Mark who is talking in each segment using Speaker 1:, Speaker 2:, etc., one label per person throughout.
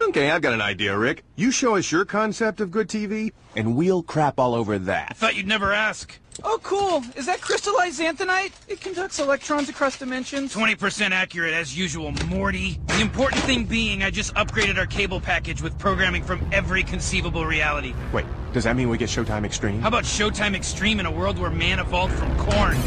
Speaker 1: Okay, I've got an idea, Rick. You show us your concept of good TV, and we'll crap all over that.
Speaker 2: Thought you'd never ask.
Speaker 3: Oh, cool. Is that crystallized xanthanite? It conducts electrons across dimensions.
Speaker 2: 20% accurate as usual, Morty. The important thing being, I just upgraded our cable package with programming from every conceivable reality.
Speaker 1: Wait, does that mean we get Showtime Extreme?
Speaker 2: How about Showtime Extreme in a world where man evolved from corn?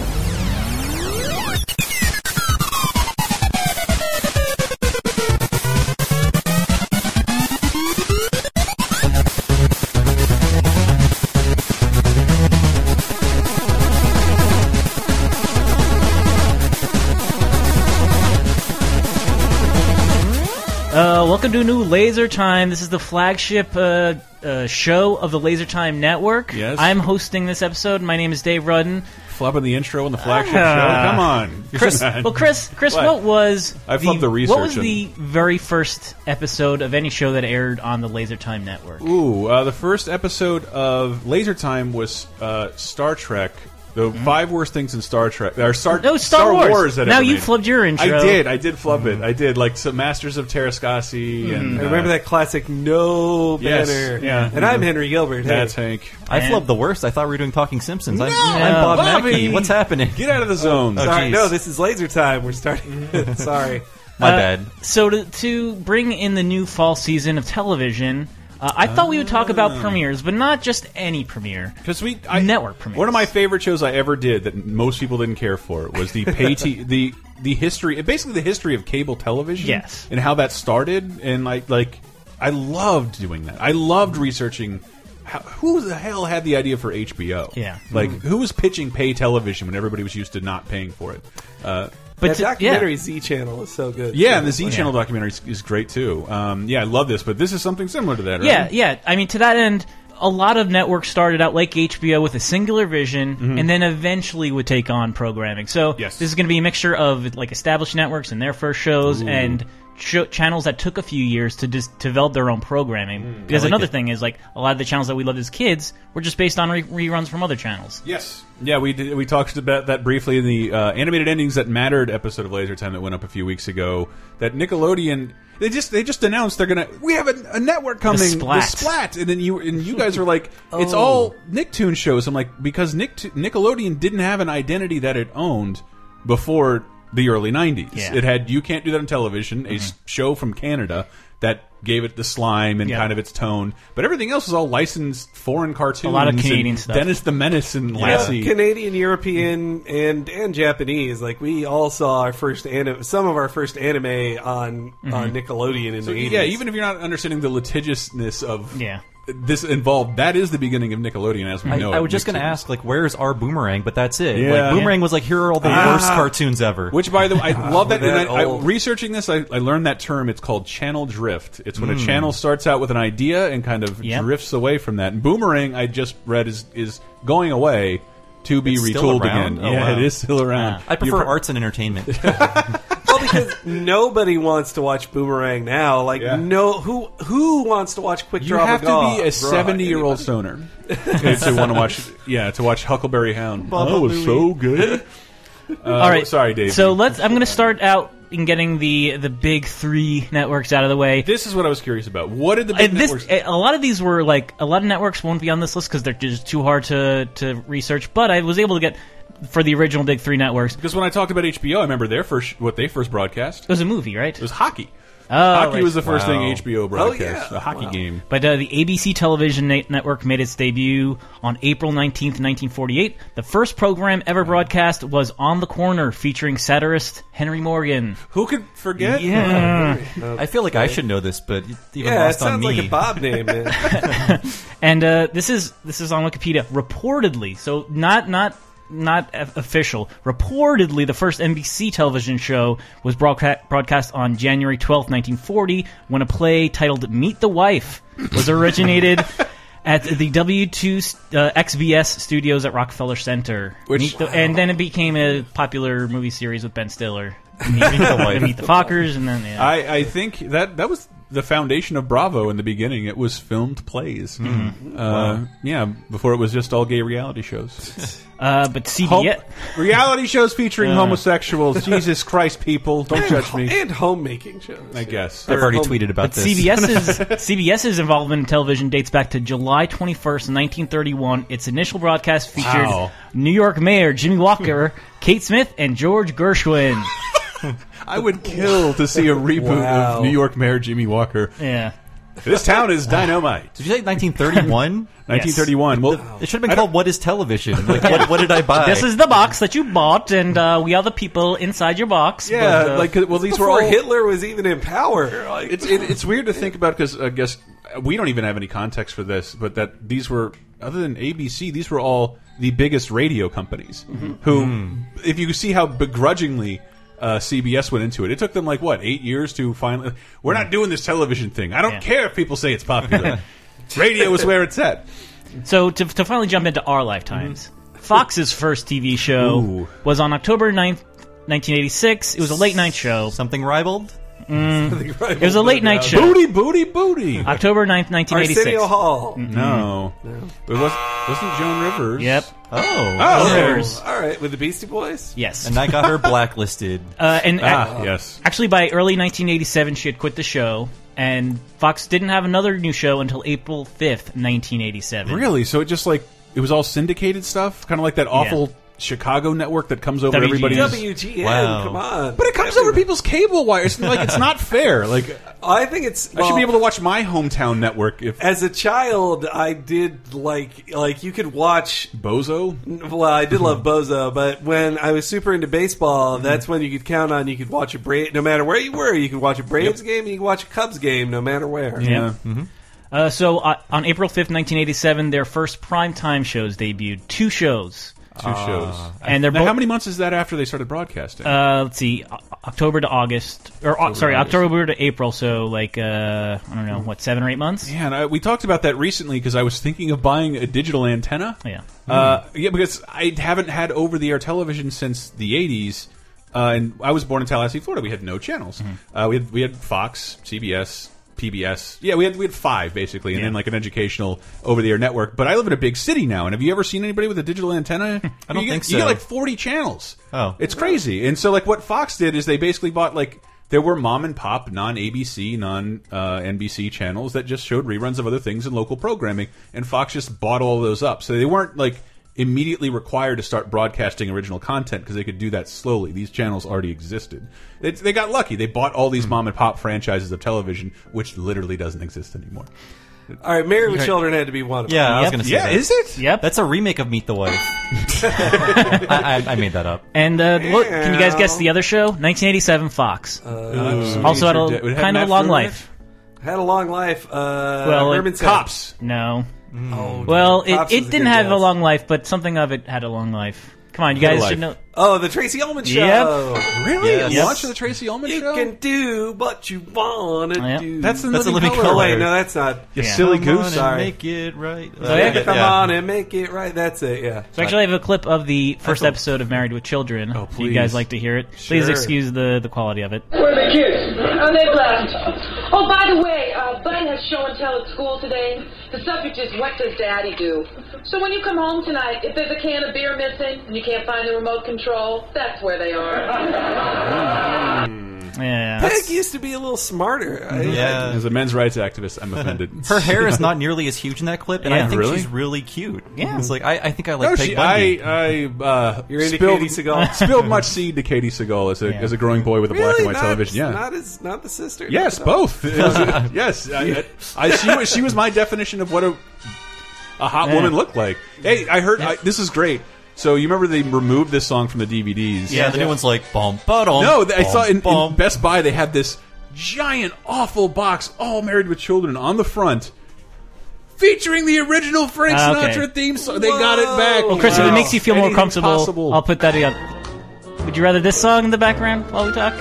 Speaker 4: Uh, welcome to a new Laser Time. This is the flagship uh, uh, show of the Laser Time Network.
Speaker 5: Yes.
Speaker 4: I'm hosting this episode. My name is Dave Rudden.
Speaker 5: Flopping the intro on the flagship
Speaker 4: Ah.
Speaker 5: show. Come on,
Speaker 4: Chris,
Speaker 5: Come
Speaker 4: well,
Speaker 5: on.
Speaker 4: Chris, Chris,
Speaker 5: What?
Speaker 4: what, was
Speaker 5: I flubbed the research
Speaker 4: What was
Speaker 5: and-
Speaker 4: the very first episode of any show that aired on the Laser Time Network?
Speaker 5: Ooh, uh, the first episode of Laser Time was uh, Star Trek. The five worst things in Star Trek. Or Star,
Speaker 4: Mm-hmm. No, Star Wars.
Speaker 5: that
Speaker 4: Now
Speaker 5: ever
Speaker 4: you
Speaker 5: made.
Speaker 4: flubbed your intro. Mm-hmm.
Speaker 5: I did. I did flub it. I did. Like some Masters of Terrascasi. And,
Speaker 6: I remember
Speaker 5: uh,
Speaker 6: that classic no
Speaker 5: Yes,
Speaker 6: banner.
Speaker 5: yeah.
Speaker 6: And I'm Henry Gilbert. hey.
Speaker 5: That's Hank.
Speaker 7: I
Speaker 4: Man.
Speaker 7: flubbed the worst. I thought we were doing Talking Simpsons. I'm, I'm
Speaker 4: No,
Speaker 7: Bob
Speaker 5: Bobby!
Speaker 7: Mackey. What's happening?
Speaker 5: Get out of the zone.
Speaker 7: Oh,
Speaker 6: Sorry,
Speaker 7: geez.
Speaker 6: no, this is laser time. We're starting. Sorry.
Speaker 7: My
Speaker 4: Uh,
Speaker 7: bad.
Speaker 4: So to, to bring in the new fall season of television, uh, I thought we would talk
Speaker 5: Ah.
Speaker 4: about premieres, but not just any premiere.
Speaker 5: Because we I,
Speaker 4: Network premieres.
Speaker 5: One of my favorite shows I ever did that most people didn't care for was the pay t the the history, basically the history of cable television.
Speaker 4: Yes.
Speaker 5: and how that started, and like like I loved doing that. I loved researching. How, who the hell had the idea for HBO?
Speaker 4: Yeah. Mm.
Speaker 5: like who was pitching pay television when everybody was used to not paying for it? Uh,
Speaker 4: But
Speaker 6: That
Speaker 4: to-
Speaker 6: documentary
Speaker 4: yeah.
Speaker 6: Z Channel is so good.
Speaker 5: yeah, and the Z Channel documentary is, is great too. Um, yeah, I love this, but this is something similar to that. Right?
Speaker 4: Yeah, yeah. I mean, to that end, a lot of networks started out like HBO with a singular vision, and then eventually would take on programming. So
Speaker 5: Yes.
Speaker 4: this is going to be a mixture of like established networks and their first shows and. Sh- channels that took a few years to dis- develop their own programming because
Speaker 7: I like
Speaker 4: another
Speaker 7: it.
Speaker 4: thing is like a lot of the channels that we loved as kids were just based on re- reruns from other channels
Speaker 5: Yes. Yeah, we did, we talked about that briefly in the uh, animated endings that mattered episode of Laser Time that went up a few weeks ago. That Nickelodeon they just they just announced they're gonna we have a, a network coming the
Speaker 4: Splat. Oh.
Speaker 5: Splat. and then you and you guys were like it's all Nicktoon shows. I'm like because Nick Nickelodeon didn't have an identity that it owned before the early 90s.
Speaker 4: Yeah. Mm-hmm.
Speaker 5: It had you can't do that on television, a s- show from Canada that gave it the slime and
Speaker 4: Yeah.
Speaker 5: kind of its tone, but everything else was all licensed foreign cartoons.
Speaker 4: lot of
Speaker 5: and
Speaker 4: Canadian stuff.
Speaker 5: Dennis the Menace and
Speaker 6: You know,
Speaker 5: Lassie.
Speaker 6: Canadian, European, and and Japanese. Like we all saw our first anime, some of our first anime on on Nickelodeon in
Speaker 5: Mm-hmm. So,
Speaker 6: the 80s.
Speaker 5: yeah, even if you're not understanding the litigiousness of
Speaker 4: Yeah.
Speaker 5: this involved, that is the beginning of Nickelodeon as we
Speaker 7: I,
Speaker 5: know.
Speaker 7: I
Speaker 5: it.
Speaker 7: was just going to
Speaker 5: Nicktoons.
Speaker 7: ask, like, where's our boomerang? But that's it.
Speaker 5: Yeah.
Speaker 7: Like, boomerang was like, here are all the
Speaker 6: Uh-huh.
Speaker 7: worst cartoons ever.
Speaker 5: Which, by the way, I love that.
Speaker 6: we're
Speaker 5: and I,
Speaker 6: that
Speaker 5: I-
Speaker 6: old.
Speaker 5: researching this, I, I learned that term. It's called channel drift. It's when a
Speaker 7: Hmm.
Speaker 5: channel starts out with an idea and kind of
Speaker 4: Yep.
Speaker 5: drifts away from that. And boomerang, I just read, is is going away to be
Speaker 7: It's
Speaker 5: retooled
Speaker 7: still around?
Speaker 5: again.
Speaker 7: Oh,
Speaker 5: yeah,
Speaker 7: wow.
Speaker 5: it is still around.
Speaker 7: I prefer
Speaker 5: You're-
Speaker 7: arts and entertainment.
Speaker 6: well, because nobody wants to watch Boomerang now. Like
Speaker 5: Yeah.
Speaker 6: no, who who wants to watch Quick
Speaker 5: You
Speaker 6: Draw?
Speaker 5: have to
Speaker 6: Magaw?
Speaker 5: be a
Speaker 6: Bruh,
Speaker 5: seventy-year-old stoner to want to watch. Yeah, to watch Huckleberry Hound. that was so good.
Speaker 4: all right
Speaker 5: sorry, Dave.
Speaker 4: so let's i'm going to start out in getting the the big three networks out of the way
Speaker 5: This is what I was curious about. What did the big
Speaker 4: And this,
Speaker 5: networks?
Speaker 4: a lot of these were like a lot of networks won't be on this list because they're just too hard to to research. But I was able to get for the original big three networks. It
Speaker 5: Because when I talked about HBO, I remember their first what they first broadcast
Speaker 4: was a movie, right?
Speaker 5: was hockey.
Speaker 4: Oh,
Speaker 5: hockey
Speaker 4: right.
Speaker 5: was the first
Speaker 7: Wow.
Speaker 5: thing HBO broadcast.
Speaker 6: yeah.
Speaker 5: A hockey game.
Speaker 4: But uh, the ABC television na- network made its debut on April 19th, 1948. The first program ever broadcast was On the Corner, featuring satirist Henry Morgan.
Speaker 5: Who could forget?
Speaker 4: Yeah.
Speaker 7: I feel like I should know this, but it even
Speaker 6: Yeah, that
Speaker 7: lost on
Speaker 6: sounds
Speaker 7: me.
Speaker 6: like a Bob name. Man.
Speaker 4: And uh, this is this is on Wikipedia reportedly, so not not not o- official. Reportedly, the first NBC television show was broadca- broadcast on January twelfth, nineteen forty, when a play titled "Meet the Wife" was originated. At the W two uh, XBS studios at Rockefeller Center, Meet the- and then it became a popular movie series with Ben Stiller. Meet the, Meet the Fockers, and then yeah.
Speaker 5: I, I think that that was the foundation of Bravo in the beginning. It was filmed plays. Uh, Yeah, before it was just all gay reality shows.
Speaker 4: Uh, but CBS.
Speaker 5: Hom- reality shows featuring homosexuals. Jesus Christ, people, don't judge me.
Speaker 6: and homemaking shows.
Speaker 5: I guess.
Speaker 7: I've already tweeted about
Speaker 4: But
Speaker 7: this.
Speaker 4: CBS's CBS's involvement in television dates back to July 21st, 1931. Its initial broadcast featured
Speaker 5: Wow.
Speaker 4: New York Mayor Jimmy Walker, Kate Smith, and George Gershwin.
Speaker 5: I would kill to see a reboot
Speaker 6: Wow.
Speaker 5: of New York Mayor Jimmy Walker.
Speaker 4: Yeah.
Speaker 5: This town is dynamite.
Speaker 7: Did you say 1931?
Speaker 5: 1931. Well,
Speaker 7: It should have been called "What Is Television?" Like, what, what did I buy?
Speaker 4: Oh. This is the box that you bought, and uh, we are the people inside your box.
Speaker 5: yeah,
Speaker 4: but, uh,
Speaker 5: like well, these were
Speaker 6: Before
Speaker 5: all
Speaker 6: Hitler was even in power. Like,
Speaker 5: It's it, it's weird to think about because I guess we don't even have any context for this, but that these were other than ABC, these were all the biggest radio companies.
Speaker 6: Mm-hmm.
Speaker 5: Who, if you see how begrudgingly. Uh, CBS went into it. It took them like what eight years to finally. We're
Speaker 6: Hmm.
Speaker 5: not doing this television thing. I don't
Speaker 4: Yeah.
Speaker 5: care if people say it's popular. Radio is where it's at.
Speaker 4: So to, to finally jump into our lifetimes, Fox's first TV show
Speaker 5: Ooh.
Speaker 4: was on October 9th, 1986. It was a late night show.
Speaker 7: something rivaled.
Speaker 4: It was a late night show.
Speaker 5: Booty, booty, booty.
Speaker 4: October 9th, 1986.
Speaker 6: Arsenio Hall.
Speaker 5: Mm-hmm. No, it was, wasn't Joan Rivers.
Speaker 4: Yep.
Speaker 7: Oh,
Speaker 4: Owners.
Speaker 6: All right, with the Beastie Boys.
Speaker 4: Yes.
Speaker 7: and I got her blacklisted.
Speaker 4: uh, and
Speaker 5: Ah, yes.
Speaker 4: Actually, by early 1987, she had quit the show, and Fox didn't have another new show until April 5th, 1987.
Speaker 5: Really? So it just like it was all syndicated stuff, kind of like that awful Chicago network that comes over
Speaker 4: WGN.
Speaker 5: everybody's.
Speaker 6: WGN.
Speaker 7: Wow.
Speaker 6: Come on.
Speaker 5: but it comes over people's cable wires. Like it's not fair. Like
Speaker 6: I think it's.
Speaker 5: I should
Speaker 6: well,
Speaker 5: be able to watch my hometown network if
Speaker 6: As a child, I did like like you could watch
Speaker 5: Bozo.
Speaker 6: Well, I did love Bozo, but when I was super into baseball, that's when you could count on you could watch a Braves, no matter where you were, you could watch a Braves game and you could watch a Cubs game, no matter where.
Speaker 5: Yeah.
Speaker 4: Uh, so uh, on April 5th, 1987, their first primetime shows debuted. Two shows.
Speaker 5: Two shows.
Speaker 4: And they're
Speaker 5: Now,
Speaker 4: both.
Speaker 5: how many months is that after they started broadcasting?
Speaker 4: Uh, let's see, O- October to August, or uh, sorry,
Speaker 5: August.
Speaker 4: October to April. So like, uh, I don't know, what seven or eight months?
Speaker 5: Man, I, we talked about that recently because I was thinking of buying a digital antenna.
Speaker 4: Yeah.
Speaker 5: Uh, yeah, because I haven't had over the air television since the 80s. Uh, and I was born in Tallahassee, Florida. We had no channels. Uh, we, had, we had Fox, CBS, PBS. Yeah, we had, we had five, basically, and then
Speaker 4: Yeah.
Speaker 5: like an educational over the air network. But I live in a big city now. And have you ever seen anybody with a digital antenna? I
Speaker 7: don't
Speaker 5: you
Speaker 7: think
Speaker 5: get, You get
Speaker 7: so.
Speaker 5: like 40 channels.
Speaker 7: Oh.
Speaker 5: It's crazy. And so, like, what Fox did is they basically bought, like, there were mom and pop, non ABC, non uh, NBC channels that just showed reruns of other things and local programming. And Fox just bought all those up. So they weren't, like, immediately required to start broadcasting original content because they could do that slowly. These channels already existed. They, they got lucky. They bought all
Speaker 7: Hmm.
Speaker 5: these mom and pop franchises of television, which literally doesn't exist anymore.
Speaker 6: All right, Married with Children had to be one of them.
Speaker 7: Yeah, I was
Speaker 4: Yep.
Speaker 7: gonna say
Speaker 5: Yeah,
Speaker 7: that.
Speaker 5: is it?
Speaker 4: Yep.
Speaker 7: That's a remake of Meet the Wife. I, I, I made that up.
Speaker 4: and uh, look, can you guys guess the other show? 1987 Fox.
Speaker 5: Uh,
Speaker 4: also had
Speaker 5: It
Speaker 4: a
Speaker 5: had
Speaker 4: kind of
Speaker 5: Matt
Speaker 4: a long
Speaker 5: Frohman in
Speaker 4: life.
Speaker 6: Had a long life. Uh,
Speaker 4: Well, it-
Speaker 6: Herman
Speaker 5: it?
Speaker 6: said-
Speaker 5: Cops.
Speaker 4: No. Mm. well, it,
Speaker 6: Cops is
Speaker 4: it
Speaker 6: a
Speaker 4: didn't
Speaker 6: good
Speaker 4: have a
Speaker 6: guess.
Speaker 4: long life, but something of it had a long life. Come on, you
Speaker 5: Had a
Speaker 4: guys
Speaker 5: life.
Speaker 4: should know.
Speaker 6: Oh, the Tracy Ullman show.
Speaker 4: Yep.
Speaker 5: Really?
Speaker 7: Yes.
Speaker 5: Launch of the Tracy Ullman
Speaker 6: You
Speaker 5: show?
Speaker 6: can do what you want to
Speaker 4: Yep.
Speaker 6: do.
Speaker 5: That's the
Speaker 7: That's a
Speaker 5: living
Speaker 7: living
Speaker 5: color.
Speaker 6: Oh, wait, no, that's not.
Speaker 5: You
Speaker 4: Yeah.
Speaker 5: silly
Speaker 7: Come on
Speaker 5: goose.
Speaker 7: and
Speaker 6: sorry.
Speaker 7: make it right.
Speaker 4: yeah,
Speaker 6: Come
Speaker 7: yeah.
Speaker 6: on and make it right. That's it. Yeah.
Speaker 4: So actually, I have a clip of the first episode of Married with Children.
Speaker 5: Oh,
Speaker 4: If you guys
Speaker 5: please.
Speaker 4: like to hear it, please
Speaker 5: Sure.
Speaker 4: excuse the the quality of it.
Speaker 8: Where are the kids? Oh, they've left. Oh, by the way, uh, Bud has show and tell at school today. The subject is what does Daddy do? So when you come home tonight, if there's a can of beer missing and you can't find the remote control, that's where they are.
Speaker 4: Yeah.
Speaker 6: Peg used to be a little smarter.
Speaker 5: Mm-hmm.
Speaker 6: I-
Speaker 7: Uh, Yeah.
Speaker 5: As a men's rights activist, I'm offended.
Speaker 7: Her hair is not nearly as huge in that clip, and
Speaker 4: Yeah.
Speaker 7: I think
Speaker 5: Really?
Speaker 7: she's really cute.
Speaker 4: Yeah.
Speaker 7: It's like I, I think I like
Speaker 5: no,
Speaker 7: Peg
Speaker 5: she,
Speaker 7: Bundy.
Speaker 5: I, I uh,
Speaker 6: You're into
Speaker 5: spilled,
Speaker 6: Katie Sagal?
Speaker 5: spilled much seed to Katie Seagal as a, as a growing boy with a black
Speaker 6: Really?
Speaker 5: and white
Speaker 6: not,
Speaker 5: television. Yeah.
Speaker 6: Not as not the sister.
Speaker 5: yes,
Speaker 6: No.
Speaker 5: both. It was a- yes. I, I, she, was, she was my definition of what a, a hot woman looked like. Hey, I heard I, this is great. So you remember they removed this song from the DVDs?
Speaker 7: yeah, the new one's like bum bottom.
Speaker 5: No, th- I saw in, in Best Buy they had this giant, awful box, all married with children on the front, featuring the original Frank
Speaker 4: Ah, okay.
Speaker 5: Sinatra theme song. They got it back.
Speaker 6: Well,
Speaker 4: Chris, if it
Speaker 6: Wow.
Speaker 4: makes you feel more
Speaker 5: Anything's
Speaker 4: comfortable,
Speaker 5: possible.
Speaker 4: I'll put that together. Would you rather this song in the background while we talk?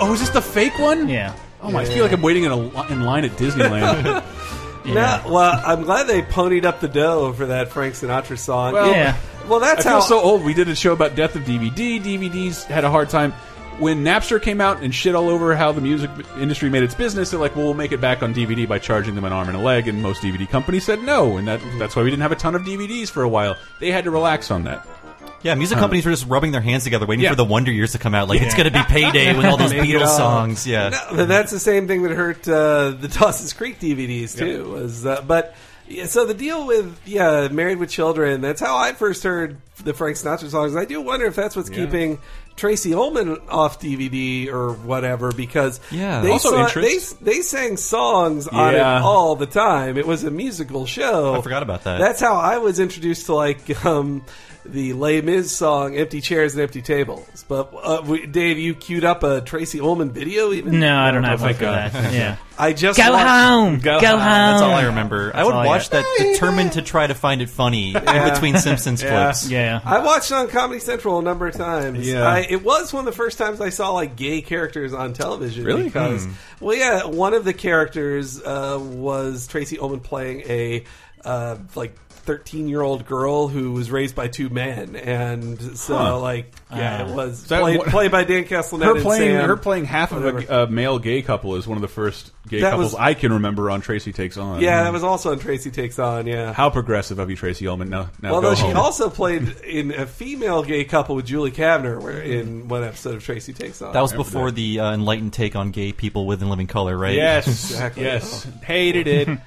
Speaker 5: oh, is this the fake one?
Speaker 4: Yeah.
Speaker 5: Oh, my, I feel like I'm waiting in, a, li- in line at Disneyland.
Speaker 6: Yeah. well, I'm glad they ponied up the dough for that Frank Sinatra song.
Speaker 5: Well,
Speaker 4: Yeah.
Speaker 6: well,
Speaker 5: I
Speaker 6: that's how.
Speaker 5: feel so old. We did a show about death of DVD. DVDs had a hard time. when Napster came out and shit all over how the music industry made its business, they're like, well, we'll make it back on DVD by charging them an arm and a leg. And most DVD companies said no. And that, that's why we didn't have a ton of DVDs for a while. They had to relax on that.
Speaker 7: Yeah, music companies were just rubbing their hands together, waiting
Speaker 5: Yeah.
Speaker 7: for the Wonder Years to come out. Like it's going to be payday with all those
Speaker 6: Make it
Speaker 7: Beatles
Speaker 6: up.
Speaker 7: songs. Yeah,
Speaker 6: No, but that's the same thing that hurt uh, the Dawson's Creek DVDs too. Was uh, but yeah, so the deal with yeah, Married with Children. That's how I first heard the Frank Sinatra songs. I do wonder if that's what's keeping Tracy Ullman off DVD or whatever because
Speaker 7: Yeah.
Speaker 6: they
Speaker 5: Also
Speaker 6: saw-
Speaker 5: interest.
Speaker 6: they they sang songs on it
Speaker 5: Yeah.
Speaker 6: all the time. It was a musical show.
Speaker 7: I forgot about that.
Speaker 6: That's how I was introduced to like um, the Les Mis song "Empty Chairs and Empty Tables." But uh, we, Dave, you queued up a Tracy Ullman video, even
Speaker 4: No, I don't have one for
Speaker 5: God.
Speaker 4: that. Yeah.
Speaker 6: I just
Speaker 4: Go
Speaker 6: watched-
Speaker 4: home. Go, home.
Speaker 7: That's all I remember. I would
Speaker 4: all I
Speaker 7: watch that, determined to try to find it funny in between Simpsons clips.
Speaker 4: Yeah.
Speaker 6: I watched it on Comedy Central a number of times.
Speaker 5: Yeah.
Speaker 6: I, it was one of the first times I saw like gay characters on television.
Speaker 5: Really? Hmm.
Speaker 6: Because well, yeah, one of the characters uh, was Tracy Ullman playing a uh, like. 13 year old girl who was raised by two men and so
Speaker 5: Huh.
Speaker 6: like yeah
Speaker 7: Ah.
Speaker 6: it was
Speaker 5: So
Speaker 6: played,
Speaker 5: what-
Speaker 6: played by Dan Castellaneta
Speaker 5: Her
Speaker 6: and
Speaker 5: playing,
Speaker 6: Sam.
Speaker 5: her playing half of
Speaker 6: whatever.
Speaker 5: a, a male gay couple is one of the first gay
Speaker 6: That
Speaker 5: couples
Speaker 6: was-
Speaker 5: I can remember on Tracy Takes On.
Speaker 6: yeah that was also on Tracy Takes On yeah
Speaker 5: How progressive of you, Tracy Ullman. Now, now
Speaker 6: Well,
Speaker 5: go
Speaker 6: no, she
Speaker 5: home.
Speaker 6: also played in a female gay couple with Julie Kavner where, in one episode of Tracy Takes On.
Speaker 7: That was before the uh, enlightened take on gay people within Living Color, right?
Speaker 5: Yes,
Speaker 6: Exactly. Oh.
Speaker 5: yes, hated it.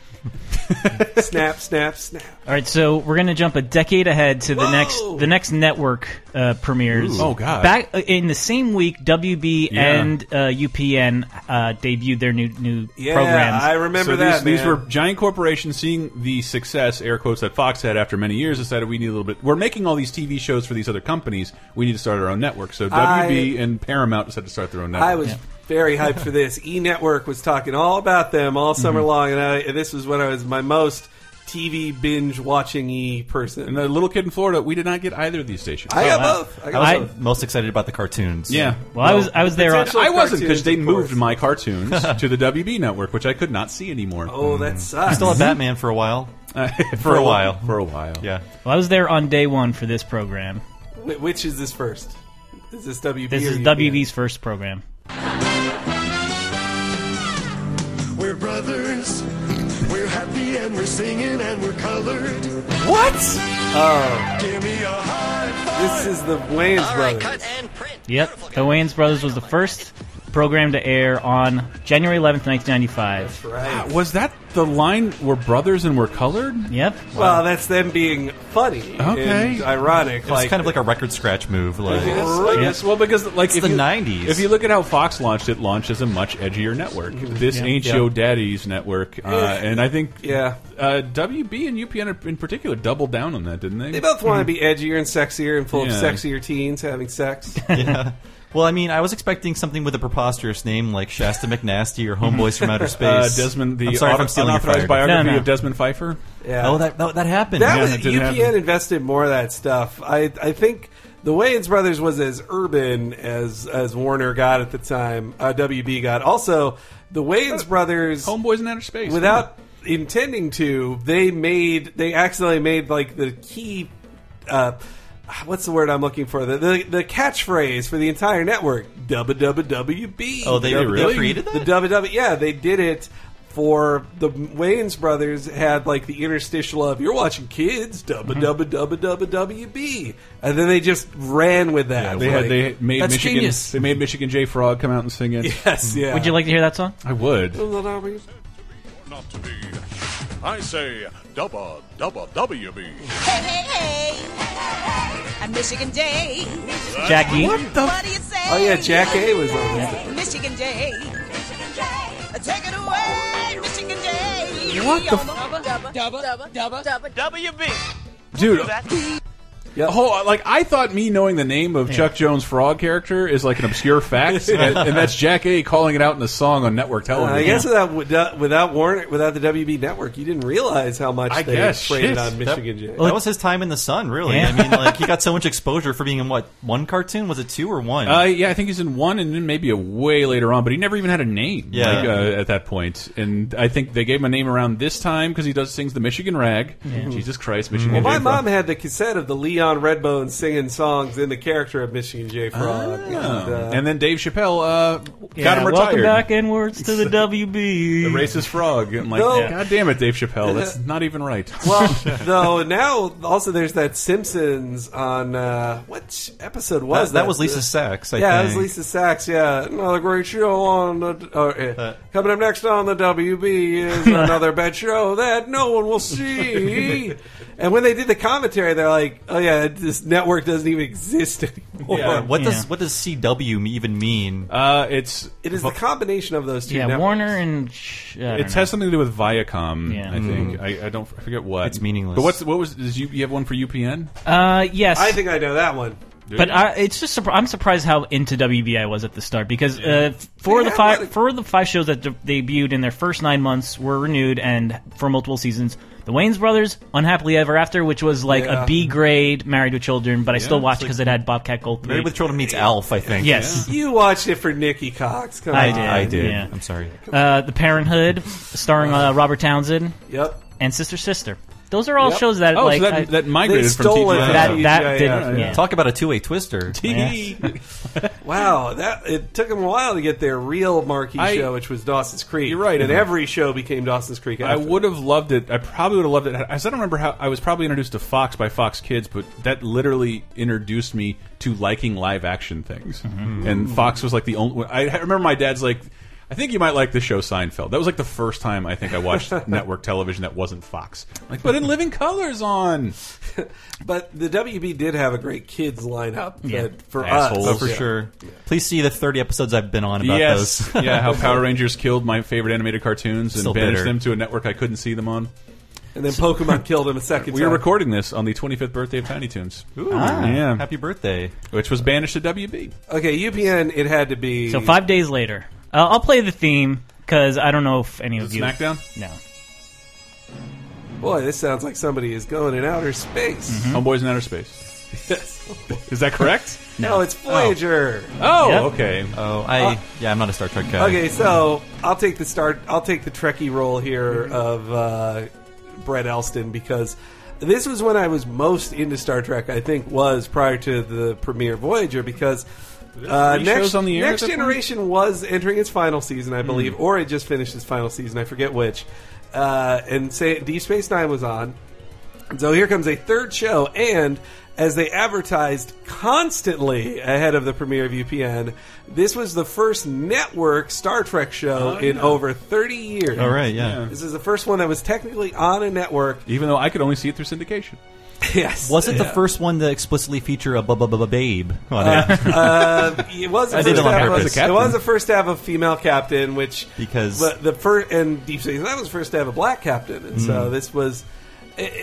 Speaker 6: snap, snap, snap.
Speaker 4: All right, so we're gonna jump a decade ahead to the
Speaker 6: Whoa!
Speaker 4: next the next network uh, premieres.
Speaker 5: Ooh. Oh, God.
Speaker 4: Back uh, in the same week, WB
Speaker 5: Yeah.
Speaker 4: and uh, UPN uh, debuted their new new
Speaker 6: Yeah,
Speaker 4: programs.
Speaker 6: I remember
Speaker 5: so
Speaker 6: that.
Speaker 5: these, these
Speaker 6: man.
Speaker 5: were giant corporations seeing the success, air quotes, that Fox had after many years, decided we need a little bit. We're making all these TV shows for these other companies. We need to start our own network. So WB and Paramount decided to start their own network.
Speaker 6: I was very hyped for this. E Network was talking all about them all summer long, and I, and this was when I was my most TV binge watching E person.
Speaker 5: and the little kid in Florida, we did not get either of these stations.
Speaker 6: I got
Speaker 4: wow.
Speaker 6: both. I
Speaker 7: I
Speaker 6: got
Speaker 7: was
Speaker 6: both.
Speaker 7: most excited about the cartoons.
Speaker 5: yeah.
Speaker 4: well, I was I was there. On,
Speaker 6: potential-
Speaker 5: I wasn't because
Speaker 6: Cartoons,
Speaker 5: they
Speaker 6: of
Speaker 5: moved
Speaker 6: course.
Speaker 5: my cartoons to the WB network, which I could not see anymore.
Speaker 6: Oh, that sucks.
Speaker 7: Still had Batman for a while.
Speaker 5: for
Speaker 7: a while.
Speaker 5: for a while.
Speaker 7: Yeah.
Speaker 4: well, I was there on day one for this program.
Speaker 6: Wh- Which is this first? Is this WB?
Speaker 4: This
Speaker 6: or
Speaker 4: is
Speaker 6: UPN?
Speaker 4: WB's first program.
Speaker 9: We're brothers. We're happy and we're singing and we're colored.
Speaker 6: What?
Speaker 9: Give me a high five.
Speaker 6: This is the Wayans brothers.
Speaker 9: and print.
Speaker 4: Yep, the Wayans Brothers was the first program to air on January 11th, 1995.
Speaker 6: right.
Speaker 5: Was that the line? We're brothers and we're colored.
Speaker 4: Yep.
Speaker 6: Well, that's them being funny
Speaker 5: Okay.
Speaker 6: and ironic.
Speaker 7: It's kind of like a record scratch move. Like,
Speaker 5: I guess, well, because like
Speaker 7: It's
Speaker 5: if
Speaker 7: the
Speaker 5: you-
Speaker 7: 90s.
Speaker 5: If you look at how Fox launched, it launched as a much edgier network.
Speaker 6: Mm-hmm.
Speaker 5: This ain't
Speaker 4: Yeah.
Speaker 5: your daddy's network, uh, and I think
Speaker 6: Yeah.
Speaker 5: uh, WB and UPN in particular doubled down on that, didn't they?
Speaker 6: They both want to be edgier and sexier and full
Speaker 5: Yeah.
Speaker 6: of sexier teens having sex.
Speaker 7: well, I mean, I was expecting something with a preposterous name like Shasta McNasty or Homeboys from Outer
Speaker 5: uh,
Speaker 7: Space.
Speaker 5: Desmond, the
Speaker 7: I'm sorry if
Speaker 5: auto-
Speaker 7: I'm stealing your
Speaker 5: unauthorized
Speaker 7: fire.
Speaker 5: biography
Speaker 4: No, no.
Speaker 5: of Desmond Pfeiffer.
Speaker 6: Yeah.
Speaker 7: Oh, that, that that happened.
Speaker 6: That
Speaker 5: Yeah,
Speaker 6: was
Speaker 5: it didn't
Speaker 6: UPN
Speaker 5: happen.
Speaker 6: invested more of that stuff. I I think the Wayans brothers was as urban as as Warner got at the time. Uh, WB got also the Wayans brothers
Speaker 5: Homeboys in Outer Space.
Speaker 6: without intending to. They made they accidentally made like the key. Uh, What's the word I'm looking for? The, the the catchphrase for the entire network: WWWB.
Speaker 7: Oh, they- they really? created
Speaker 6: the
Speaker 7: that?
Speaker 6: WW. Yeah, they did it for the Wayans brothers had like the interstitial of "You're watching kids." WWWWB, and then they just ran with that.
Speaker 5: They had
Speaker 6: Like,
Speaker 5: they made
Speaker 4: That's
Speaker 5: Michigan.
Speaker 4: genius.
Speaker 5: They made Michigan J Frog come out and sing it.
Speaker 6: yes, yeah.
Speaker 4: Would you like to hear that song?
Speaker 5: I would.
Speaker 9: Not to be. I say double, double, WB.
Speaker 10: Hey, hey, hey. And Michigan Day.
Speaker 4: Jackie.
Speaker 10: What do you say?
Speaker 6: Oh yeah, Jack A was on this.
Speaker 10: Michigan Day. Michigan Day. Take it away, Michigan Day.
Speaker 5: What the Dude,
Speaker 6: Yeah.
Speaker 5: whole like I thought me knowing the name of Chuck Jones Frog character is like an obscure fact, and, and that's Jack A calling it out in a song on network television.
Speaker 6: Uh, I guess without without- without Warner, without the WB network, you didn't realize how much
Speaker 5: I
Speaker 6: they
Speaker 5: guess,
Speaker 6: sprayed
Speaker 5: shit.
Speaker 6: it on Michigan J.
Speaker 7: That was his time in the sun, really.
Speaker 4: Yeah.
Speaker 7: I mean, like he got so much exposure for being in what one cartoon was it two or one?
Speaker 5: Uh, yeah, I think he's in one, and then maybe a way later on. But he never even had a name.
Speaker 7: Yeah.
Speaker 5: like, uh, at that point, and I think they gave him a name around this time because he does sings the Michigan Rag. Mm-hmm. Jesus Christ, Michigan.
Speaker 6: Well, my
Speaker 5: J. Frog.
Speaker 6: mom had the cassette of the Lee Leon Redbone singing songs in the character of Michigan J. Frog. and, uh,
Speaker 5: Oh. and then Dave Chappelle uh, got
Speaker 4: Yeah,
Speaker 5: him
Speaker 4: welcome
Speaker 5: retired.
Speaker 4: back inwards to the WB.
Speaker 5: The racist frog. I'm like,
Speaker 6: No.
Speaker 5: God damn it, Dave Chappelle. That's not even right.
Speaker 6: well, though now also there's that Simpsons on uh, which episode was
Speaker 7: That-
Speaker 6: that?
Speaker 7: that was Lisa Sacks, I
Speaker 6: yeah, that
Speaker 7: think.
Speaker 6: was Lisa Sacks. Yeah, another great show on the uh, uh, coming up next on the WB is another bad show that no one will see. and when they did the commentary, they're like, "Oh yeah, this network doesn't even exist anymore."
Speaker 7: Or what does
Speaker 4: Yeah.
Speaker 7: what does CW even mean?
Speaker 5: uh, it's
Speaker 6: It is the combination of those two.
Speaker 4: yeah,
Speaker 6: networks.
Speaker 4: Warner and sh- I don't
Speaker 5: it
Speaker 4: know.
Speaker 5: has something to do with Viacom.
Speaker 4: Yeah.
Speaker 5: I think I, I don't I forget what.
Speaker 7: It's meaningless.
Speaker 5: But what's what was? Is you, you have one for UPN?
Speaker 4: Uh, yes,
Speaker 6: I think I know that one.
Speaker 4: but I, it's just surpri- I'm surprised how into WB I was at the start because uh, four of the
Speaker 6: Yeah,
Speaker 4: five
Speaker 6: what a-
Speaker 4: four of the five shows that de- debuted in their first nine months were renewed and for multiple seasons. The Wayne's Brothers, Unhappily Ever After, which was like
Speaker 6: Yeah.
Speaker 4: a B grade Married with Children, but I still
Speaker 5: it's
Speaker 4: watched because it had Bobcat Goldthwait.
Speaker 7: Married with Children meets Alf, I think.
Speaker 4: yes,
Speaker 6: You watched it for Nikki Cox. Come
Speaker 4: I
Speaker 6: on.
Speaker 4: did.
Speaker 7: I did.
Speaker 4: Yeah.
Speaker 7: I'm sorry.
Speaker 4: Uh, the Parenthood, starring uh, Robert Townsend,
Speaker 6: Yep.
Speaker 4: and Sister Sister. Those are all
Speaker 6: Yep.
Speaker 4: shows that
Speaker 5: Oh,
Speaker 4: like
Speaker 5: so that,
Speaker 4: I-
Speaker 5: that migrated
Speaker 6: they
Speaker 5: from
Speaker 6: stole it
Speaker 5: TGI.
Speaker 6: from
Speaker 4: that,
Speaker 6: Yeah.
Speaker 4: that
Speaker 6: Yeah,
Speaker 4: did
Speaker 6: yeah,
Speaker 4: yeah.
Speaker 6: yeah.
Speaker 7: Talk about a two way twister.
Speaker 6: Wow, that it took them a while to get their real marquee
Speaker 5: I-
Speaker 6: show, which was Dawson's Creek.
Speaker 5: You're right,
Speaker 6: and
Speaker 5: and-
Speaker 6: every show became Dawson's Creek.
Speaker 5: I
Speaker 6: After.
Speaker 5: would have loved it. I probably would have loved it. I don't remember how I was probably introduced to Fox by Fox Kids, but that literally introduced me to liking live action things.
Speaker 4: Mm-hmm.
Speaker 5: And Fox was like the only. I I remember my dad's like, I think you might like the show Seinfeld. That was like the first time I think I watched network television that wasn't Fox. Like, but in Living Colors on.
Speaker 6: But the WB did have a great kids lineup
Speaker 4: Yeah.
Speaker 6: that for
Speaker 5: Assholes.
Speaker 7: Oh,
Speaker 6: us.
Speaker 7: for
Speaker 6: Yeah.
Speaker 7: sure. Please see the 30 episodes I've been on about
Speaker 5: Yes,
Speaker 7: those.
Speaker 5: yeah. How Power Rangers killed my favorite animated cartoons and
Speaker 7: Still
Speaker 5: banished
Speaker 7: bitter.
Speaker 5: them to a network I couldn't see them on.
Speaker 6: And then Pokemon killed him a second
Speaker 5: We
Speaker 6: time.
Speaker 5: are recording this on the 25th birthday of Tiny Toons,
Speaker 7: Ah,
Speaker 5: Yeah.
Speaker 7: Happy birthday.
Speaker 5: which was banished to WB.
Speaker 6: Okay, UPN. It had to be
Speaker 4: So five days later, uh, I'll play the theme because I don't know if any of you.
Speaker 5: SmackDown.
Speaker 4: No.
Speaker 6: Boy, this sounds like somebody is going in outer space.
Speaker 5: Homeboys in Outer Space. Mm-hmm. Is that correct?
Speaker 6: no, Oh, it's Voyager.
Speaker 5: Oh,
Speaker 4: Yep.
Speaker 5: okay.
Speaker 7: Oh, I yeah, I'm not a Star Trek guy.
Speaker 6: Okay, so I'll take the start. I'll take the Trekkie role here
Speaker 5: Mm-hmm.
Speaker 6: of uh, Brett Elston because this was when I was most into Star Trek. I think was prior to the premiere of Voyager because uh,
Speaker 5: three
Speaker 6: next
Speaker 5: shows on the air at
Speaker 6: Next
Speaker 5: that point? Mm.
Speaker 6: Generation was entering its final season, I believe, or it just finished its final season. I forget which. Uh, and say Deep Space Nine was on. So here comes a third show, and as they advertised constantly ahead of the premiere of UPN, this was the first network Star Trek show in over 30 years.
Speaker 7: All right, yeah.
Speaker 6: This is the first one that was technically on a network.
Speaker 5: Even though I could only see it through syndication.
Speaker 6: Yes.
Speaker 7: Was it the first one to explicitly feature a bu- bu- bu- bu- babe on it?
Speaker 6: Uh, it was the
Speaker 7: I
Speaker 6: first
Speaker 7: did it on
Speaker 6: to have
Speaker 7: purpose.
Speaker 6: a- it was the first to have a female captain, which
Speaker 7: Because-
Speaker 6: but the first and Deep Space Nine was the first to have a black captain, and so this was. I- I think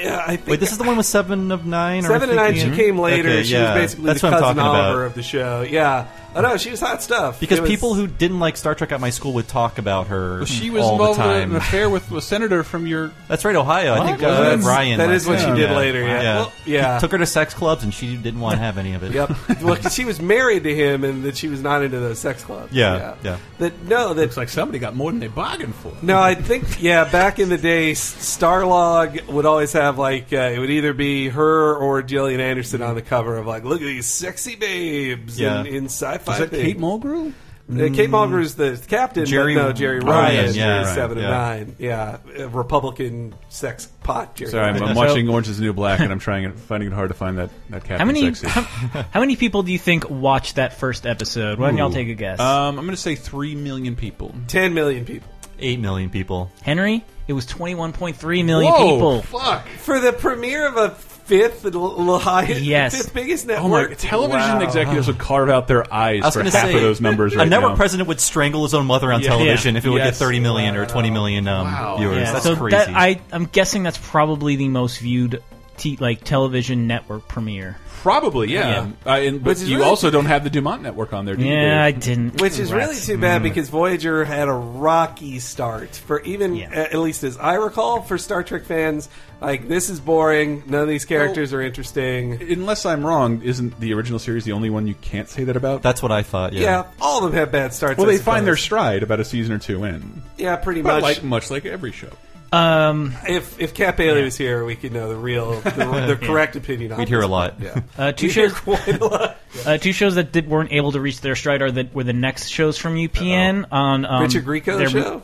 Speaker 7: Mm. Wait, this is the one with seven of nine. or
Speaker 6: Seven and nine. She
Speaker 7: thinking-
Speaker 6: came later.
Speaker 7: Okay,
Speaker 6: she
Speaker 7: yeah.
Speaker 6: was basically
Speaker 7: That's
Speaker 6: the
Speaker 7: what I'm
Speaker 6: cousin
Speaker 7: talking about.
Speaker 6: Oliver of the show. Yeah. Oh no, she was hot stuff.
Speaker 7: Because
Speaker 6: It was-
Speaker 7: people who didn't like Star Trek at my school would talk about her.
Speaker 5: She was
Speaker 7: all
Speaker 5: involved
Speaker 7: the
Speaker 5: in
Speaker 7: time.
Speaker 5: an affair with a senator from your.
Speaker 7: That's right, Ohio. I think
Speaker 5: What?
Speaker 7: uh,
Speaker 5: That's-
Speaker 7: Brian.
Speaker 6: that
Speaker 7: liked
Speaker 6: is what
Speaker 7: it.
Speaker 6: she did later, yeah. Well, yeah.
Speaker 7: He took her to sex clubs, and she didn't want to have any of it.
Speaker 6: Yep. well, 'cause she was married to him, and that she was not into those sex clubs.
Speaker 7: Yeah, yeah.
Speaker 6: That no, that
Speaker 5: Looks like somebody got more than they bargained for.
Speaker 6: No, I think yeah. Back in the day, S- Starlog would always have like uh, it would either be her or Gillian Anderson on the cover of like, look at these sexy babes
Speaker 7: Yeah.
Speaker 6: in, in sci-fi.
Speaker 5: Is that
Speaker 6: things.
Speaker 5: Kate Mm-hmm. Mulgrew?
Speaker 6: Uh, Kate Mulgrew is the captain.
Speaker 7: Jerry-
Speaker 6: but no, Jerry
Speaker 7: Ryan, Oh,
Speaker 6: Ryan.
Speaker 7: yeah,
Speaker 6: Jerry
Speaker 7: right,
Speaker 6: seven
Speaker 7: yeah.
Speaker 6: and nine. Yeah, uh, Republican sex pot. Jerry
Speaker 5: Sorry, I'm,
Speaker 6: Ryan.
Speaker 5: I'm watching Orange is the New Black, and I'm trying it- finding it hard to find that that captain
Speaker 4: How many?
Speaker 5: sexy.
Speaker 4: How, how many people do you think watched that first episode? Why don't y'all
Speaker 5: Ooh.
Speaker 4: take a guess?
Speaker 7: Uh,
Speaker 5: Um, I'm going to say three million people.
Speaker 6: Ten million people
Speaker 7: Eight million people.
Speaker 4: Henry, it was twenty-one point three million
Speaker 5: Whoa.
Speaker 4: people.
Speaker 5: Fuck.
Speaker 6: for the premiere of a fifth l- l- highest,
Speaker 4: Yes.
Speaker 6: fifth biggest
Speaker 5: Oh
Speaker 6: network.
Speaker 5: my! Television
Speaker 6: Wow.
Speaker 5: executives would carve out their eyes
Speaker 7: I was
Speaker 5: for
Speaker 7: gonna
Speaker 5: half
Speaker 7: say,
Speaker 5: of those numbers right
Speaker 7: a network
Speaker 5: now.
Speaker 7: president would strangle his own mother on
Speaker 5: Yeah.
Speaker 7: television
Speaker 5: Yeah.
Speaker 7: if it would get
Speaker 5: Yes.
Speaker 7: 30 million or 20 million um, viewers.
Speaker 4: Yeah,
Speaker 7: That's
Speaker 4: so
Speaker 7: crazy.
Speaker 4: that I, I'm guessing that's probably the most viewed t- like television network premiere.
Speaker 5: Probably, yeah. Uh, and, but
Speaker 6: Which is
Speaker 5: you
Speaker 6: really-
Speaker 5: also don't have the Dumont network on there, do you?
Speaker 4: Yeah, I
Speaker 5: Dave?
Speaker 4: didn't.
Speaker 6: Which is really
Speaker 4: Rats.
Speaker 6: too
Speaker 7: Mm.
Speaker 6: bad because Voyager had a rocky start for even
Speaker 4: Yeah.
Speaker 6: a- at least as I recall for Star Trek fans like this is boring none of these characters are interesting
Speaker 5: Unless I'm wrong, isn't the original series the only one you can't say that about?
Speaker 7: That's what I thought. Yeah.
Speaker 6: yeah. all of them have bad starts
Speaker 5: well,
Speaker 6: I
Speaker 5: they find their
Speaker 6: suppose.
Speaker 5: stride about a season or two in,
Speaker 6: yeah pretty
Speaker 5: but
Speaker 6: much
Speaker 5: like much like every show.
Speaker 4: Um,
Speaker 6: If if Cat Bailey was here, we could know the real, the, the correct opinion. on
Speaker 7: We'd hear
Speaker 6: this.
Speaker 7: a lot.
Speaker 6: Yeah.
Speaker 4: uh, two
Speaker 6: We'd hear
Speaker 4: shows,
Speaker 6: quite a lot.
Speaker 4: uh, two shows that did, weren't able to reach their stride are that were the next shows from UPN on um,
Speaker 6: Richard Grieco
Speaker 4: their,
Speaker 6: show.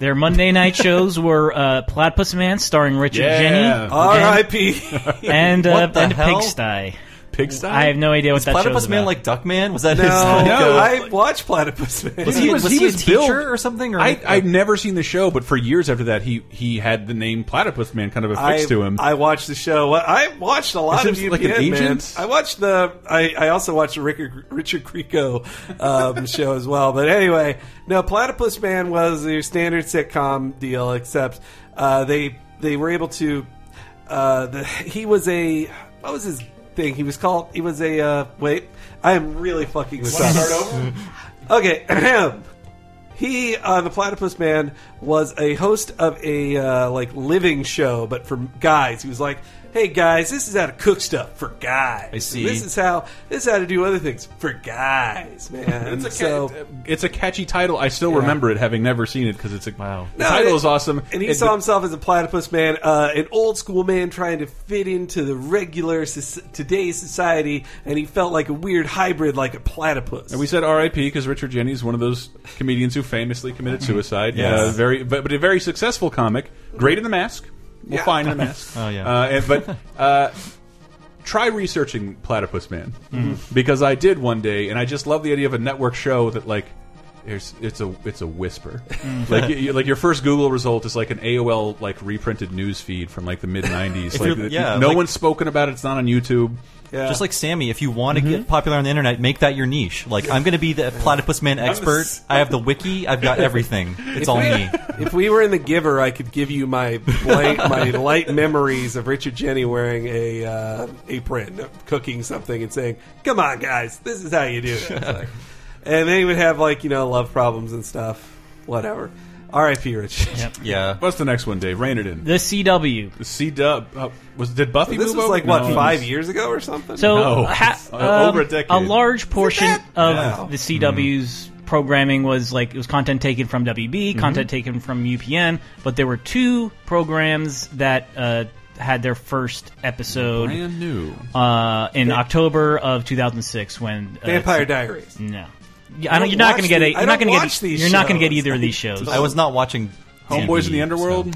Speaker 4: Their Monday night shows were uh, Platypus Man starring Richard
Speaker 5: Yeah.
Speaker 4: Jenny
Speaker 6: R.I.P.
Speaker 4: and uh,
Speaker 7: What the
Speaker 4: and
Speaker 7: hell?
Speaker 4: Pigsty.
Speaker 5: Pigsty.
Speaker 4: I have no idea what that
Speaker 7: Platypus
Speaker 4: show's
Speaker 7: Man
Speaker 4: about.
Speaker 7: like Duckman? Was that
Speaker 6: no,
Speaker 7: his? like, uh,
Speaker 6: I watched Platypus Man.
Speaker 7: was
Speaker 5: He
Speaker 7: he,
Speaker 5: was-
Speaker 7: was,
Speaker 5: he
Speaker 7: he,
Speaker 5: was
Speaker 7: a
Speaker 5: billed-
Speaker 7: teacher or something? Or
Speaker 5: I, I've never seen the show, but for years after that, he he had the name Platypus Man kind of affixed
Speaker 6: I,
Speaker 5: to him.
Speaker 6: I watched the show. Well, I watched a lot
Speaker 5: Is
Speaker 6: of
Speaker 5: him
Speaker 6: UPN,
Speaker 5: like an agent?
Speaker 6: man. I watched the. I, I also watched the Richard Richard Grieco um, show as well. But anyway, no, Platypus Man was your standard sitcom deal, except uh, they they were able to. Uh, the, he was a what was his thing? He was called. He was a uh, wait. I am really fucking this up. Okay. He, uh, the Platypus Man, was a host of a uh, like living show, but for guys. He was like, "Hey guys, this is how to cook stuff for guys.
Speaker 7: I see.
Speaker 6: This is how this is how to do other things for guys, man."
Speaker 5: it's a ca-
Speaker 6: so,
Speaker 5: Um, it's a catchy title. I still remember it, having never seen it because it's a wow. The
Speaker 6: No,
Speaker 5: title
Speaker 6: it-
Speaker 5: is awesome,
Speaker 6: And he
Speaker 5: It-
Speaker 6: saw himself as a platypus man, uh, an old school man trying to fit into the regular soc today's society, and he felt like a weird hybrid, like a platypus.
Speaker 5: We said R.I.P. because Richard Jenny is one of those comedians who famously committed suicide.
Speaker 7: Mm. Yes.
Speaker 5: Uh, very, but, but a very successful comic. Great in the mask. Well,
Speaker 6: Yeah.
Speaker 5: fine in the mask.
Speaker 7: Oh, yeah.
Speaker 5: Uh, and, but uh, try researching Platypus Man
Speaker 7: Mm-hmm.
Speaker 5: because I did one day, and I just love the idea of a network show that like. There's, it's a it's a whisper,
Speaker 7: Mm.
Speaker 5: like you, like your first Google result is like an AOL like reprinted news feed from like the mid '90s.
Speaker 7: If
Speaker 5: like
Speaker 7: you're-
Speaker 5: the-
Speaker 7: yeah,
Speaker 5: no
Speaker 7: like-
Speaker 5: one's spoken about it. It's not on YouTube.
Speaker 6: Yeah.
Speaker 7: Just like Sammy, if you want to
Speaker 5: Mm-hmm.
Speaker 7: get popular on the internet, make that your niche. Like, I'm going to be the platypus man expert. I have the wiki. I've got everything. It's all me.
Speaker 6: if we were in the giver i could give you my blank, my light memories of richard jenny wearing a uh, apron cooking something and saying come on guys this is how you do it It's like- and then he would have like you know love problems and stuff whatever rip rich
Speaker 7: Yeah.
Speaker 5: What's the next one, Dave? Rein it in.
Speaker 4: the CW.
Speaker 5: The C Dub uh, was did Buffy
Speaker 6: this
Speaker 5: move
Speaker 6: was
Speaker 5: over?
Speaker 6: like what
Speaker 5: No.
Speaker 6: five years ago or something
Speaker 4: So
Speaker 5: No.
Speaker 4: ha- um,
Speaker 5: It's over a decade.
Speaker 4: large portion
Speaker 6: that-
Speaker 4: of
Speaker 6: Yeah.
Speaker 4: the CW's programming was like it was content taken from WB,
Speaker 6: Mm-hmm.
Speaker 4: content taken from UPN, but there were two programs that uh, had their first episode
Speaker 5: Brand new.
Speaker 4: uh, in October of 2006 when uh,
Speaker 6: vampire diaries
Speaker 4: No, Yeah, I don't,
Speaker 6: don't
Speaker 4: you're not going to get
Speaker 6: watch the-
Speaker 4: a,
Speaker 6: I
Speaker 4: you're not going
Speaker 6: don't
Speaker 4: to get
Speaker 6: watch these
Speaker 4: you're not going to get
Speaker 6: shows.
Speaker 4: either of these shows.
Speaker 7: I was not watching
Speaker 5: Homeboys
Speaker 7: TV,
Speaker 5: in the Underworld.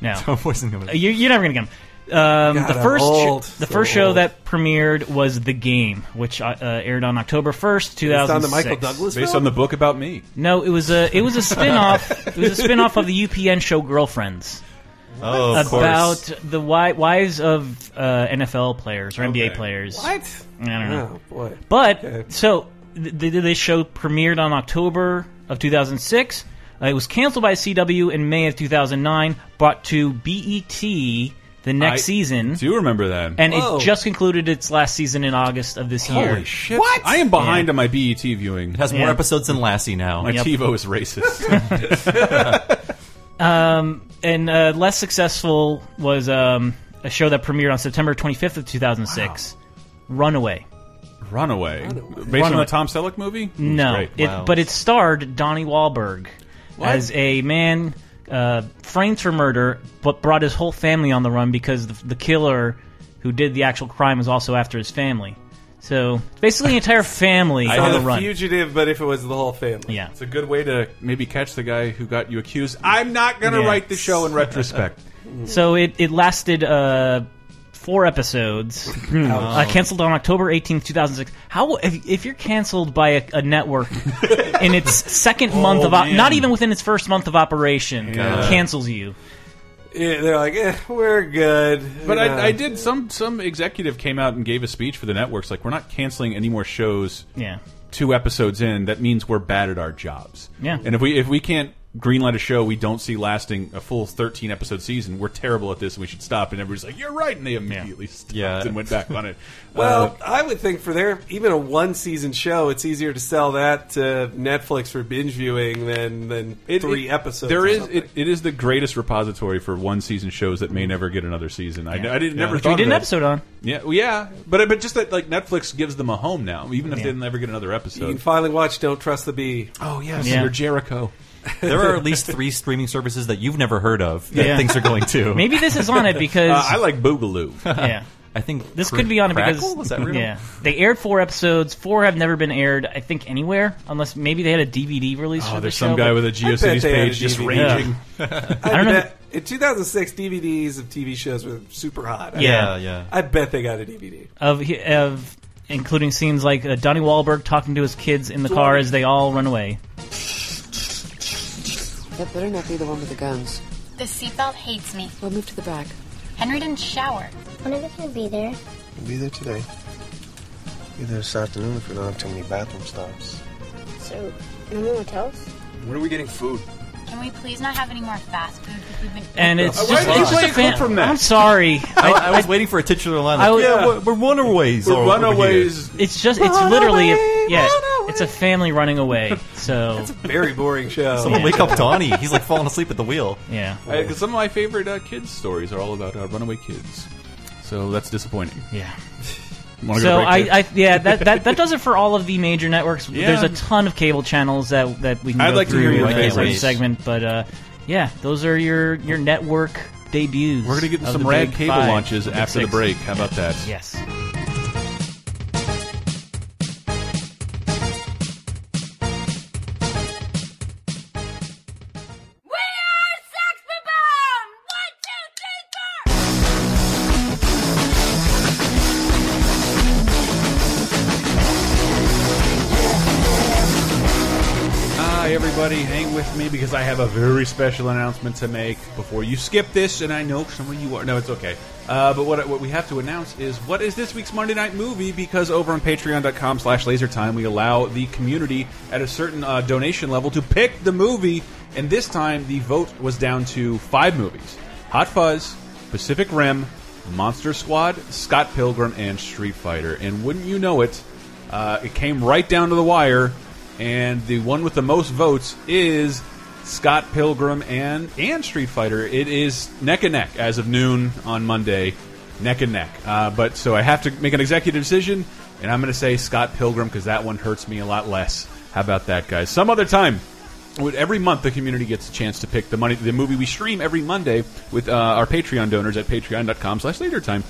Speaker 4: no.
Speaker 7: so- Homeboys in the Underworld.
Speaker 4: You, you're never gonna get them. Um,
Speaker 6: God,
Speaker 4: the
Speaker 6: I'm
Speaker 4: first,
Speaker 6: old.
Speaker 4: the
Speaker 6: So
Speaker 4: first show
Speaker 6: old.
Speaker 4: that premiered was The Game, which uh, uh, aired on October first, two
Speaker 6: based
Speaker 4: thousand
Speaker 6: on the
Speaker 4: six.
Speaker 6: michael douglas
Speaker 5: Based on
Speaker 6: film?
Speaker 5: the book about me.
Speaker 4: No, it was a it was a spin-off. it was a spin-off of the UPN show Girlfriends
Speaker 7: Oh, of
Speaker 4: about
Speaker 7: course.
Speaker 4: the wi- wives of uh, NFL players or NBA
Speaker 5: Okay.
Speaker 4: players.
Speaker 6: what
Speaker 4: I don't know.
Speaker 6: oh boy
Speaker 4: But
Speaker 6: Okay.
Speaker 4: so th- th- this show premiered on October of 2006. Uh, it was canceled by CW in May of 2009, brought to BET the next
Speaker 5: I
Speaker 4: season,
Speaker 5: Do you remember that?
Speaker 4: and
Speaker 6: Whoa.
Speaker 4: it just concluded its last season in August of this
Speaker 5: Holy
Speaker 4: year.
Speaker 5: shit! What? I am behind on my BET viewing.
Speaker 7: It has more
Speaker 4: Yeah.
Speaker 7: episodes than Lassie now.
Speaker 5: my
Speaker 4: Yep.
Speaker 5: TiVo is racist.
Speaker 4: and uh, less successful was um, a show that premiered on September 25th of 2006, Runaway.
Speaker 5: Runaway. Based on
Speaker 4: Runaway.
Speaker 5: the Tom Selleck movie. It was
Speaker 4: No,
Speaker 5: great.
Speaker 4: it,
Speaker 7: Wow.
Speaker 4: but it starred Donnie Wahlberg as a man uh, framed for murder, but brought his whole family on the run because the, the killer who did the actual crime was also after his family. So basically, the entire family on
Speaker 5: had
Speaker 4: the
Speaker 5: a
Speaker 4: run.
Speaker 6: fugitive but if it was the whole family
Speaker 4: yeah,
Speaker 5: It's a good way to maybe catch the guy who got you accused. I'm not gonna
Speaker 4: Yeah.
Speaker 5: write the show in retrospect.
Speaker 4: so it it lasted. Uh, Four episodes,
Speaker 5: Hmm.
Speaker 4: uh, canceled on October eighteenth, two thousand six. How if, if you're canceled by a, a network in its second month of op-
Speaker 5: Oh, man.
Speaker 4: not even within its first month of operation cancels you?
Speaker 6: Yeah, they're like eh, we're good
Speaker 5: But
Speaker 6: You know.
Speaker 5: I, I did some some executive came out and gave a speech for the networks like we're not canceling any more shows
Speaker 4: Yeah,
Speaker 5: two episodes in, that means we're bad at our jobs.
Speaker 4: Yeah.
Speaker 5: And if we if we can't greenlight a show we don't see lasting a full 13 episode season, we're terrible at this and we should stop. And everybody's like, you're right. And they immediately stopped
Speaker 7: Yeah.
Speaker 5: and went back on it.
Speaker 6: Well,
Speaker 5: Uh,
Speaker 6: I would think for their even a one season show, it's easier to sell that to Netflix for binge viewing than than
Speaker 5: it-
Speaker 6: three
Speaker 5: it-
Speaker 6: episodes.
Speaker 5: Uh, There
Speaker 6: or
Speaker 5: is
Speaker 6: something.
Speaker 5: it, it is the greatest repository for one season shows that may never get another season. I, I didn't never
Speaker 4: which
Speaker 5: thought
Speaker 4: we did
Speaker 5: of
Speaker 4: an
Speaker 5: that.
Speaker 4: episode on.
Speaker 5: Yeah, well, yeah, but but just that like Netflix gives them a home now, even if they never get another
Speaker 6: you can
Speaker 5: episode.
Speaker 6: finally watch Don't Trust the Bee.
Speaker 5: Oh yes,
Speaker 4: Yeah.
Speaker 5: under Jericho.
Speaker 7: There are at least three streaming services that you've never heard of that
Speaker 4: Yeah.
Speaker 7: things are going to.
Speaker 4: Maybe this is on it because
Speaker 5: Uh, I like Boogaloo.
Speaker 4: yeah.
Speaker 7: I think
Speaker 4: This
Speaker 7: Cra-
Speaker 4: could be on it
Speaker 7: Crackle?
Speaker 4: because
Speaker 7: was that real?
Speaker 4: yeah, they aired four episodes. Four have never been aired, I think, anywhere unless maybe they had a DVD release. for
Speaker 5: Oh,
Speaker 4: the
Speaker 5: there's
Speaker 4: show,
Speaker 5: some guy
Speaker 4: but-
Speaker 5: with a GeoCities
Speaker 6: they had a
Speaker 5: page just
Speaker 6: DVD.
Speaker 5: raging.
Speaker 6: I,
Speaker 4: don't know.
Speaker 6: bet in 2006 DVDs of TV shows were super hot. I
Speaker 4: Yeah.
Speaker 7: Yeah, yeah.
Speaker 6: I bet they got a DVD.
Speaker 4: of of including scenes like uh, Donnie Wahlberg talking to his kids in the car as they all run away.
Speaker 10: That better not be the one with the guns. The seatbelt hates me. We'll move to the back. Henry didn't shower.
Speaker 11: When are they going to be there?
Speaker 9: I'll be there today. Be there this afternoon if we don't have too many bathroom stops.
Speaker 11: So, no more hotels?
Speaker 9: When are we getting food?
Speaker 10: Can we please not have any more fast food? We've been
Speaker 4: And it's
Speaker 5: Uh, Why
Speaker 4: just,
Speaker 5: did
Speaker 4: it's
Speaker 5: you
Speaker 4: just
Speaker 5: play
Speaker 4: a
Speaker 5: a
Speaker 4: fan.
Speaker 5: clip from that?
Speaker 4: I'm sorry.
Speaker 7: I, I was waiting for a titular line. Like,
Speaker 4: I was-
Speaker 7: yeah, we're, we're runaways.
Speaker 5: We're
Speaker 7: over here."
Speaker 5: runaways.
Speaker 4: It's just it's literally a, yeah. It's a family running away. So
Speaker 6: Very boring show.
Speaker 7: Someone wake up Donnie. He's like falling asleep at the wheel.
Speaker 4: yeah,
Speaker 5: I- 'cause some of my favorite uh, kids stories are all about uh, runaway kids. So that's disappointing.
Speaker 4: yeah.
Speaker 5: Wanna go
Speaker 4: So
Speaker 5: break
Speaker 4: I,
Speaker 5: there?
Speaker 4: I yeah that, that that does it for all of the major networks.
Speaker 5: Yeah.
Speaker 4: There's a ton of cable channels that that we can
Speaker 5: I'd
Speaker 4: go
Speaker 5: like to
Speaker 4: through
Speaker 5: hear your
Speaker 4: in this
Speaker 7: favorites.
Speaker 4: segment, but uh, yeah, those are your your network debuts.
Speaker 5: We're gonna get
Speaker 4: of
Speaker 5: some
Speaker 4: the
Speaker 5: rad
Speaker 4: big
Speaker 5: cable
Speaker 4: five,
Speaker 5: launches
Speaker 4: big
Speaker 5: after
Speaker 4: six.
Speaker 5: the break. How about that?
Speaker 4: Yes.
Speaker 10: We are Sex Bomb! One, two, three, four!
Speaker 5: Hi, everybody. Hang with me because I have a very special announcement to make before you skip this. And I know some of you are. No, it's okay. Uh, but what, what we have to announce is what is this week's Monday Night Movie? Because over on patreon.com slash lasertime, we allow the community at a certain uh, donation level to pick the movie. And this time, the vote was down to five movies Hot Fuzz, Pacific Rim, Monster Squad, Scott Pilgrim, and Street Fighter. And wouldn't you know it, uh, it came right down to the wire and the one with the most votes is Scott Pilgrim and and Street Fighter. It is neck and neck as of noon on Monday, neck and neck. Uh, but so I have to make an executive decision, and I'm going to say Scott Pilgrim because that one hurts me a lot less. How about that, guys? Some other time. With- Every month, the community gets a chance to pick the money, the movie we stream every Monday with uh, our Patreon donors at patreon.com/slash later time.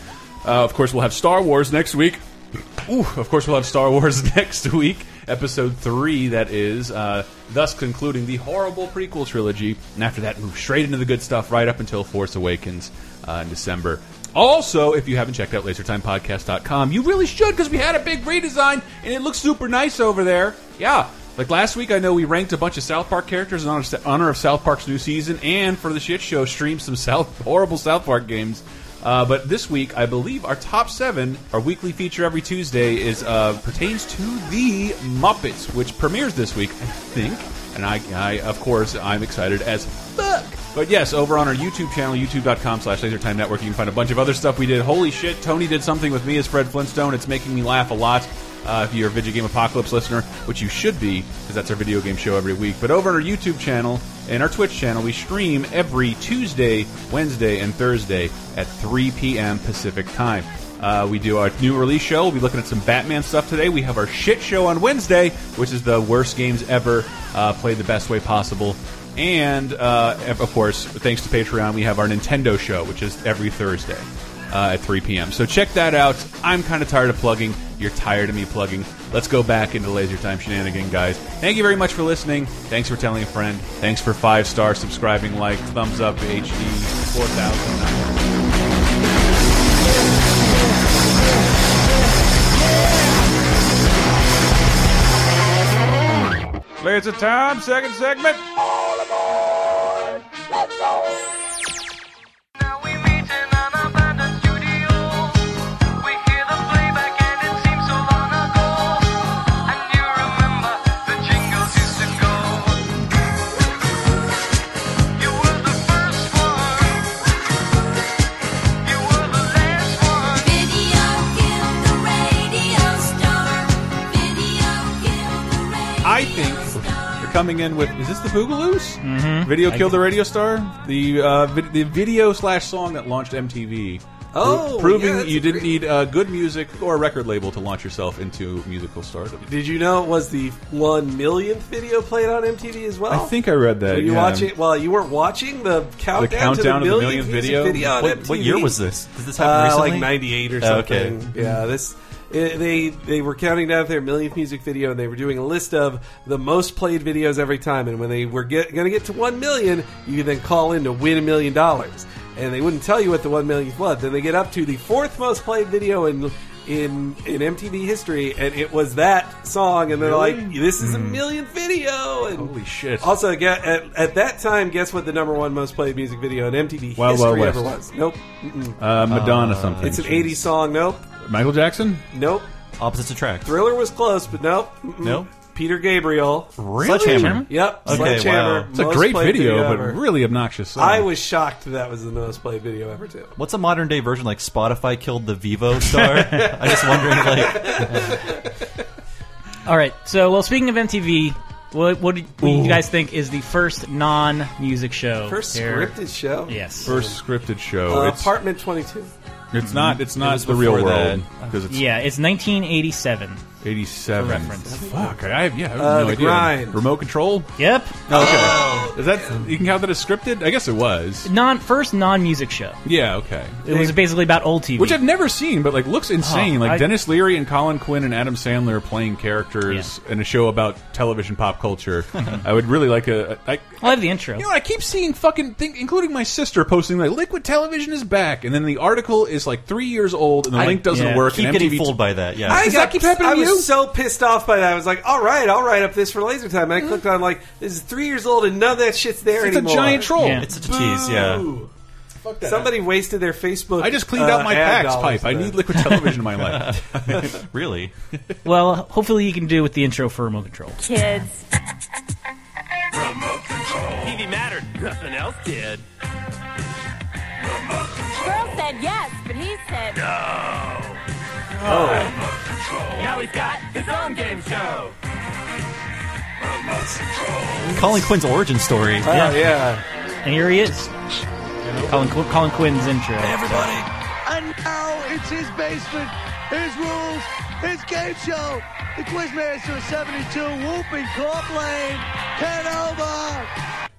Speaker 5: Uh, of course, we'll have Star Wars next week. Ooh, of course, we'll have Star Wars next week, episode three, that is, uh, thus concluding the horrible prequel trilogy. And after that, move straight into the good stuff right up until Force Awakens uh, in December. Also, if you haven't checked out lasertimepodcast.com, you really should because we had a big redesign and it looks super nice over there. Yeah. Like last week, I know we ranked a bunch of South Park characters in honor honor of South Park's new season, and for the shit show, streamed some South horrible South Park games. Uh, but this week, I believe our top seven, our weekly feature every Tuesday, is uh, pertains to the Muppets, which premieres this week, I think. And I, I, of course, I'm excited as fuck. But yes, over on our YouTube channel, youtube.com slash lasertime network, you can find a bunch of other stuff we did. Holy shit, Tony did something with me as Fred Flintstone. It's making me laugh a lot uh, if you're a video game apocalypse listener, which you should be, because that's our video game show every week. But over on our YouTube channel and our Twitch channel, we stream every Tuesday, Wednesday, and Thursday at 3 p.m. Pacific time. Uh, we do our new release show. We'll be looking at some Batman stuff today. We have our shit show on Wednesday, which is the worst games ever uh, played the best way possible. And uh, of course, thanks to Patreon, we have our Nintendo show, which is every Thursday uh, at 3 p.m. So check that out. I'm kind of tired of plugging. You're tired of me plugging. Let's go back into Laser Time Shenanigan, guys. Thank you very much for listening. Thanks for telling a friend. Thanks for five star subscribing, like, thumbs up, HD, 4000. Laser Time, second segment. I think they're coming in with is this the Boogaloos? Mm-hmm. Video killed the radio star. The uh, vid- the video slash song that launched MTV
Speaker 6: Oh, yeah,
Speaker 5: proving
Speaker 6: that's
Speaker 5: you
Speaker 6: a
Speaker 5: didn't
Speaker 6: great-
Speaker 5: need uh, good music or a record label to launch yourself into musical stardom.
Speaker 6: Did you know it was the one millionth video played on MTV as well?
Speaker 5: I think I read that.
Speaker 6: Were Oh. you
Speaker 5: yeah.
Speaker 6: watching? Well, you weren't watching the countdown,
Speaker 5: countdown
Speaker 6: to
Speaker 5: of
Speaker 6: the
Speaker 5: the
Speaker 6: millionth,
Speaker 5: millionth
Speaker 6: music
Speaker 5: video?
Speaker 6: on
Speaker 5: What-
Speaker 6: MTV.
Speaker 5: what year was this? Did this happen
Speaker 6: uh,
Speaker 5: recently?
Speaker 6: Like '98 or
Speaker 5: Oh,
Speaker 6: something.
Speaker 5: okay.
Speaker 6: Yeah, this it, they they were counting down their millionth music video, and they were doing a list of the most played videos every time. And when they were get, going to get to one million, you could then call in to win a million dollars. And they wouldn't tell you what the one millionth was. Then they get up to the fourth most played video in. In, in MTV history, and it was that song, and they're like, "This is a millionth video!" And
Speaker 5: Mm-hmm. Holy shit!
Speaker 6: Also, gu- at, at that time, guess what the number one most played music video in MTV
Speaker 5: Wild Wild
Speaker 6: history ever
Speaker 5: West.
Speaker 6: was? Nope. Mm-mm.
Speaker 5: Uh, Madonna something.
Speaker 6: It's an 80s song. Nope.
Speaker 5: Michael Jackson.
Speaker 6: Nope.
Speaker 7: Opposites attract.
Speaker 6: Thriller was close, but nope. Mm-mm.
Speaker 7: Nope.
Speaker 6: Peter Gabriel.
Speaker 5: Really?
Speaker 7: Sledgehammer?
Speaker 6: Yep.
Speaker 7: Okay,
Speaker 6: Sledgehammer.
Speaker 7: wow.
Speaker 5: It's a
Speaker 6: Most
Speaker 5: great
Speaker 6: played
Speaker 5: video, but
Speaker 6: ever.
Speaker 5: really obnoxious. Song.
Speaker 6: I was shocked that, that was the most played video ever, too.
Speaker 7: What's a modern day version like Spotify killed the Vivo star? I'm just wondering, like,
Speaker 4: All right. So, well, speaking of MTV, what, what, do, what do you guys think is the first non-music show?
Speaker 6: First
Speaker 4: here?
Speaker 6: scripted show?
Speaker 4: Yes.
Speaker 5: first scripted show.
Speaker 6: Uh,
Speaker 5: it's
Speaker 6: Apartment 22.
Speaker 5: it's not it's
Speaker 7: It
Speaker 5: not
Speaker 7: was
Speaker 5: the real
Speaker 7: before
Speaker 5: world
Speaker 7: that.
Speaker 5: because it's
Speaker 4: Yeah, it's 1987.
Speaker 5: eighty seven.
Speaker 4: Reference.
Speaker 5: Fuck, I have yeah, I have
Speaker 6: Uh,
Speaker 5: no
Speaker 6: The
Speaker 5: idea.
Speaker 6: Grind.
Speaker 5: Remote control.
Speaker 4: Yep.
Speaker 5: Oh, okay. Is that you can count that as scripted? I guess it was.
Speaker 4: Non first non-music show.
Speaker 5: Yeah, okay.
Speaker 4: It was basically about old TV.
Speaker 5: Which I've never seen, but like looks insane.
Speaker 4: Oh,
Speaker 5: like
Speaker 4: I-
Speaker 5: Dennis Leary and Colin Quinn and Adam Sandler are playing characters in a show about television pop culture. I would really like a. a I,
Speaker 4: I love the intro.
Speaker 5: you know, I keep seeing fucking, think, including my sister posting like Liquid Television is back, and then the article is like three years old, and the link doesn't
Speaker 7: yeah,
Speaker 5: work.
Speaker 7: Keep
Speaker 5: and
Speaker 7: getting
Speaker 5: MTV
Speaker 7: fooled by that. Yeah.
Speaker 6: I
Speaker 5: Does
Speaker 6: got.
Speaker 5: that keep happening
Speaker 6: I
Speaker 5: to
Speaker 6: was
Speaker 5: you?
Speaker 6: so pissed off by that. I was like, "All right, I'll write up this for laser time." And I clicked on like, "This is three years old, and none of that shit's there
Speaker 5: It's a
Speaker 6: anymore."
Speaker 5: giant troll.
Speaker 4: Yeah.
Speaker 7: it's such a tease. Yeah.
Speaker 6: Ooh. Somebody wasted their Facebook.
Speaker 5: I just cleaned out
Speaker 6: uh,
Speaker 5: my
Speaker 6: ad
Speaker 5: PAX
Speaker 6: dollars
Speaker 5: pipe. I
Speaker 6: then.
Speaker 5: need Liquid Television in my life.
Speaker 7: Really?
Speaker 4: Well, hopefully you can do with the intro for remote control.
Speaker 12: Kids.
Speaker 9: TV mattered. Nothing else did.
Speaker 12: Girl said yes, but he said
Speaker 9: Now we've got his own game show.
Speaker 7: Colin Quinn's origin story.
Speaker 6: Oh, yeah.
Speaker 4: And here he is. Colin, Qu- Colin Quinn's intro.
Speaker 9: And now it's his basement, his rules, his game show. The Quizmaster of 72, whooping Corp Lane. Head over.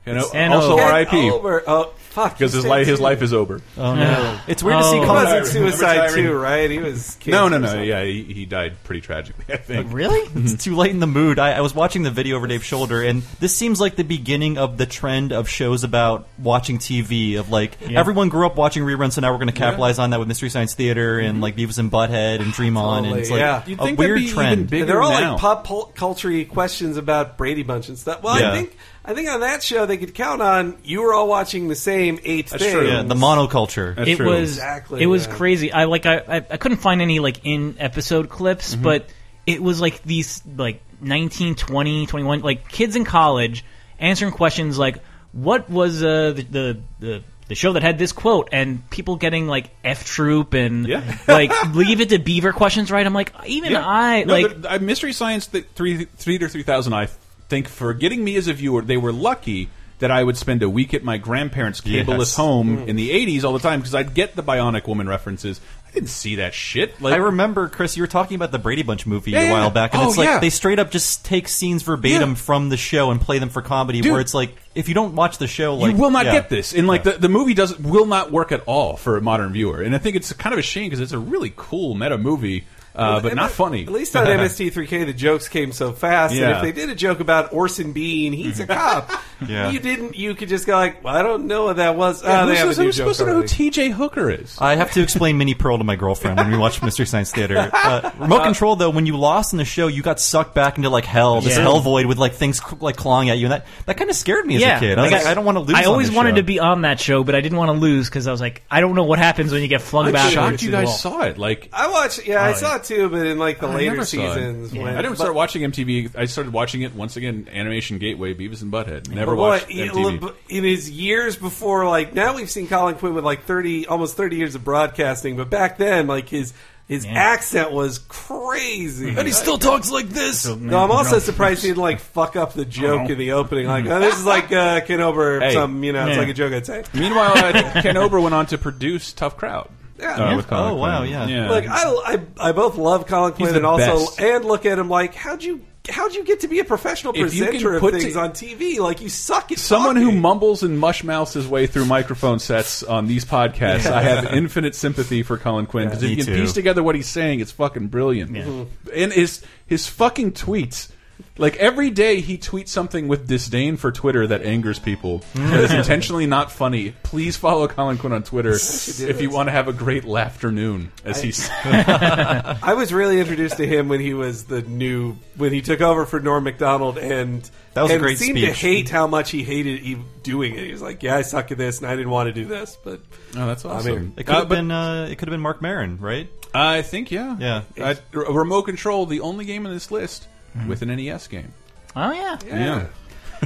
Speaker 5: You know,
Speaker 4: And
Speaker 5: also
Speaker 4: over.
Speaker 6: Get
Speaker 5: RIP
Speaker 6: over- Oh fuck!
Speaker 5: because his
Speaker 6: he
Speaker 5: life
Speaker 6: said
Speaker 5: his life is over.
Speaker 7: Oh no. It's weird to
Speaker 4: Oh.
Speaker 7: see
Speaker 6: He
Speaker 7: Colin.
Speaker 6: wasn't suicide
Speaker 5: Retiring.
Speaker 6: too, right? He was. Kid
Speaker 5: No, no, no. Yeah, he, he died pretty tragically. I think.
Speaker 4: Really?
Speaker 7: It's too late in the mood. I, I was watching the video over Dave's shoulder, and this seems like the beginning of the trend of shows about watching TV. Of like everyone grew up watching reruns, so now we're going to capitalize on that with Mystery Science Theater and like Beavis and Butthead and Dream On, and it's like
Speaker 6: Mm-hmm. Totally, yeah.
Speaker 5: You'd
Speaker 7: a
Speaker 5: think that'd
Speaker 7: weird
Speaker 5: be even
Speaker 7: trend.
Speaker 5: bigger
Speaker 6: They're all
Speaker 5: now.
Speaker 6: like pop pul- culture questions about Brady Bunch and stuff. Well,
Speaker 7: Yeah.
Speaker 6: I think I think on that show they could count on you were all watching the same eight
Speaker 5: That's
Speaker 6: things.
Speaker 5: true.
Speaker 7: Yeah, the monoculture.
Speaker 5: That's
Speaker 4: it
Speaker 5: true.
Speaker 4: was
Speaker 6: Exactly,
Speaker 4: it was
Speaker 6: yeah.
Speaker 4: crazy. I like I, I I couldn't find any like in episode clips,
Speaker 7: Mm-hmm.
Speaker 4: but it was like these like 19, 20, 21 like kids in college answering questions like what was uh, the, the the the show that had this quote and people getting like F Troop and
Speaker 5: Yeah.
Speaker 4: like leave it to Beaver questions right. I'm like even
Speaker 5: Yeah.
Speaker 4: I
Speaker 5: No,
Speaker 4: like
Speaker 5: the- uh, Mystery Science th three three to three thousand. I think for getting me as a viewer, they were lucky that I would spend a week at my grandparents' cableless
Speaker 7: Yes.
Speaker 5: home in the eighties all the time because I'd get the Bionic Woman references. I didn't see that shit. Like
Speaker 7: I remember, Chris, you were talking about the Brady Bunch movie
Speaker 5: Yeah,
Speaker 7: a while
Speaker 5: yeah.
Speaker 7: back, and
Speaker 5: Oh,
Speaker 7: it's like
Speaker 5: yeah.
Speaker 7: they straight up just take scenes verbatim
Speaker 5: Yeah.
Speaker 7: from the show and play them for comedy.
Speaker 5: Dude.
Speaker 7: Where it's like, if you don't watch the show, like
Speaker 5: you will not
Speaker 7: yeah.
Speaker 5: get this, and like the, the movie does not will not work at all for a modern viewer. And I think it's kind of a shame because it's a really cool meta movie, uh, but
Speaker 6: And
Speaker 5: not
Speaker 6: at-
Speaker 5: funny.
Speaker 6: At least on MST3K, the jokes came so fast
Speaker 5: Yeah.
Speaker 6: that if they did a joke about Orson Bean, he's a cop.
Speaker 7: Yeah.
Speaker 6: You didn't. You could just go like, well, I don't know what that was.
Speaker 5: Yeah,
Speaker 6: Ah, they
Speaker 5: who's
Speaker 6: have a
Speaker 5: who's
Speaker 6: new joke
Speaker 5: supposed to know who
Speaker 6: already.
Speaker 5: T.J. Hooker is?
Speaker 7: I have to explain Minnie Pearl to my girlfriend when we watch Mystery Science Theater. Uh, remote control, though, when you lost in the show, you got sucked back into like hell, this
Speaker 4: Yeah.
Speaker 7: hell void with like things cl- like clawing at you, and that that kind of scared me as
Speaker 4: yeah,
Speaker 7: a kid. I, was
Speaker 4: like,
Speaker 7: like, I don't want to lose.
Speaker 4: I
Speaker 7: on
Speaker 4: always
Speaker 7: this
Speaker 4: wanted
Speaker 7: show.
Speaker 4: to be on that show, but I didn't want to lose because I was like, I don't know what happens when you get flung
Speaker 5: I'm
Speaker 4: back.
Speaker 5: shocked you
Speaker 4: into the
Speaker 5: guys
Speaker 4: wall.
Speaker 5: saw it. Like
Speaker 6: I watched. Yeah, I
Speaker 4: yeah.
Speaker 6: saw it too, but in like the
Speaker 5: Oh, I
Speaker 6: later
Speaker 5: never saw it.
Speaker 6: seasons.
Speaker 5: I
Speaker 6: when-
Speaker 5: didn't
Speaker 6: but-
Speaker 5: start watching MTV. I started watching it once again. Animation Gateway, Beavis and Butthead. Never
Speaker 6: But boy,
Speaker 5: watched
Speaker 6: it-
Speaker 5: MTV.
Speaker 6: but in his years before, like now we've seen Colin Quinn with like thirty, almost thirty years of broadcasting. But back then, like his his accent was crazy.
Speaker 5: Mm-hmm.
Speaker 6: And he still talks like this. No, I'm also surprised he didn't like fuck up the joke in the opening. Like oh, this is like uh, Ken Ober.
Speaker 5: Uh-huh. Mm-hmm. Hey.
Speaker 6: Some you know, it's
Speaker 4: Yeah.
Speaker 6: like a joke I'd say.
Speaker 5: Meanwhile, I think Ken Ober went on to produce Tough Crowd.
Speaker 6: Yeah.
Speaker 5: Uh, with Colin
Speaker 6: Oh, wow,
Speaker 5: Quinn.
Speaker 6: yeah. Look, I, I, I both love Colin Quinn
Speaker 5: the
Speaker 6: and also
Speaker 5: best.
Speaker 6: and look at him like how'd you how'd you get to be a professional
Speaker 5: If you can
Speaker 6: presenter of
Speaker 5: put
Speaker 6: things
Speaker 5: to-
Speaker 6: on TV? Like you suck at
Speaker 5: Someone who mumbles and mushmouths his way through microphone sets on these podcasts,
Speaker 6: Yeah.
Speaker 5: I have infinite sympathy for Colin Quinn because
Speaker 7: me
Speaker 5: if you can
Speaker 7: too.
Speaker 5: piece together what he's saying, it's fucking brilliant. Mm-hmm.
Speaker 7: Mhm.
Speaker 5: And his his fucking tweets, like every day he tweets something with disdain for Twitter that angers people.
Speaker 7: Mm.
Speaker 5: that is intentionally not funny. Please follow Colin Quinn on Twitter if you want to have a great afternoon, as he said.
Speaker 6: I was really introduced to him when he was the new when he took over for Norm Macdonald, and
Speaker 7: That was a
Speaker 6: and
Speaker 7: great
Speaker 6: seemed to
Speaker 7: speech.
Speaker 6: hate how much he hated e- doing it. He was like, "Yeah, I suck at this, and I didn't want to do this." But
Speaker 5: Oh, that's
Speaker 6: I'm
Speaker 5: awesome.
Speaker 6: here.
Speaker 7: It could have been. Uh, it could have been Mark Maron, right?
Speaker 5: I think yeah,
Speaker 7: Yeah.
Speaker 5: Uh, remote control, the only game in this list
Speaker 7: Mm-hmm.
Speaker 5: with an NES game.
Speaker 4: Oh yeah.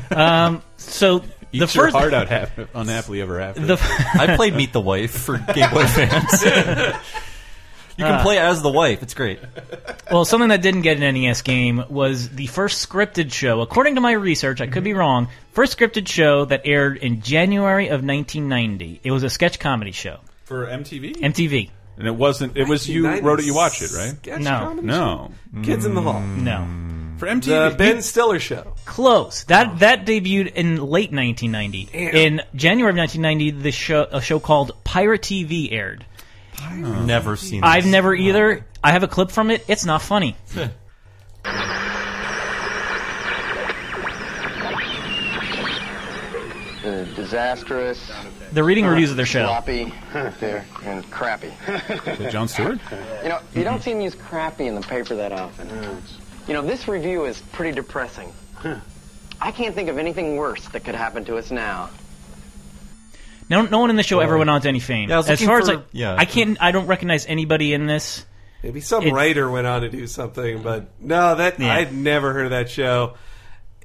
Speaker 5: Yeah.
Speaker 4: um, so
Speaker 5: Eat
Speaker 4: the
Speaker 5: your
Speaker 4: first
Speaker 5: heart out hap unhappily ever after.
Speaker 4: The-
Speaker 7: I played Meet the Wife for Game Boy fans. you can
Speaker 4: Ah.
Speaker 7: play as the wife. It's great.
Speaker 4: well, something that didn't get an NES game was the first scripted show, according to my research, I could be wrong, first scripted show that aired in January of 1990. It was a sketch comedy show.
Speaker 5: For MTV?
Speaker 4: MTV.
Speaker 5: And it wasn't. It was you
Speaker 6: 1990s
Speaker 5: wrote it. You watch it, right?
Speaker 6: sketch
Speaker 4: No.
Speaker 6: comedy
Speaker 5: No.
Speaker 6: Kids in the Hall.
Speaker 4: No.
Speaker 5: For
Speaker 6: The
Speaker 5: MTV.
Speaker 6: Ben Stiller show.
Speaker 4: Close. That that debuted in late 1990. In January of 1990, the show a show called Pirate TV aired.
Speaker 7: Never seen. This.
Speaker 4: I've never either. I have a clip from it. It's not funny.
Speaker 13: They're disastrous.
Speaker 4: They're reading reviews of their show.
Speaker 13: Sloppy. They're and crappy.
Speaker 5: Is it John Stewart?
Speaker 13: You know, you don't see them use crappy in the paper that often. You know, this review is pretty depressing. I can't think of anything worse that could happen to us now.
Speaker 4: No, no one in the show ever went on to any fame.
Speaker 13: Yeah, I was
Speaker 4: as
Speaker 13: looking
Speaker 4: far as
Speaker 13: for-
Speaker 4: like,
Speaker 13: yeah.
Speaker 4: I can't. I don't recognize anybody in this.
Speaker 6: Maybe some
Speaker 4: It's-
Speaker 6: writer went on to do something, but no, that
Speaker 4: Yeah.
Speaker 6: I'd never heard of that show.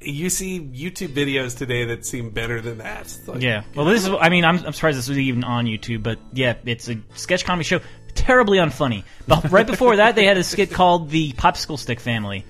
Speaker 6: You see YouTube videos today that seem better than that. It's like-
Speaker 4: yeah. Well, this is. I mean, I'm, I'm surprised this was even on YouTube, but yeah, it's a sketch comedy show. Terribly unfunny. But right before that, they had a skit called "The Popsicle Stick Family,"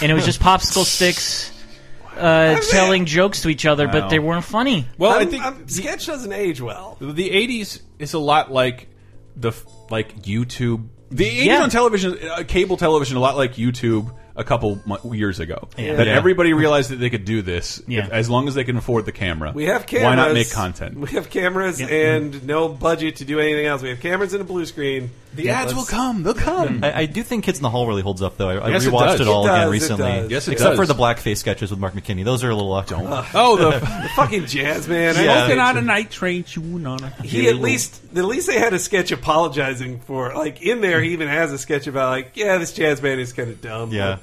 Speaker 4: and it was just popsicle sticks uh, telling jokes to each other,
Speaker 5: Wow.
Speaker 4: but they weren't funny.
Speaker 5: Well, i
Speaker 6: I'm-
Speaker 5: think
Speaker 6: I'm- sketch doesn't age well.
Speaker 5: the '80s is a lot like the f- like YouTube. The '80s
Speaker 6: Yeah.
Speaker 5: on television, uh, cable television, a lot like YouTube. A couple mu- years ago,
Speaker 6: Yeah.
Speaker 5: that
Speaker 6: Yeah.
Speaker 5: everybody realized that they could do this
Speaker 6: Yeah.
Speaker 5: if- as long as they can afford the camera.
Speaker 6: We have cameras.
Speaker 5: Why not make content?
Speaker 6: We have cameras and no budget to do anything else. We have cameras and a blue screen.
Speaker 5: The ads will come. They'll come.
Speaker 7: I, I do think Kids in the Hall really holds up, though. I, I
Speaker 5: Yes, it
Speaker 7: rewatched
Speaker 5: does.
Speaker 7: it, all
Speaker 5: It
Speaker 7: again
Speaker 5: does, it
Speaker 7: recently.
Speaker 5: does. Yes, it
Speaker 7: Except
Speaker 5: does.
Speaker 7: for the blackface sketches with Mark McKinney. Those are a little awkward.
Speaker 6: Oh, the, the fucking jazz man. I
Speaker 7: Yeah.
Speaker 6: don't think-
Speaker 7: Smoking
Speaker 5: on a night train, chewing on a.
Speaker 6: He at least at least they had a sketch apologizing for like in there. He even has a sketch about like yeah, this jazz band is kind of dumb.
Speaker 5: Yeah.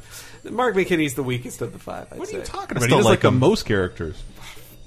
Speaker 6: But Mark McKinney's the weakest of the five. I'd what are you
Speaker 5: But he does like, the most characters.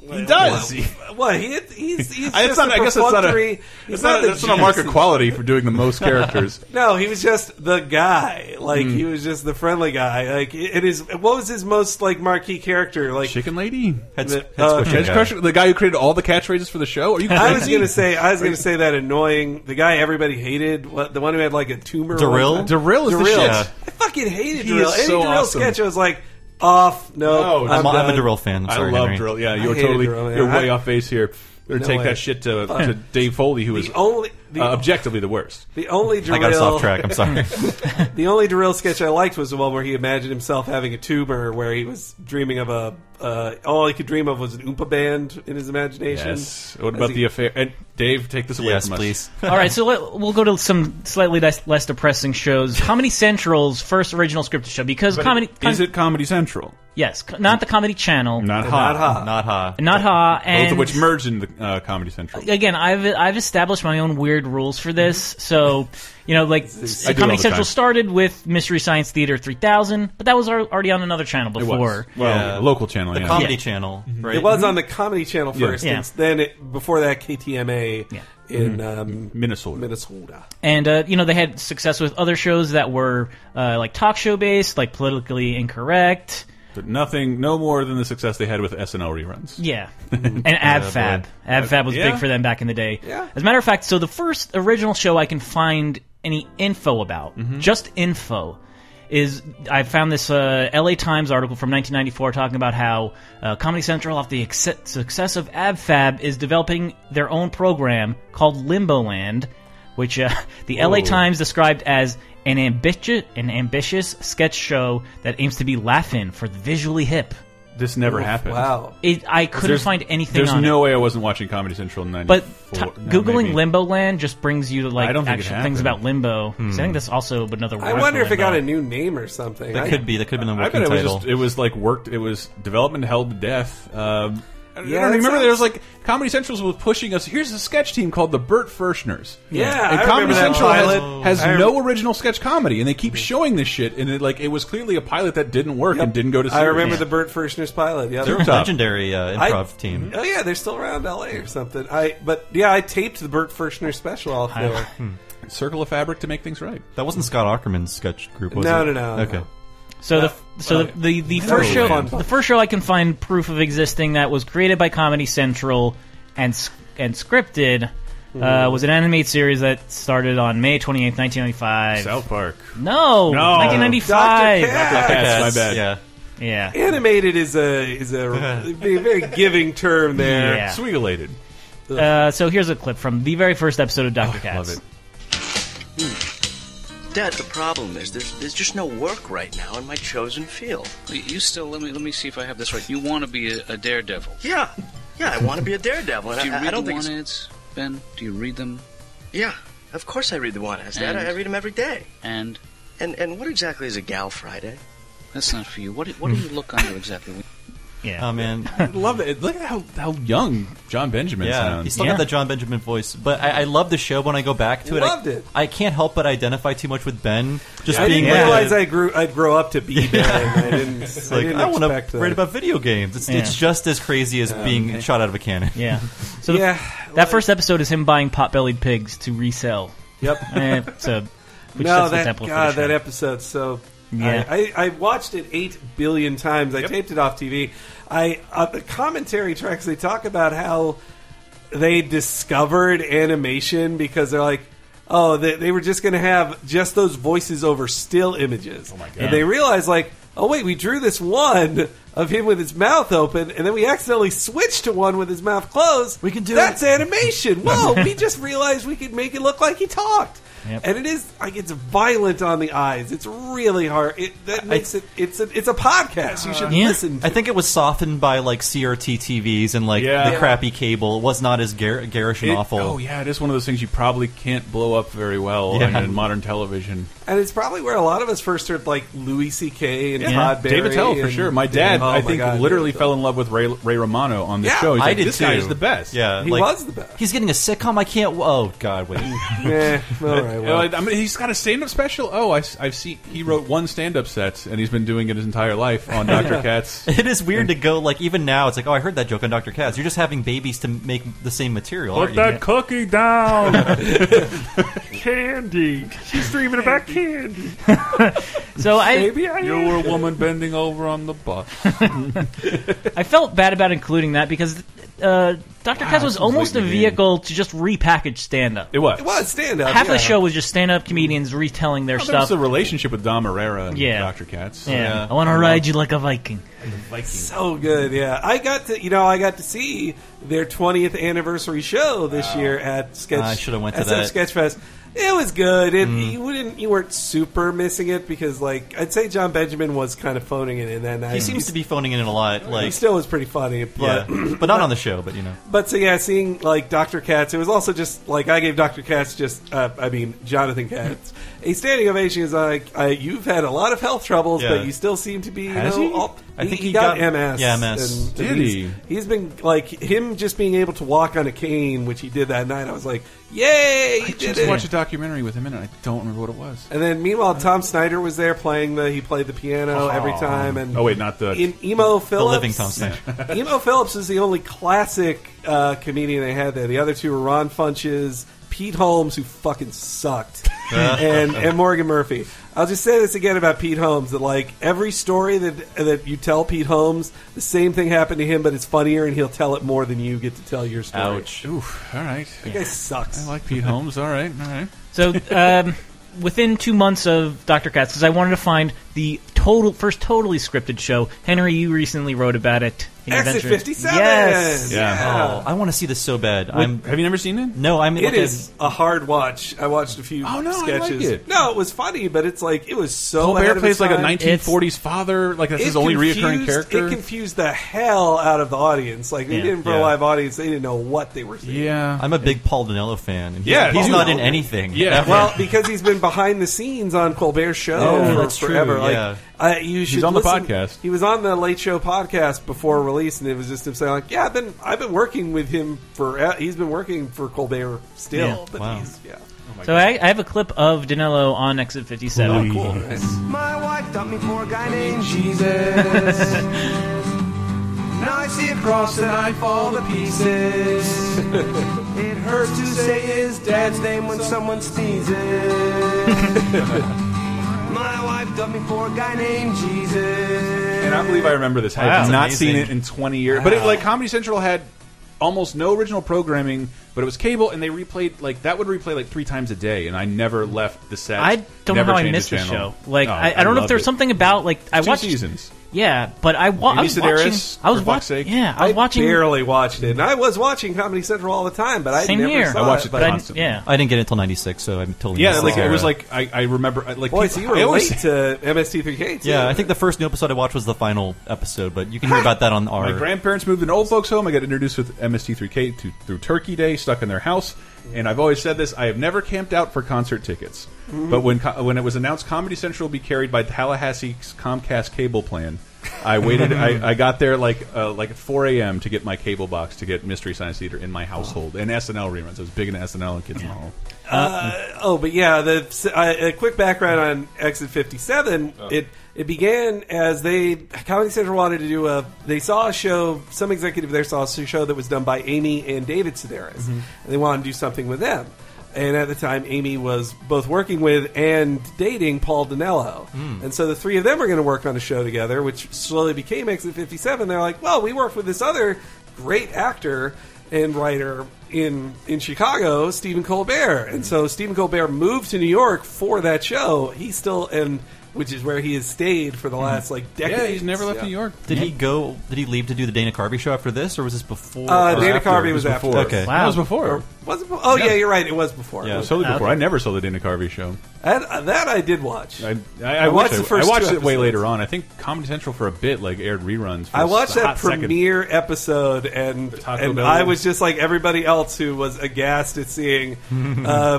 Speaker 6: He
Speaker 5: does.
Speaker 6: Well, well, he, he's he's
Speaker 5: I- it's
Speaker 6: just
Speaker 5: not-
Speaker 6: a
Speaker 5: I guess it's not a-
Speaker 6: perfunctory- he's
Speaker 5: It's not,
Speaker 6: the
Speaker 5: that's not a mark of
Speaker 6: genius.
Speaker 5: quality for doing the most characters.
Speaker 6: No, he was just the guy. Like
Speaker 5: Mm.
Speaker 6: he was just the friendly guy. Like it is. What was his most like marquee character? Like uh,
Speaker 5: Chicken Lady.
Speaker 6: Head,
Speaker 5: Edge Crusher, the guy who created all the catchphrases for the show. Are you?
Speaker 6: I was
Speaker 5: crazy?
Speaker 6: gonna say. I was
Speaker 5: Are you-
Speaker 6: gonna say that annoying. The guy everybody hated. What the one who had like a tumor.
Speaker 5: Darryl? Darryl Uh, is the shit. Yeah.
Speaker 6: I fucking hated
Speaker 5: He
Speaker 6: Darryl.
Speaker 5: is
Speaker 6: Any
Speaker 5: so
Speaker 6: Darryl
Speaker 5: awesome.
Speaker 6: sketch, I was like, off. No,
Speaker 7: I'm, a- I'm
Speaker 6: done.
Speaker 7: a Darrell fan. I'm
Speaker 5: Oh, I
Speaker 7: sorry,
Speaker 5: love
Speaker 7: Henry.
Speaker 5: Darrell. Yeah,
Speaker 6: I
Speaker 5: you're
Speaker 6: hated
Speaker 5: totally
Speaker 6: Darrell, yeah.
Speaker 5: you're way
Speaker 6: I-
Speaker 5: off base here. Or
Speaker 6: No
Speaker 5: take
Speaker 6: way.
Speaker 5: that shit to,
Speaker 6: Fuck.
Speaker 5: to Dave Foley, who was
Speaker 6: only- the-
Speaker 5: uh, objectively the worst.
Speaker 6: The only Darryl,
Speaker 7: I got us off track. I'm sorry.
Speaker 6: the only Darryl sketch I liked was the one where he imagined himself having a tumor, where he was dreaming of a. Uh, all he could dream of was an oompa band in his imagination.
Speaker 5: Yes. What
Speaker 6: As
Speaker 5: about
Speaker 6: he-
Speaker 5: the affair? And Dave, take this away from us. Yes, please.
Speaker 4: All right, so let, we'll go to some slightly less, less depressing shows. Comedy Central's first original scripted show because comedy
Speaker 5: is it Comedy Central?
Speaker 4: Yes, co- not the Comedy Channel.
Speaker 5: Not ha.
Speaker 7: Not ha.
Speaker 4: Not ha.
Speaker 5: Both
Speaker 4: And
Speaker 5: of which merged in the uh, Comedy Central.
Speaker 4: again, I've I've established my own weird rules for this. So you know, like
Speaker 5: Mm-hmm. I do all
Speaker 4: Comedy
Speaker 5: the
Speaker 4: Central
Speaker 5: time.
Speaker 4: started with Mystery Science Theater 3000, but that was al- already on another channel
Speaker 5: It was.
Speaker 4: before.
Speaker 5: Well,
Speaker 7: Yeah.
Speaker 5: local channel.
Speaker 6: Oh,
Speaker 7: The
Speaker 5: yeah.
Speaker 7: Comedy Channel, right?
Speaker 6: Mm-hmm. It was on the Comedy Channel
Speaker 5: Hmm? Yeah.
Speaker 6: first.
Speaker 5: Yeah.
Speaker 6: And then it, before that, KTMA in
Speaker 5: Mm-hmm.
Speaker 6: um,
Speaker 5: Minnesota.
Speaker 6: Minnesota.
Speaker 4: And uh, you know they had success with other shows that were uh, like talk show based, like politically incorrect.
Speaker 5: But nothing, no more than the success they had with SNL reruns.
Speaker 4: Yeah, and
Speaker 5: Yeah,
Speaker 4: AdFab.
Speaker 5: Oh, boy.
Speaker 4: AdFab was
Speaker 5: Yeah.
Speaker 4: big for them back in the day. As a matter of fact, so the first original show I can find any info about,
Speaker 5: Mm-hmm.
Speaker 4: just info, is I found this uh, L.A. Times article from 1994 talking about how uh, Comedy Central, off the ex- success of AdFab, is developing their own program called Limbo Land, which uh, the LA
Speaker 14: Whoa.
Speaker 4: Times described as an ambitious an ambitious sketch show that aims to be laugh-in for the visually hip.
Speaker 5: This never
Speaker 6: Oh,
Speaker 5: happened.
Speaker 4: It, I couldn't
Speaker 5: There's-
Speaker 4: find anything
Speaker 5: There's
Speaker 4: on
Speaker 5: no way I wasn't watching Comedy Central in
Speaker 4: it. But
Speaker 5: 94.
Speaker 4: t-
Speaker 5: no,
Speaker 4: googling
Speaker 5: maybe.
Speaker 4: Limbo Land just brings you to like
Speaker 5: I don't think it
Speaker 4: actual things
Speaker 5: happened.
Speaker 4: about Limbo. So I
Speaker 5: Hmm.
Speaker 4: think that's also another word.
Speaker 6: I wonder
Speaker 4: for
Speaker 6: if it got
Speaker 4: Limbo.
Speaker 6: a new name or something.
Speaker 7: That
Speaker 6: I-
Speaker 7: could be. That could have been a
Speaker 5: I
Speaker 7: working
Speaker 5: bet it was
Speaker 7: title.
Speaker 5: just it was like worked. It was development held to death. Um, I don't
Speaker 6: Yeah, that
Speaker 5: remember
Speaker 6: sounds-
Speaker 5: there was like Comedy Central was pushing us. Here's a sketch team called the Burt Furschners.
Speaker 6: Yeah, I
Speaker 5: and
Speaker 6: remember
Speaker 5: Comedy
Speaker 6: that
Speaker 5: Central
Speaker 6: pilot.
Speaker 5: has,
Speaker 6: I
Speaker 5: has
Speaker 6: rem- Mm-hmm.
Speaker 5: no original sketch comedy, and they keep showing this shit. And it, like it was clearly a pilot that didn't work and didn't go to.
Speaker 6: I
Speaker 5: Series.
Speaker 6: remember the Burt Firschner's pilot. Yeah,
Speaker 5: They're a
Speaker 7: legendary, uh, improv
Speaker 6: I-
Speaker 7: team.
Speaker 6: Oh yeah, they're still around L.A. or something. I but yeah, I taped the Burt Firschner special off
Speaker 7: I-
Speaker 6: there.
Speaker 7: Hmm.
Speaker 5: Circle of Fabric to make things right.
Speaker 7: That wasn't Scott Ackerman's sketch group, was
Speaker 6: No,
Speaker 7: it?
Speaker 6: no, no, no.
Speaker 7: Okay.
Speaker 4: So
Speaker 6: No.
Speaker 4: the so
Speaker 6: Okay.
Speaker 4: the, the, the
Speaker 6: No,
Speaker 4: first show
Speaker 6: fun.
Speaker 4: the first show I can find proof of existing that was created by Comedy Central and s- and scripted uh,
Speaker 14: Mhm.
Speaker 4: was an animated series that started on May 28th, 1995.
Speaker 5: South Park.
Speaker 4: No,
Speaker 6: No.
Speaker 4: 1995.
Speaker 6: Dr. Katz. Dr. Katz, my bad.
Speaker 7: Yeah.
Speaker 4: Yeah.
Speaker 6: Animated is a is a, a very giving term there.
Speaker 4: Yeah.
Speaker 5: Sweegulated.
Speaker 4: Uh, so here's a clip from the very first episode
Speaker 5: Oh,
Speaker 4: of Dr. Katz.
Speaker 15: Dad, the problem is there's there's just no work right now in my chosen field.
Speaker 16: You still let me let me see if I have this right. You want to be a, a daredevil?
Speaker 15: Yeah, yeah, I want to be a daredevil. And
Speaker 16: Do you
Speaker 15: I,
Speaker 16: read
Speaker 15: I don't
Speaker 16: the
Speaker 15: think
Speaker 16: want
Speaker 15: it's-
Speaker 16: ads, Ben? Do you read them?
Speaker 15: Yeah, of course I read the one ads, Dad.
Speaker 16: And-
Speaker 15: I, I read them every day.
Speaker 16: And
Speaker 15: And and what exactly is a Gal Friday?
Speaker 16: that's not for you. What do- what do you look under exactly?
Speaker 4: Yeah.
Speaker 7: Oh man,
Speaker 5: love it. Look at how how young John Benjamin
Speaker 7: yeah,
Speaker 5: sounds.
Speaker 7: he still got the John Benjamin voice. But I, I love the show. When I go back to it,
Speaker 6: Loved
Speaker 7: I,
Speaker 6: it.
Speaker 7: I can't help but identify too much with Ben. Just
Speaker 6: I
Speaker 7: being
Speaker 6: didn't
Speaker 7: like
Speaker 6: realize
Speaker 7: a-
Speaker 6: I grew. I'd grow up to be Ben. I didn't.
Speaker 7: It's
Speaker 6: I
Speaker 7: like
Speaker 6: didn't
Speaker 7: I want
Speaker 6: expect
Speaker 7: to
Speaker 6: that.
Speaker 7: write about video games. It's, it's
Speaker 4: Yeah.
Speaker 7: just as crazy as
Speaker 4: Yeah.
Speaker 7: being
Speaker 4: Okay.
Speaker 7: shot out of a cannon.
Speaker 4: Yeah. So the, that first episode is him buying pot-bellied pigs to resell.
Speaker 6: Yep.
Speaker 4: Eh, so which
Speaker 6: no,
Speaker 4: sets the
Speaker 6: that
Speaker 4: template for the
Speaker 6: God,
Speaker 4: show.
Speaker 6: that episode's so.
Speaker 4: Yeah.
Speaker 6: I, I, I watched it eight billion times. I taped it off TV. I uh, the commentary tracks they talk about how they discovered animation because they're like, oh, they, they were just going to have just those voices over still images. Oh my
Speaker 14: God.
Speaker 6: And they realized like, oh wait, we drew this one of him with his mouth open, and then we accidentally switched to one with his mouth closed. We can do that's animation. Whoa, we just realized we could make it look like he talked.
Speaker 7: Yep.
Speaker 6: And it is like it's violent on the eyes. It's really hard. It, that makes it. It's a it's a podcast. You should listen.
Speaker 7: I think it was softened by like CRT TVs and like
Speaker 5: Yeah.
Speaker 7: the crappy cable. It was not as gar- garish and
Speaker 5: It-
Speaker 7: awful.
Speaker 5: Oh yeah, it is one of those things you probably can't blow up very well
Speaker 7: Yeah.
Speaker 5: in modern television.
Speaker 6: And it's probably where a lot of us first heard like Louis C.K. and Todd Barry.
Speaker 5: David Tell for
Speaker 6: and-
Speaker 5: sure. My dad,
Speaker 6: Oh
Speaker 5: I
Speaker 6: my
Speaker 5: think,
Speaker 6: God,
Speaker 5: literally
Speaker 6: David Tell.
Speaker 5: fell in love with Ray, Ray Romano on the
Speaker 6: Yeah,
Speaker 5: show. He's
Speaker 7: I
Speaker 5: like,
Speaker 7: did
Speaker 5: this guy
Speaker 7: too.
Speaker 5: is the best.
Speaker 7: Yeah,
Speaker 6: He like- was the best.
Speaker 7: He's getting a sitcom. I can't. Oh God, wait.
Speaker 6: Yeah, all right, well.
Speaker 5: I mean, he's got a stand-up special. Oh, I, have seen. He wrote one stand-up set, and he's been doing it his entire life on Doctor Katz.
Speaker 7: It is weird to go like even now. It's like oh, I heard that joke on Doctor Katz. You're just having babies to make the same material. aren't you?
Speaker 17: cookie down. candy. She's dreaming about candy.
Speaker 4: So I-
Speaker 17: Maybe I
Speaker 5: You
Speaker 17: am.
Speaker 5: were a woman bending over on the bus.
Speaker 4: I felt bad about including that because uh, Dr. Katz was
Speaker 5: completely
Speaker 4: almost a
Speaker 5: mean.
Speaker 4: vehicle to just repackage stand up.
Speaker 5: It was. It
Speaker 6: was stand-up,
Speaker 4: Half
Speaker 6: yeah.
Speaker 4: the show was just stand up comedians retelling their
Speaker 5: Well, there
Speaker 4: stuff.
Speaker 5: was Oh, a relationship with Dom Herrera and
Speaker 4: Yeah.
Speaker 5: Doctor Katz.
Speaker 4: yeah. I want to ride you like a Viking.
Speaker 6: So good, yeah. I got to, you know, I got to see their 20th anniversary show this year at Sketch.
Speaker 7: I should've went to that.
Speaker 6: SF Sketchfest. It was good. It,
Speaker 7: Mm.
Speaker 6: You wouldn't, you weren't super missing it because, like, I'd say John Benjamin was kind of phoning it in that night.
Speaker 7: He seems to be phoning it in a lot. Like
Speaker 6: he still was pretty funny,
Speaker 7: yeah,
Speaker 6: but
Speaker 7: but not on the show. But you know,
Speaker 6: But so yeah, seeing like Dr. Katz, it was also just like I gave Dr. Katz just uh, I mean Jonathan Katz a standing ovation. Is like uh, you've had a lot of health troubles,
Speaker 7: Yeah.
Speaker 6: but you still seem to be. You
Speaker 7: Has
Speaker 6: know,
Speaker 7: he?
Speaker 6: all-
Speaker 7: I think he
Speaker 6: got,
Speaker 7: got-
Speaker 6: MS.
Speaker 7: yeah, MS.
Speaker 6: and-
Speaker 7: Did
Speaker 6: and he's-
Speaker 7: he?
Speaker 6: He's been like him just being able to walk on a cane, which he did that night. I was like, yay! He
Speaker 5: I
Speaker 6: did
Speaker 5: just
Speaker 6: it.
Speaker 5: watched a documentary with him in it. I don't remember what it was.
Speaker 6: And then, meanwhile, Tom Snyder was there playing the. He played the piano
Speaker 5: Oh.
Speaker 6: every time. And
Speaker 5: Oh, wait, not the-
Speaker 6: in Emo Phillips.
Speaker 7: living Tom Snyder.
Speaker 6: Emo Phillips is the only classic uh, comedian they had there. The other two were Ron Funches, Pete Holmes, who fucking sucked, and and Morgan Murphy. I'll just say this again about Pete Holmes: that like every story that that you tell Pete Holmes, the same thing happened to him, but it's funnier, and he'll tell it more than you get to tell your story.
Speaker 5: Ouch. Oof. All right.
Speaker 6: That guy sucks.
Speaker 5: I like Pete Holmes. All right. All right.
Speaker 4: So, um, within two months of Dr. Katz, because I wanted to find the total first totally scripted show. Henry, you recently wrote about it.
Speaker 6: Exit
Speaker 7: Adventure.
Speaker 6: 57!
Speaker 7: Yes.
Speaker 6: Yeah.
Speaker 7: Oh, I want to see this so bad. I'm,
Speaker 5: have you never seen it?
Speaker 7: No, I'm.
Speaker 6: It
Speaker 7: like,
Speaker 6: is a hard watch. I watched a few
Speaker 5: Oh, no, I
Speaker 6: sketches.
Speaker 5: like it.
Speaker 6: No, it was funny, but it's like it was so.
Speaker 5: Colbert
Speaker 6: ahead of
Speaker 5: plays
Speaker 6: its
Speaker 5: like a
Speaker 6: time.
Speaker 5: 1940s father. Like that's
Speaker 6: It
Speaker 5: his only reoccurring
Speaker 6: confused-
Speaker 5: character.
Speaker 6: It confused the hell out of the audience. Like they
Speaker 7: Yeah.
Speaker 6: didn't for a
Speaker 7: Yeah.
Speaker 6: live audience, they didn't know what they were seeing.
Speaker 5: Yeah,
Speaker 7: I'm a big Paul Danello fan. And he's,
Speaker 6: Yeah,
Speaker 7: he's
Speaker 6: Paul
Speaker 7: not
Speaker 6: Dano.
Speaker 7: in anything. ever.
Speaker 6: well, because he's been behind the scenes on Colbert's show
Speaker 5: Oh,
Speaker 7: Yeah,
Speaker 6: for
Speaker 7: that's true,
Speaker 6: forever. Like,
Speaker 7: yeah.
Speaker 6: uh, you
Speaker 7: He's
Speaker 6: should
Speaker 7: on the
Speaker 6: listen-
Speaker 7: podcast.
Speaker 6: He was on the Late Show podcast before release, and it was just him saying, "Like, yeah, I've been I've been working with him for. uh, He's been working for Colbert still,
Speaker 4: Yeah.
Speaker 6: but
Speaker 4: Wow.
Speaker 6: he's yeah."
Speaker 4: So I, I have a clip of Danilo on Exit 57.
Speaker 6: Oh, cool.
Speaker 9: My wife dumped me for a guy named Jesus. now I see a cross and I fall to pieces. it hurts to say his dad's name when someone sneezes. My wife dumped me for a guy named Jesus.
Speaker 5: And I believe I remember this. I
Speaker 9: Wow.
Speaker 5: have
Speaker 9: That's
Speaker 5: not
Speaker 9: amazing.
Speaker 5: seen it in 20 years. But it,
Speaker 9: Wow.
Speaker 5: like Comedy Central had almost no original programming, but it was cable, and they replayed like that would replay like three times a day, and I never left the set.
Speaker 4: I don't know
Speaker 5: never
Speaker 4: how I
Speaker 5: changed
Speaker 4: missed the, show.
Speaker 5: channel.
Speaker 4: Like
Speaker 5: Oh,
Speaker 4: I, I don't know if
Speaker 5: loved
Speaker 4: there's
Speaker 5: it.
Speaker 4: something about like I
Speaker 5: Two
Speaker 4: watched
Speaker 5: seasons.
Speaker 4: Yeah, but I, wa- I
Speaker 5: Amy
Speaker 4: was
Speaker 5: Sedaris,
Speaker 4: watching. I was
Speaker 5: for fuck's
Speaker 4: watching.
Speaker 5: sake.
Speaker 4: Yeah, I was watching.
Speaker 6: barely watched it, and I was watching Comedy Central all the time, but I
Speaker 4: Same
Speaker 6: never
Speaker 4: here.
Speaker 6: Saw
Speaker 4: I watched it
Speaker 6: but
Speaker 4: constantly. Yeah.
Speaker 7: I didn't get it until '96, so I'm totally.
Speaker 5: Yeah,
Speaker 7: missed
Speaker 5: like
Speaker 7: this
Speaker 5: it was
Speaker 7: era.
Speaker 5: like I, I remember. I, like
Speaker 6: Boy,
Speaker 5: people-
Speaker 6: so you were
Speaker 5: I always-
Speaker 6: late to MST3K. Too.
Speaker 7: Yeah, I think the first new episode I watched was the final episode, but you can hear about that on our.
Speaker 5: My grandparents moved to an old folks' home. I got introduced with MST3K to, through Turkey Day, stuck in their house. And I've always said this: I have never camped out for concert tickets.
Speaker 9: Mhm.
Speaker 5: But when co- when it was announced Comedy Central will be carried by Tallahassee's Comcast cable plan, I waited. I, I got there like uh, like at 4 a.m. to get my cable box to get Mystery Science Theater in my household and SNL reruns. I was big into SNL and Kids in the Hall.
Speaker 6: Uh, oh, but yeah, the uh, a quick background on Exit 57. It it began as they Comedy Central wanted to do a. They saw a show. Some executive there saw a show that was done by Amy and David Sedaris,
Speaker 9: Mhm.
Speaker 6: and they wanted to do something with them. And at the time, Amy was both working with and dating Paul Danello.
Speaker 9: Mm.
Speaker 6: And so the three of them were going to work on a show together, which slowly became Exit 57. They're like, well, we worked with this other great actor and writer in in Chicago, Stephen Colbert. And so Stephen Colbert moved to New York for that show. He still and which is where he has stayed for the last like decade.
Speaker 5: Hmm. he's never left New York.
Speaker 7: Did he go? Did he leave to do the Dana Carvey show after this, or was this before?
Speaker 6: Uh,
Speaker 7: or
Speaker 6: Dana
Speaker 7: after?
Speaker 6: Carvey
Speaker 7: It
Speaker 6: was after.
Speaker 7: before. Okay,
Speaker 6: Wow.
Speaker 5: That was before.
Speaker 6: Or was it? before? Oh yeah. you're right. It was before.
Speaker 5: Yeah,
Speaker 6: It
Speaker 5: it
Speaker 6: was
Speaker 5: was totally
Speaker 6: after.
Speaker 5: before. I never saw the Dana Carvey show.
Speaker 6: That, uh, that I did watch.
Speaker 5: I, I, I, watched,
Speaker 6: watched the
Speaker 5: it-
Speaker 6: first
Speaker 5: I watched
Speaker 6: two
Speaker 5: it way
Speaker 6: episodes.
Speaker 5: later on. I think Comedy Central for a bit like aired reruns. For
Speaker 6: I watched
Speaker 5: a
Speaker 6: that
Speaker 5: hot second.
Speaker 6: premiere episode, and and
Speaker 5: Bell
Speaker 6: I
Speaker 5: one.
Speaker 6: was just like everybody else who was aghast at seeing uh,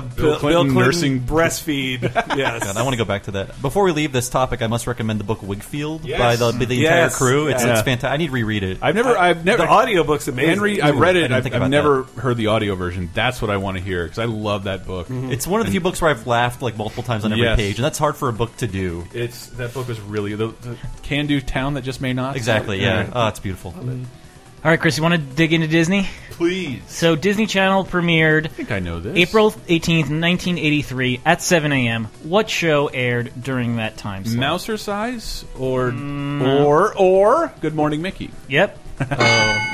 Speaker 7: Bill
Speaker 6: Bill, Bill
Speaker 7: Clinton
Speaker 6: Clinton
Speaker 7: nursing-
Speaker 6: breastfeed. yes,
Speaker 7: God, I want to go back to that. Before we leave this topic, I must recommend the book Wigfield
Speaker 6: Yes.
Speaker 7: by the, by the entire
Speaker 6: Yes.
Speaker 7: crew. It's,
Speaker 5: Yeah.
Speaker 7: it's fantastic. I need to reread it.
Speaker 5: I've never, I've never.
Speaker 6: The audiobook's amazing.
Speaker 5: Henry, I've read
Speaker 7: Ooh, I
Speaker 5: it.
Speaker 7: didn't
Speaker 5: I've,
Speaker 7: think
Speaker 5: I've
Speaker 7: about
Speaker 5: never heard the audio version. That's what I want to hear because I love that book.
Speaker 7: It's one of the few books where I've laughed like multiple times on every
Speaker 5: Yes.
Speaker 7: page, and that's hard for a book to do.
Speaker 5: It's that book was really the, the Can Do Town that just may not.
Speaker 7: Exactly, yeah. Oh, it's beautiful.
Speaker 4: All right, Chris, you want to dig into Disney?
Speaker 5: Please.
Speaker 4: So Disney Channel premiered. I
Speaker 5: think I know this.
Speaker 4: April 18th, 1983, at 7 a.m. What show aired during that time slot?
Speaker 5: Mouser size or or or Good Morning Mickey.
Speaker 4: Yep.
Speaker 7: I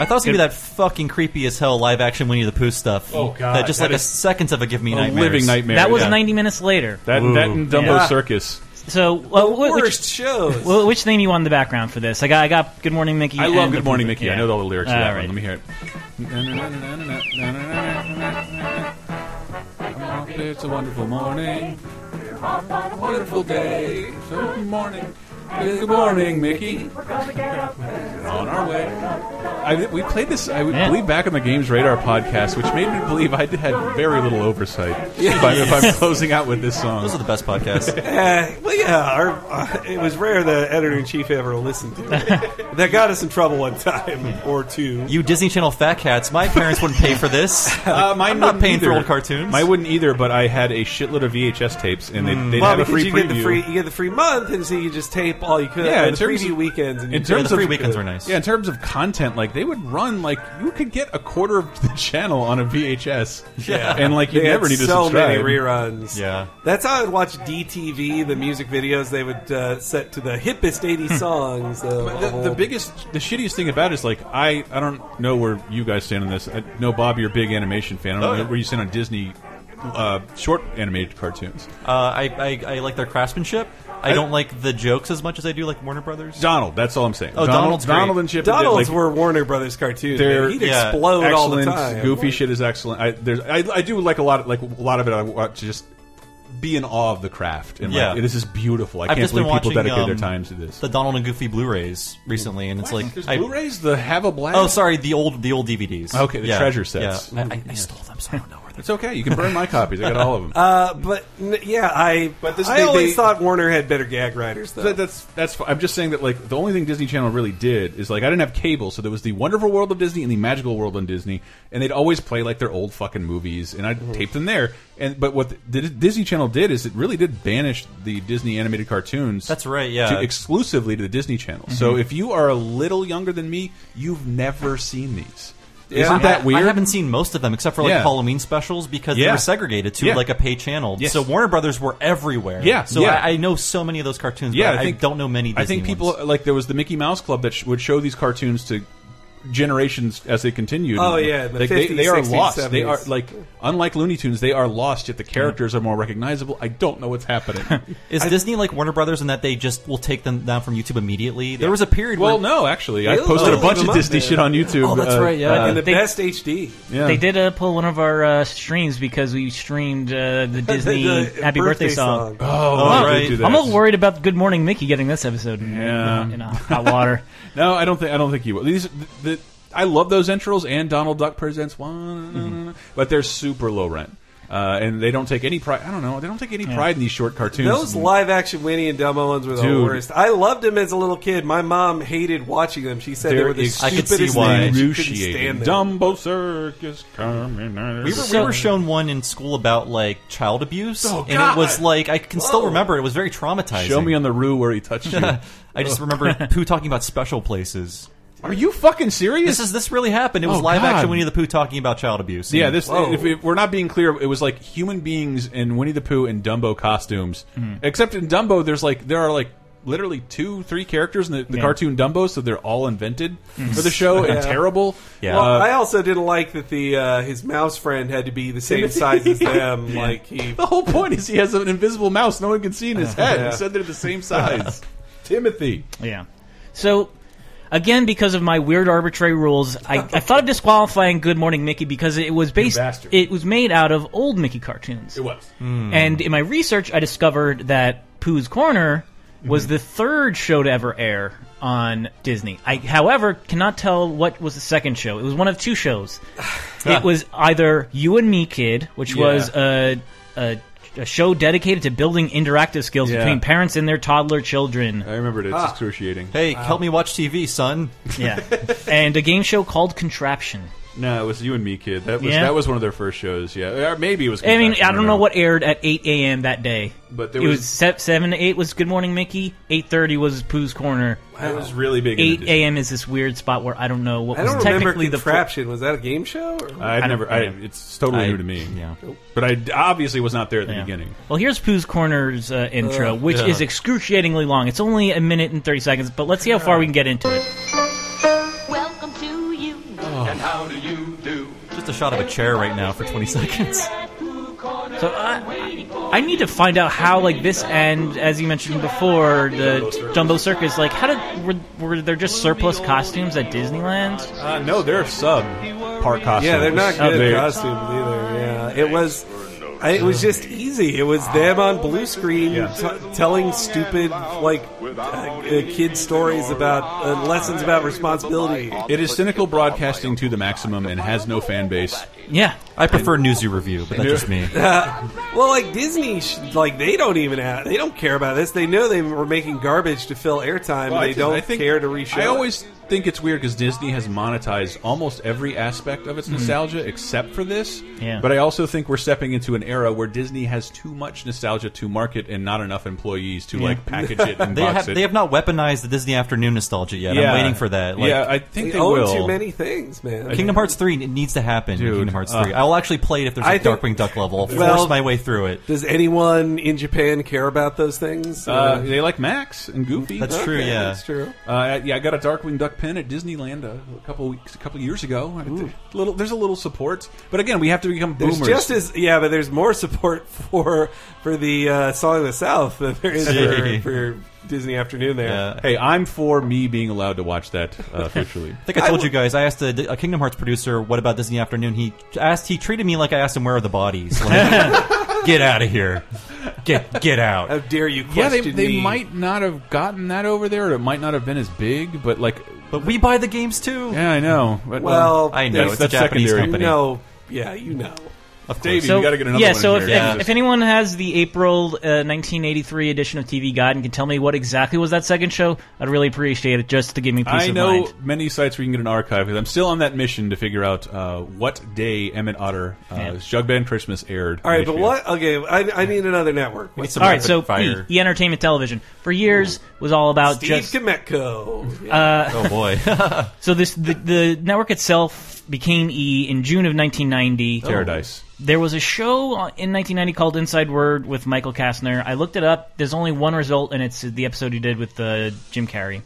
Speaker 7: thought it was gonna be that fucking creepy as hell live action Winnie the Pooh stuff.
Speaker 5: Oh, God.
Speaker 7: that just
Speaker 5: That
Speaker 7: like a
Speaker 5: is
Speaker 7: seconds of a give me
Speaker 5: a
Speaker 7: nightmares.
Speaker 5: living nightmare,
Speaker 4: That was
Speaker 5: yeah.
Speaker 4: 90 minutes later.
Speaker 5: That that and Dumbo
Speaker 4: Yeah.
Speaker 5: Circus.
Speaker 4: So, well, wh-
Speaker 6: worst
Speaker 4: which,
Speaker 6: shows.
Speaker 4: Well, which theme you want in the background for this? I got, I got Good Morning Mickey.
Speaker 5: I
Speaker 4: and
Speaker 5: love
Speaker 4: the
Speaker 5: Good Morning
Speaker 4: Pooh.
Speaker 5: Mickey. I
Speaker 4: Yeah.
Speaker 5: know all the lyrics to
Speaker 4: All
Speaker 5: that
Speaker 4: right.
Speaker 5: one. Let me hear it. It's a wonderful morning. Wonderful day. So good morning. Good morning, Mickey. On our way. I, we played this, I would believe, back on the Games Radar podcast, which made me believe I had very little oversight. If, I'm, if I'm closing out with this song, those
Speaker 7: are the best podcasts.
Speaker 6: Eh, well, yeah, our, uh, it was rare the editor in chief ever listened to it. that got us in trouble one time or two.
Speaker 7: You Disney Channel fat cats. My parents wouldn't pay for this.
Speaker 5: Uh, mine
Speaker 7: I'm not
Speaker 5: wouldn't
Speaker 7: paying for
Speaker 5: either.
Speaker 7: old cartoons.
Speaker 5: I wouldn't either, but I had a shitload of VHS tapes, and they'd, they'd
Speaker 6: well,
Speaker 5: have a
Speaker 6: because
Speaker 5: free
Speaker 6: you
Speaker 5: preview.
Speaker 6: get the free you get the free month, and so you just tape all you could.
Speaker 5: Yeah,
Speaker 6: uh,
Speaker 5: in
Speaker 6: the
Speaker 5: terms
Speaker 6: preview
Speaker 5: of-
Speaker 6: weekends. And
Speaker 5: in
Speaker 6: you-
Speaker 5: terms of
Speaker 7: are nice.
Speaker 5: Yeah, in terms of content, like they would run like you could get a quarter of the channel on a VHS.
Speaker 6: Yeah.
Speaker 5: and like you
Speaker 6: They had
Speaker 5: never need to
Speaker 6: so
Speaker 5: subscribe.
Speaker 6: many reruns.
Speaker 7: Yeah.
Speaker 6: That's how I'd watch DTV, the music videos they would uh, set to the hippest 80 songs. Of,
Speaker 5: The,
Speaker 6: of
Speaker 5: the
Speaker 6: old-
Speaker 5: biggest, the shittiest thing about it is like I, I don't know where you guys stand on this. I know Bob, you're a big animation fan. I don't
Speaker 6: Oh,
Speaker 5: know
Speaker 6: yeah.
Speaker 5: where you stand on Disney uh, short animated cartoons.
Speaker 7: Uh, I, I I like their craftsmanship. I
Speaker 5: I-
Speaker 7: don't like the jokes as much as I do like Warner Brothers.
Speaker 5: Donald, that's all I'm saying.
Speaker 7: Oh, Donald's great.
Speaker 5: Donald and Chip. and Dale,
Speaker 6: Donald's
Speaker 5: like,
Speaker 6: were Warner Brothers cartoons.
Speaker 5: They're
Speaker 6: man. He'd explode all the
Speaker 5: excellent.
Speaker 6: time.
Speaker 5: Goofy shit is excellent. I, there's, I, I do like a lot, of, like a lot of it. I want to just be in awe of the craft. And
Speaker 7: yeah,
Speaker 5: like, this is beautiful. I
Speaker 7: have
Speaker 5: can't
Speaker 7: just been
Speaker 5: believe people
Speaker 7: watching,
Speaker 5: dedicate their
Speaker 7: um,
Speaker 5: time to this.
Speaker 7: The Donald and Goofy Blu-rays recently, and it's like
Speaker 5: There's
Speaker 7: I-
Speaker 5: Blu-rays, the Have a Blast.
Speaker 7: Oh, sorry, the old the old DVDs.
Speaker 5: Okay, the
Speaker 7: Yeah,
Speaker 5: treasure sets.
Speaker 7: Yeah, I, I, I stole them, so I don't know where
Speaker 5: It's okay. You can burn my copies. I got all of them.
Speaker 6: Uh, but n- yeah, I
Speaker 5: But this-
Speaker 6: I
Speaker 5: they-
Speaker 6: always
Speaker 5: they-
Speaker 6: thought Warner had better gag writers though.
Speaker 5: That- that's that's. fi- I'm just saying that like the only thing Disney Channel really did is like I didn't have cable, so there was the Wonderful World of Disney and the Magical World on Disney, and they'd always play like their old fucking movies, and I'd
Speaker 7: Mm-hmm.
Speaker 5: tape them there. And but what the, the Disney Channel did is it really did banish the Disney animated cartoons.
Speaker 7: That's right, yeah.
Speaker 5: to, exclusively to the Disney Channel. So
Speaker 7: Mhm.
Speaker 5: if you are a little younger than me, you've never seen these.
Speaker 7: Yeah.
Speaker 5: Isn't
Speaker 7: I-
Speaker 5: that weird?
Speaker 7: I haven't seen most of them except for like
Speaker 5: Yeah.
Speaker 7: Halloween specials because they
Speaker 5: Yeah.
Speaker 7: were segregated to
Speaker 5: Yeah.
Speaker 7: like a pay channel.
Speaker 5: Yes.
Speaker 7: So Warner Brothers were everywhere.
Speaker 5: Yeah,
Speaker 7: So
Speaker 5: yeah.
Speaker 7: I, I know so many of those cartoons.
Speaker 5: Yeah,
Speaker 7: but
Speaker 5: I think-
Speaker 7: don't know many. Disney
Speaker 5: I think people uh, like there was the Mickey Mouse Club that sh would show these cartoons to generations as they continued.
Speaker 6: Oh, yeah, the
Speaker 5: Like, they,
Speaker 6: 50s,
Speaker 5: they are
Speaker 6: 60s,
Speaker 5: lost. They are
Speaker 6: 70s.
Speaker 5: like unlike Looney Tunes, they are lost. Yet the characters are more recognizable. I don't know what's happening.
Speaker 7: Hmm. Is Disney like Warner Brothers in that they just will take them down from YouTube immediately? There was a period.
Speaker 5: well,
Speaker 7: where,
Speaker 5: no, actually, I
Speaker 7: Really?
Speaker 5: posted
Speaker 7: Oh,
Speaker 5: a bunch of
Speaker 7: leave them up
Speaker 5: Disney
Speaker 7: there.
Speaker 5: shit on YouTube.
Speaker 7: Oh, that's
Speaker 5: uh,
Speaker 7: right. Yeah,
Speaker 5: uh,
Speaker 6: in the
Speaker 4: they-
Speaker 6: best HD.
Speaker 5: Yeah.
Speaker 4: They did uh, pull one of our uh, streams because we streamed uh, the Disney
Speaker 6: The
Speaker 4: Happy Birthday,
Speaker 6: birthday
Speaker 4: song.
Speaker 6: song. Oh,
Speaker 4: Well,
Speaker 5: right. They do that.
Speaker 4: I'm not worried about Good Morning Mickey getting this episode in,
Speaker 5: Yeah.
Speaker 4: in, in hot water.
Speaker 5: no, I don't think I don't think he will. These the, the, I love those intros and Donald Duck presents one, but they're super low rent. Uh, and they don't take any pride. I don't know. They don't take any
Speaker 6: Yeah.
Speaker 5: pride in these short cartoons.
Speaker 6: Those live action Winnie and Dumbo ones were the
Speaker 5: Dude.
Speaker 6: worst. I loved them as a little kid. My mom hated watching them. She said they
Speaker 5: They're
Speaker 6: were the
Speaker 5: ex- I could
Speaker 6: stupidest
Speaker 5: see why.
Speaker 6: things. She couldn't
Speaker 5: Excruciating.
Speaker 6: stand them.
Speaker 5: Dumbo Circus coming. We
Speaker 7: We were, we were shown one in school about like child abuse,
Speaker 5: Oh,
Speaker 7: and
Speaker 5: God.
Speaker 7: it was like I can still
Speaker 5: Whoa.
Speaker 7: remember. It was very traumatizing.
Speaker 5: Show me on the Roo where he touched you.
Speaker 7: I just remember Pooh talking about special places.
Speaker 5: Are you fucking serious?
Speaker 7: This is this really happened? It was
Speaker 5: Oh,
Speaker 7: live
Speaker 5: God.
Speaker 7: action Winnie the Pooh talking about child abuse.
Speaker 5: Yeah,
Speaker 7: And-
Speaker 5: this. If, if we're not being clear, it was like human beings in Winnie the Pooh and Dumbo costumes.
Speaker 7: Mhm.
Speaker 5: Except in Dumbo, there's like there are like literally two, three characters in the, the
Speaker 6: Yeah.
Speaker 5: cartoon Dumbo, so they're all invented for the show and
Speaker 6: Yeah.
Speaker 5: terrible.
Speaker 6: Well,
Speaker 5: Uh,
Speaker 6: I also didn't like that the uh, his mouse friend had to be the same size as them. Like he,
Speaker 5: the whole point is he has an invisible mouse no one can see in his head.
Speaker 6: Yeah.
Speaker 5: He said they're the same size. Timothy.
Speaker 4: Yeah. So, again, because of my weird arbitrary rules, I, I thought of disqualifying Good Morning Mickey because it was based.
Speaker 5: bastard.
Speaker 4: It was made out of old Mickey cartoons.
Speaker 5: It was.
Speaker 4: And in my research, I discovered that Pooh's Corner was
Speaker 5: Mhm.
Speaker 4: the third show to ever air on Disney. I, however, cannot tell what was the second show. It was one of two shows. it was either You and Me Kid, which
Speaker 2: Yeah.
Speaker 4: was a, a a show dedicated to building interactive skills
Speaker 7: Yeah.
Speaker 4: between parents and their toddler children. I
Speaker 5: remembered it.
Speaker 7: Ah.
Speaker 5: excruciating.
Speaker 7: Hey, help me watch TV, son.
Speaker 4: Yeah. and a game show called Contraption.
Speaker 5: No, it was you and me, kid. That was
Speaker 4: Yeah.
Speaker 5: that was one of their first shows. Yeah, or maybe it was.
Speaker 4: I mean,
Speaker 5: Confession,
Speaker 4: I don't know what aired at 8 a.m. that day.
Speaker 5: But there
Speaker 4: it
Speaker 5: was-
Speaker 4: was, se- seven to eight was Good Morning Mickey. 8:30 was Pooh's Corner.
Speaker 5: It was really big in the
Speaker 4: 8 a.m. is this weird spot where I don't know what
Speaker 6: I
Speaker 4: was
Speaker 6: don't remember
Speaker 4: technically the fir-
Speaker 6: contraption. was that a game show? Or?
Speaker 5: I've
Speaker 4: I
Speaker 5: never. I,
Speaker 4: don't-
Speaker 5: it's totally
Speaker 7: I-
Speaker 5: new to me.
Speaker 7: Yeah,
Speaker 5: but I d- obviously was not there at the
Speaker 4: Yeah.
Speaker 5: beginning.
Speaker 4: Well, here's Pooh's Corner's uh, intro,
Speaker 5: Ugh.
Speaker 4: which
Speaker 5: Yeah.
Speaker 4: is excruciatingly long. It's only a minute and 30 seconds, but let's see how far we can get into it.
Speaker 12: Welcome to you.
Speaker 7: And
Speaker 12: how do you do?
Speaker 7: Just a shot of a chair right now for 20 seconds.
Speaker 4: So I, I need to find out how like this and as you mentioned before the Jumbo Circus like how did were, were there just surplus costumes at Disneyland?
Speaker 5: Uh, no, they're sub part costumes.
Speaker 6: Yeah, they're not
Speaker 4: Oh,
Speaker 6: good
Speaker 4: they-
Speaker 6: costumes either. Yeah, it was. I, it was just easy. It was them on blue screen t- telling stupid like uh, uh, kid stories about uh, lessons about responsibility.
Speaker 5: It is cynical broadcasting to the maximum and has no fan base.
Speaker 4: Yeah,
Speaker 7: I prefer Newsy Review, but that's
Speaker 5: Yeah.
Speaker 7: just me.
Speaker 6: Uh, well, like Disney, sh- like they don't even have, they don't care about this. They know they were making garbage to fill airtime,
Speaker 5: Well,
Speaker 6: and
Speaker 5: I
Speaker 6: they
Speaker 5: just-
Speaker 6: don't
Speaker 5: I think-
Speaker 6: care to reshow.
Speaker 5: I
Speaker 6: it.
Speaker 5: always think it's weird because Disney has monetized almost every aspect of its
Speaker 7: Hmm.
Speaker 6: Mhm.
Speaker 5: nostalgia except for this.
Speaker 6: Yeah.
Speaker 5: But I also think we're stepping into an era where Disney has too much nostalgia to market and not enough employees to like package it and
Speaker 7: they
Speaker 5: box
Speaker 7: have,
Speaker 5: it.
Speaker 7: They have not weaponized the Disney Afternoon nostalgia yet.
Speaker 5: Yeah.
Speaker 7: I'm waiting for that. Like,
Speaker 5: yeah, I think
Speaker 6: They
Speaker 5: they,
Speaker 6: own
Speaker 5: will.
Speaker 6: too many things, man.
Speaker 7: Kingdom Hearts three it needs to happen. in Kingdom Hearts
Speaker 6: Uh,
Speaker 7: 3. I will actually play it if there's a
Speaker 6: I think-
Speaker 7: Darkwing Duck level. I'll
Speaker 6: Well,
Speaker 7: force my way through it.
Speaker 6: Does anyone in Japan care about those things?
Speaker 5: Uh, they like Max and Goofy.
Speaker 7: That's true, Okay, yeah. that's
Speaker 6: true.
Speaker 5: Uh, yeah, I got a Darkwing Duck pin at Disneyland a, a couple weeks, a couple years ago. I- little, there's a little support, but again, we have to become
Speaker 6: There's
Speaker 5: boomers.
Speaker 6: just as yeah, but there's more support for for the uh, Song of the South than there is for, for Disney Afternoon. There,
Speaker 5: Uh, Hey, I'm for me being allowed to watch that uh, officially.
Speaker 7: I think I told you guys. I asked a, a Kingdom Hearts producer, "What about Disney Afternoon?" He asked. He treated me like I asked him, "Where are the bodies?" Like, get out of here. Get get out.
Speaker 6: How dare you?
Speaker 5: Yeah, they,
Speaker 7: question
Speaker 5: they
Speaker 7: me.
Speaker 5: might not have gotten that over there, or it might not have been as big. But like,
Speaker 7: but we buy the games too.
Speaker 5: Yeah, I know. But,
Speaker 6: Well,
Speaker 5: um,
Speaker 7: I know,
Speaker 5: that's-
Speaker 7: it's a
Speaker 5: that's
Speaker 7: Japanese
Speaker 5: secondary.
Speaker 7: company.
Speaker 6: No, yeah, you know.
Speaker 7: Of course.
Speaker 5: Davey,
Speaker 4: So-
Speaker 5: we got to get another
Speaker 4: yeah,
Speaker 5: one.
Speaker 4: so
Speaker 5: in
Speaker 4: if,
Speaker 5: here.
Speaker 4: if, if anyone has the April uh, 1983 edition of TV Guide and can tell me what exactly was that second show, I'd really appreciate it just to give me peace
Speaker 5: I
Speaker 4: of
Speaker 5: know
Speaker 4: mind.
Speaker 5: many sites where you can get an archive because I'm still on that mission to figure out uh, what day Emmett Otter uh,
Speaker 4: Yeah.
Speaker 5: Jug Band Christmas aired.
Speaker 6: All right, but
Speaker 5: on HBO.
Speaker 6: what? Okay, I, I need another network.
Speaker 5: We need
Speaker 4: All right, so E, E Entertainment Television for years was all about
Speaker 6: Steve
Speaker 4: just
Speaker 6: Kometko.
Speaker 4: Uh,
Speaker 7: Oh, boy.
Speaker 4: so this the, the network itself became E in June of 1990.
Speaker 5: Oh. Paradise.
Speaker 4: There was a show on- in 1990 called Inside Word with Michael Kastner. I looked it up. There's only one result, and it's the episode he did with uh, Jim Carrey.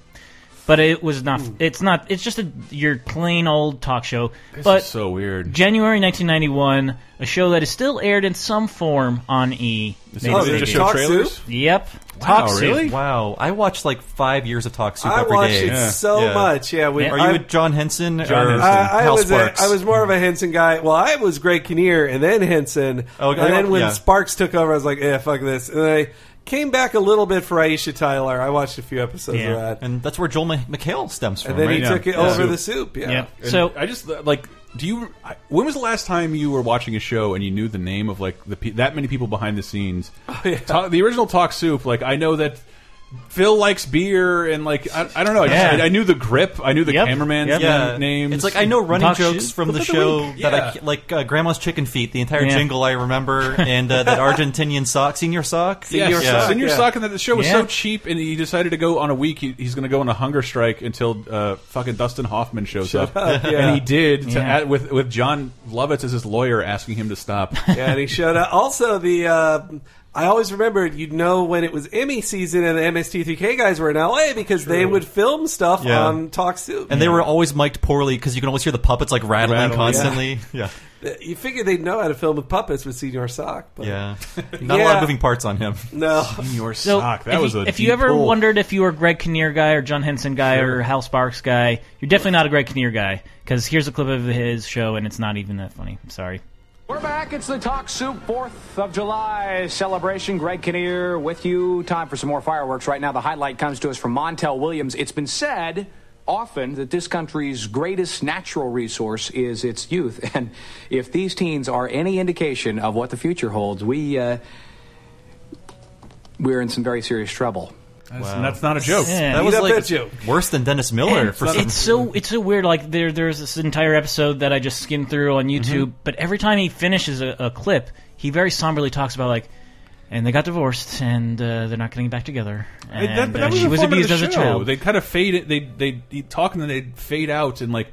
Speaker 4: But it was not.
Speaker 5: Hmm.
Speaker 4: It's not. It's just a your plain old talk show.
Speaker 5: This
Speaker 4: but
Speaker 5: is so weird.
Speaker 4: January 1991, a show that is still aired in some form on E.
Speaker 7: Is
Speaker 4: Maybe
Speaker 7: it-
Speaker 4: they
Speaker 7: they just
Speaker 4: do.
Speaker 7: show trailers?
Speaker 4: Yep.
Speaker 7: Talk
Speaker 4: Talk Soup.
Speaker 7: Soup. Wow, I watched like five years of Talk Soup
Speaker 6: Oh, I
Speaker 7: every
Speaker 6: watched
Speaker 7: day.
Speaker 6: it so much, yeah, we-
Speaker 7: Are you
Speaker 6: I-
Speaker 7: with John Henson
Speaker 6: John
Speaker 7: or
Speaker 6: Henson. I, I
Speaker 7: Hal
Speaker 6: was a,
Speaker 7: Sparks?
Speaker 6: I was more of a Henson guy. Well, I was Greg Kinnear and then Henson.
Speaker 7: Oh,
Speaker 6: and
Speaker 7: I-
Speaker 6: then when
Speaker 7: yeah.
Speaker 6: Sparks took over, I was like, "Yeah, fuck this." And I came back a little bit for Aisha Tyler. I watched a few episodes of that.
Speaker 7: and that's where Joel Ma- McHale stems from.
Speaker 6: And then he
Speaker 7: right?
Speaker 6: took it over the soup. Yeah.
Speaker 5: And
Speaker 6: So-
Speaker 5: I just uh, like. Do you? I- When was the last time you were watching a show and you knew the name of like the pe- that many people behind the scenes? Ta- the original Talk Soup. Like I know that Phil likes beer and like I, I don't know. I, just-
Speaker 7: Yeah.
Speaker 5: I, I knew the grip. I knew the cameraman's
Speaker 7: Yeah.
Speaker 5: names.
Speaker 7: It's like I know running
Speaker 5: Talk
Speaker 7: jokes
Speaker 5: Soup.
Speaker 7: from
Speaker 5: Clip
Speaker 7: the
Speaker 5: of
Speaker 7: show
Speaker 5: week.
Speaker 7: that
Speaker 5: Yeah.
Speaker 7: I ca- like uh, Grandma's Chicken Feet. The entire
Speaker 5: Yeah.
Speaker 7: jingle I remember, and uh, that Argentinian sock, senior sock,
Speaker 5: Senior
Speaker 7: Yeah.
Speaker 5: sock. Senior
Speaker 7: Yeah.
Speaker 5: sock, and that the show was so
Speaker 7: Yeah.
Speaker 5: cheap, and he decided to go on a week. He, he's going to go on a hunger strike until uh, fucking Dustin Hoffman shows
Speaker 6: Shut
Speaker 5: up,
Speaker 6: up, yeah.
Speaker 5: and he did. To
Speaker 6: Yeah.
Speaker 5: add, with with John Lovitz as his lawyer asking him to stop.
Speaker 6: yeah, and he showed up. Also, the uh, I always remembered you'd know when it was Emmy season and the MST3K guys were in LA because they would film stuff
Speaker 7: Yeah.
Speaker 6: on Talk Soup.
Speaker 7: And they were always mic'd poorly because you can always hear the puppets like rattling,
Speaker 6: Rattling,
Speaker 7: constantly.
Speaker 6: yeah.
Speaker 7: yeah.
Speaker 6: You figure they'd know how to film with puppets with Senior Sock, but
Speaker 7: Yeah. Not a lot
Speaker 6: Yeah.
Speaker 7: of moving parts on him.
Speaker 6: No.
Speaker 5: Senior
Speaker 4: So if, you, if you ever wondered if you were a Greg Kinnear guy or John Henson guy or Hal Sparks guy, you're definitely not a Greg Kinnear guy because here's a clip of his show and it's not even that funny. I'm sorry.
Speaker 14: We're back. It's the Talk Soup 4th of July celebration. Greg Kinnear with you. Time for some more fireworks. Right now, the highlight comes to us from Montel Williams. It's been said often that this country's greatest natural resource is its youth. And if these teens are any indication of what the future holds, we, uh, we're in some very serious trouble.
Speaker 5: Wow. that's not a joke.
Speaker 4: Yeah.
Speaker 7: That was
Speaker 4: Eat up
Speaker 7: like
Speaker 4: that joke.
Speaker 7: worse than Dennis Miller
Speaker 4: And
Speaker 7: for some
Speaker 4: it's so it's so weird. Like there there's this entire episode that I just skimmed through on YouTube, but every time he finishes a, a clip, he very somberly talks about like. And they got divorced, and uh, they're not getting back together. And
Speaker 5: And that, but
Speaker 4: uh,
Speaker 5: that was
Speaker 4: she
Speaker 5: the
Speaker 4: was
Speaker 5: format of
Speaker 4: abused
Speaker 5: the
Speaker 4: as a
Speaker 5: show.
Speaker 4: child.
Speaker 5: They kind of fade it. They they would talk and then they would fade out and like.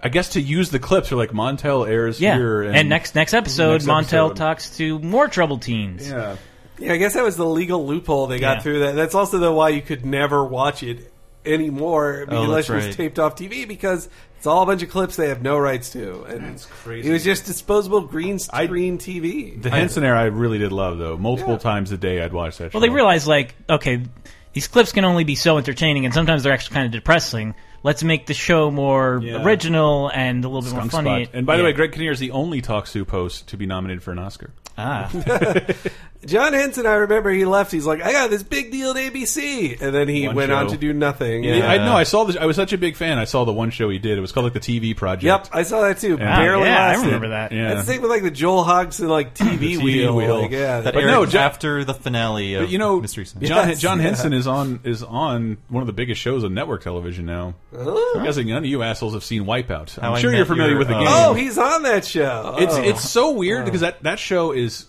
Speaker 5: I guess to use the clips, or like Montel airs
Speaker 4: yeah.
Speaker 5: here,
Speaker 4: And, next next episode, Montel talks to more troubled teens.
Speaker 5: Yeah.
Speaker 6: Yeah, I guess that was the legal loophole they got
Speaker 4: Yeah.
Speaker 6: through. That that's also the why you could never watch it anymore
Speaker 7: Oh,
Speaker 6: unless
Speaker 7: that's
Speaker 6: it was
Speaker 7: right.
Speaker 6: taped off TV because it's all a bunch of clips they have no rights to. And it's
Speaker 5: crazy.
Speaker 6: It was just disposable green screen TV.
Speaker 5: the Henson era I really did love though. Multiple times a day, I'd watch that.
Speaker 4: Well,
Speaker 5: show.
Speaker 4: they realize like, okay, these clips can only be so entertaining, and sometimes they're actually kind of depressing. Let's make the show more
Speaker 5: Yeah.
Speaker 4: original and a little bit more
Speaker 5: Skunk
Speaker 4: funny.
Speaker 5: Spot. And by the way, Greg Kinnear is the only Talk Soup host to be nominated for an Oscar.
Speaker 4: Ah.
Speaker 6: John Henson, I remember he left. He's like, I got this big deal to ABC, and then he
Speaker 5: One
Speaker 6: went on
Speaker 5: show.
Speaker 6: to do nothing.
Speaker 5: Yeah,
Speaker 6: Yeah.
Speaker 5: I know. I saw this. I was such a big fan. I saw the one show he did. It was called like the TV Project.
Speaker 6: Yep, I saw that too.
Speaker 5: Yeah.
Speaker 6: Barely
Speaker 5: Yeah, I
Speaker 6: lasted.
Speaker 5: remember that. Yeah.
Speaker 6: That's the thing with like the Joel Hogson like TV,
Speaker 5: TV
Speaker 6: wheel.
Speaker 5: wheel.
Speaker 6: Like, yeah,
Speaker 7: that
Speaker 5: But
Speaker 7: aired
Speaker 5: no, John-
Speaker 7: after the finale of
Speaker 5: But you know,
Speaker 7: Mystery Science.
Speaker 5: John
Speaker 6: Yes,
Speaker 5: John
Speaker 6: yeah.
Speaker 5: Henson is on is on one of the biggest shows on network television now. I'm guessing none of you assholes have seen Wipeout.
Speaker 7: How
Speaker 5: I'm
Speaker 7: I
Speaker 5: sure
Speaker 7: Met
Speaker 5: you're familiar
Speaker 7: Your-
Speaker 5: with the
Speaker 7: oh.
Speaker 5: game.
Speaker 6: Oh, he's on that show.
Speaker 5: It's
Speaker 6: Oh.
Speaker 5: it's so weird because that that show is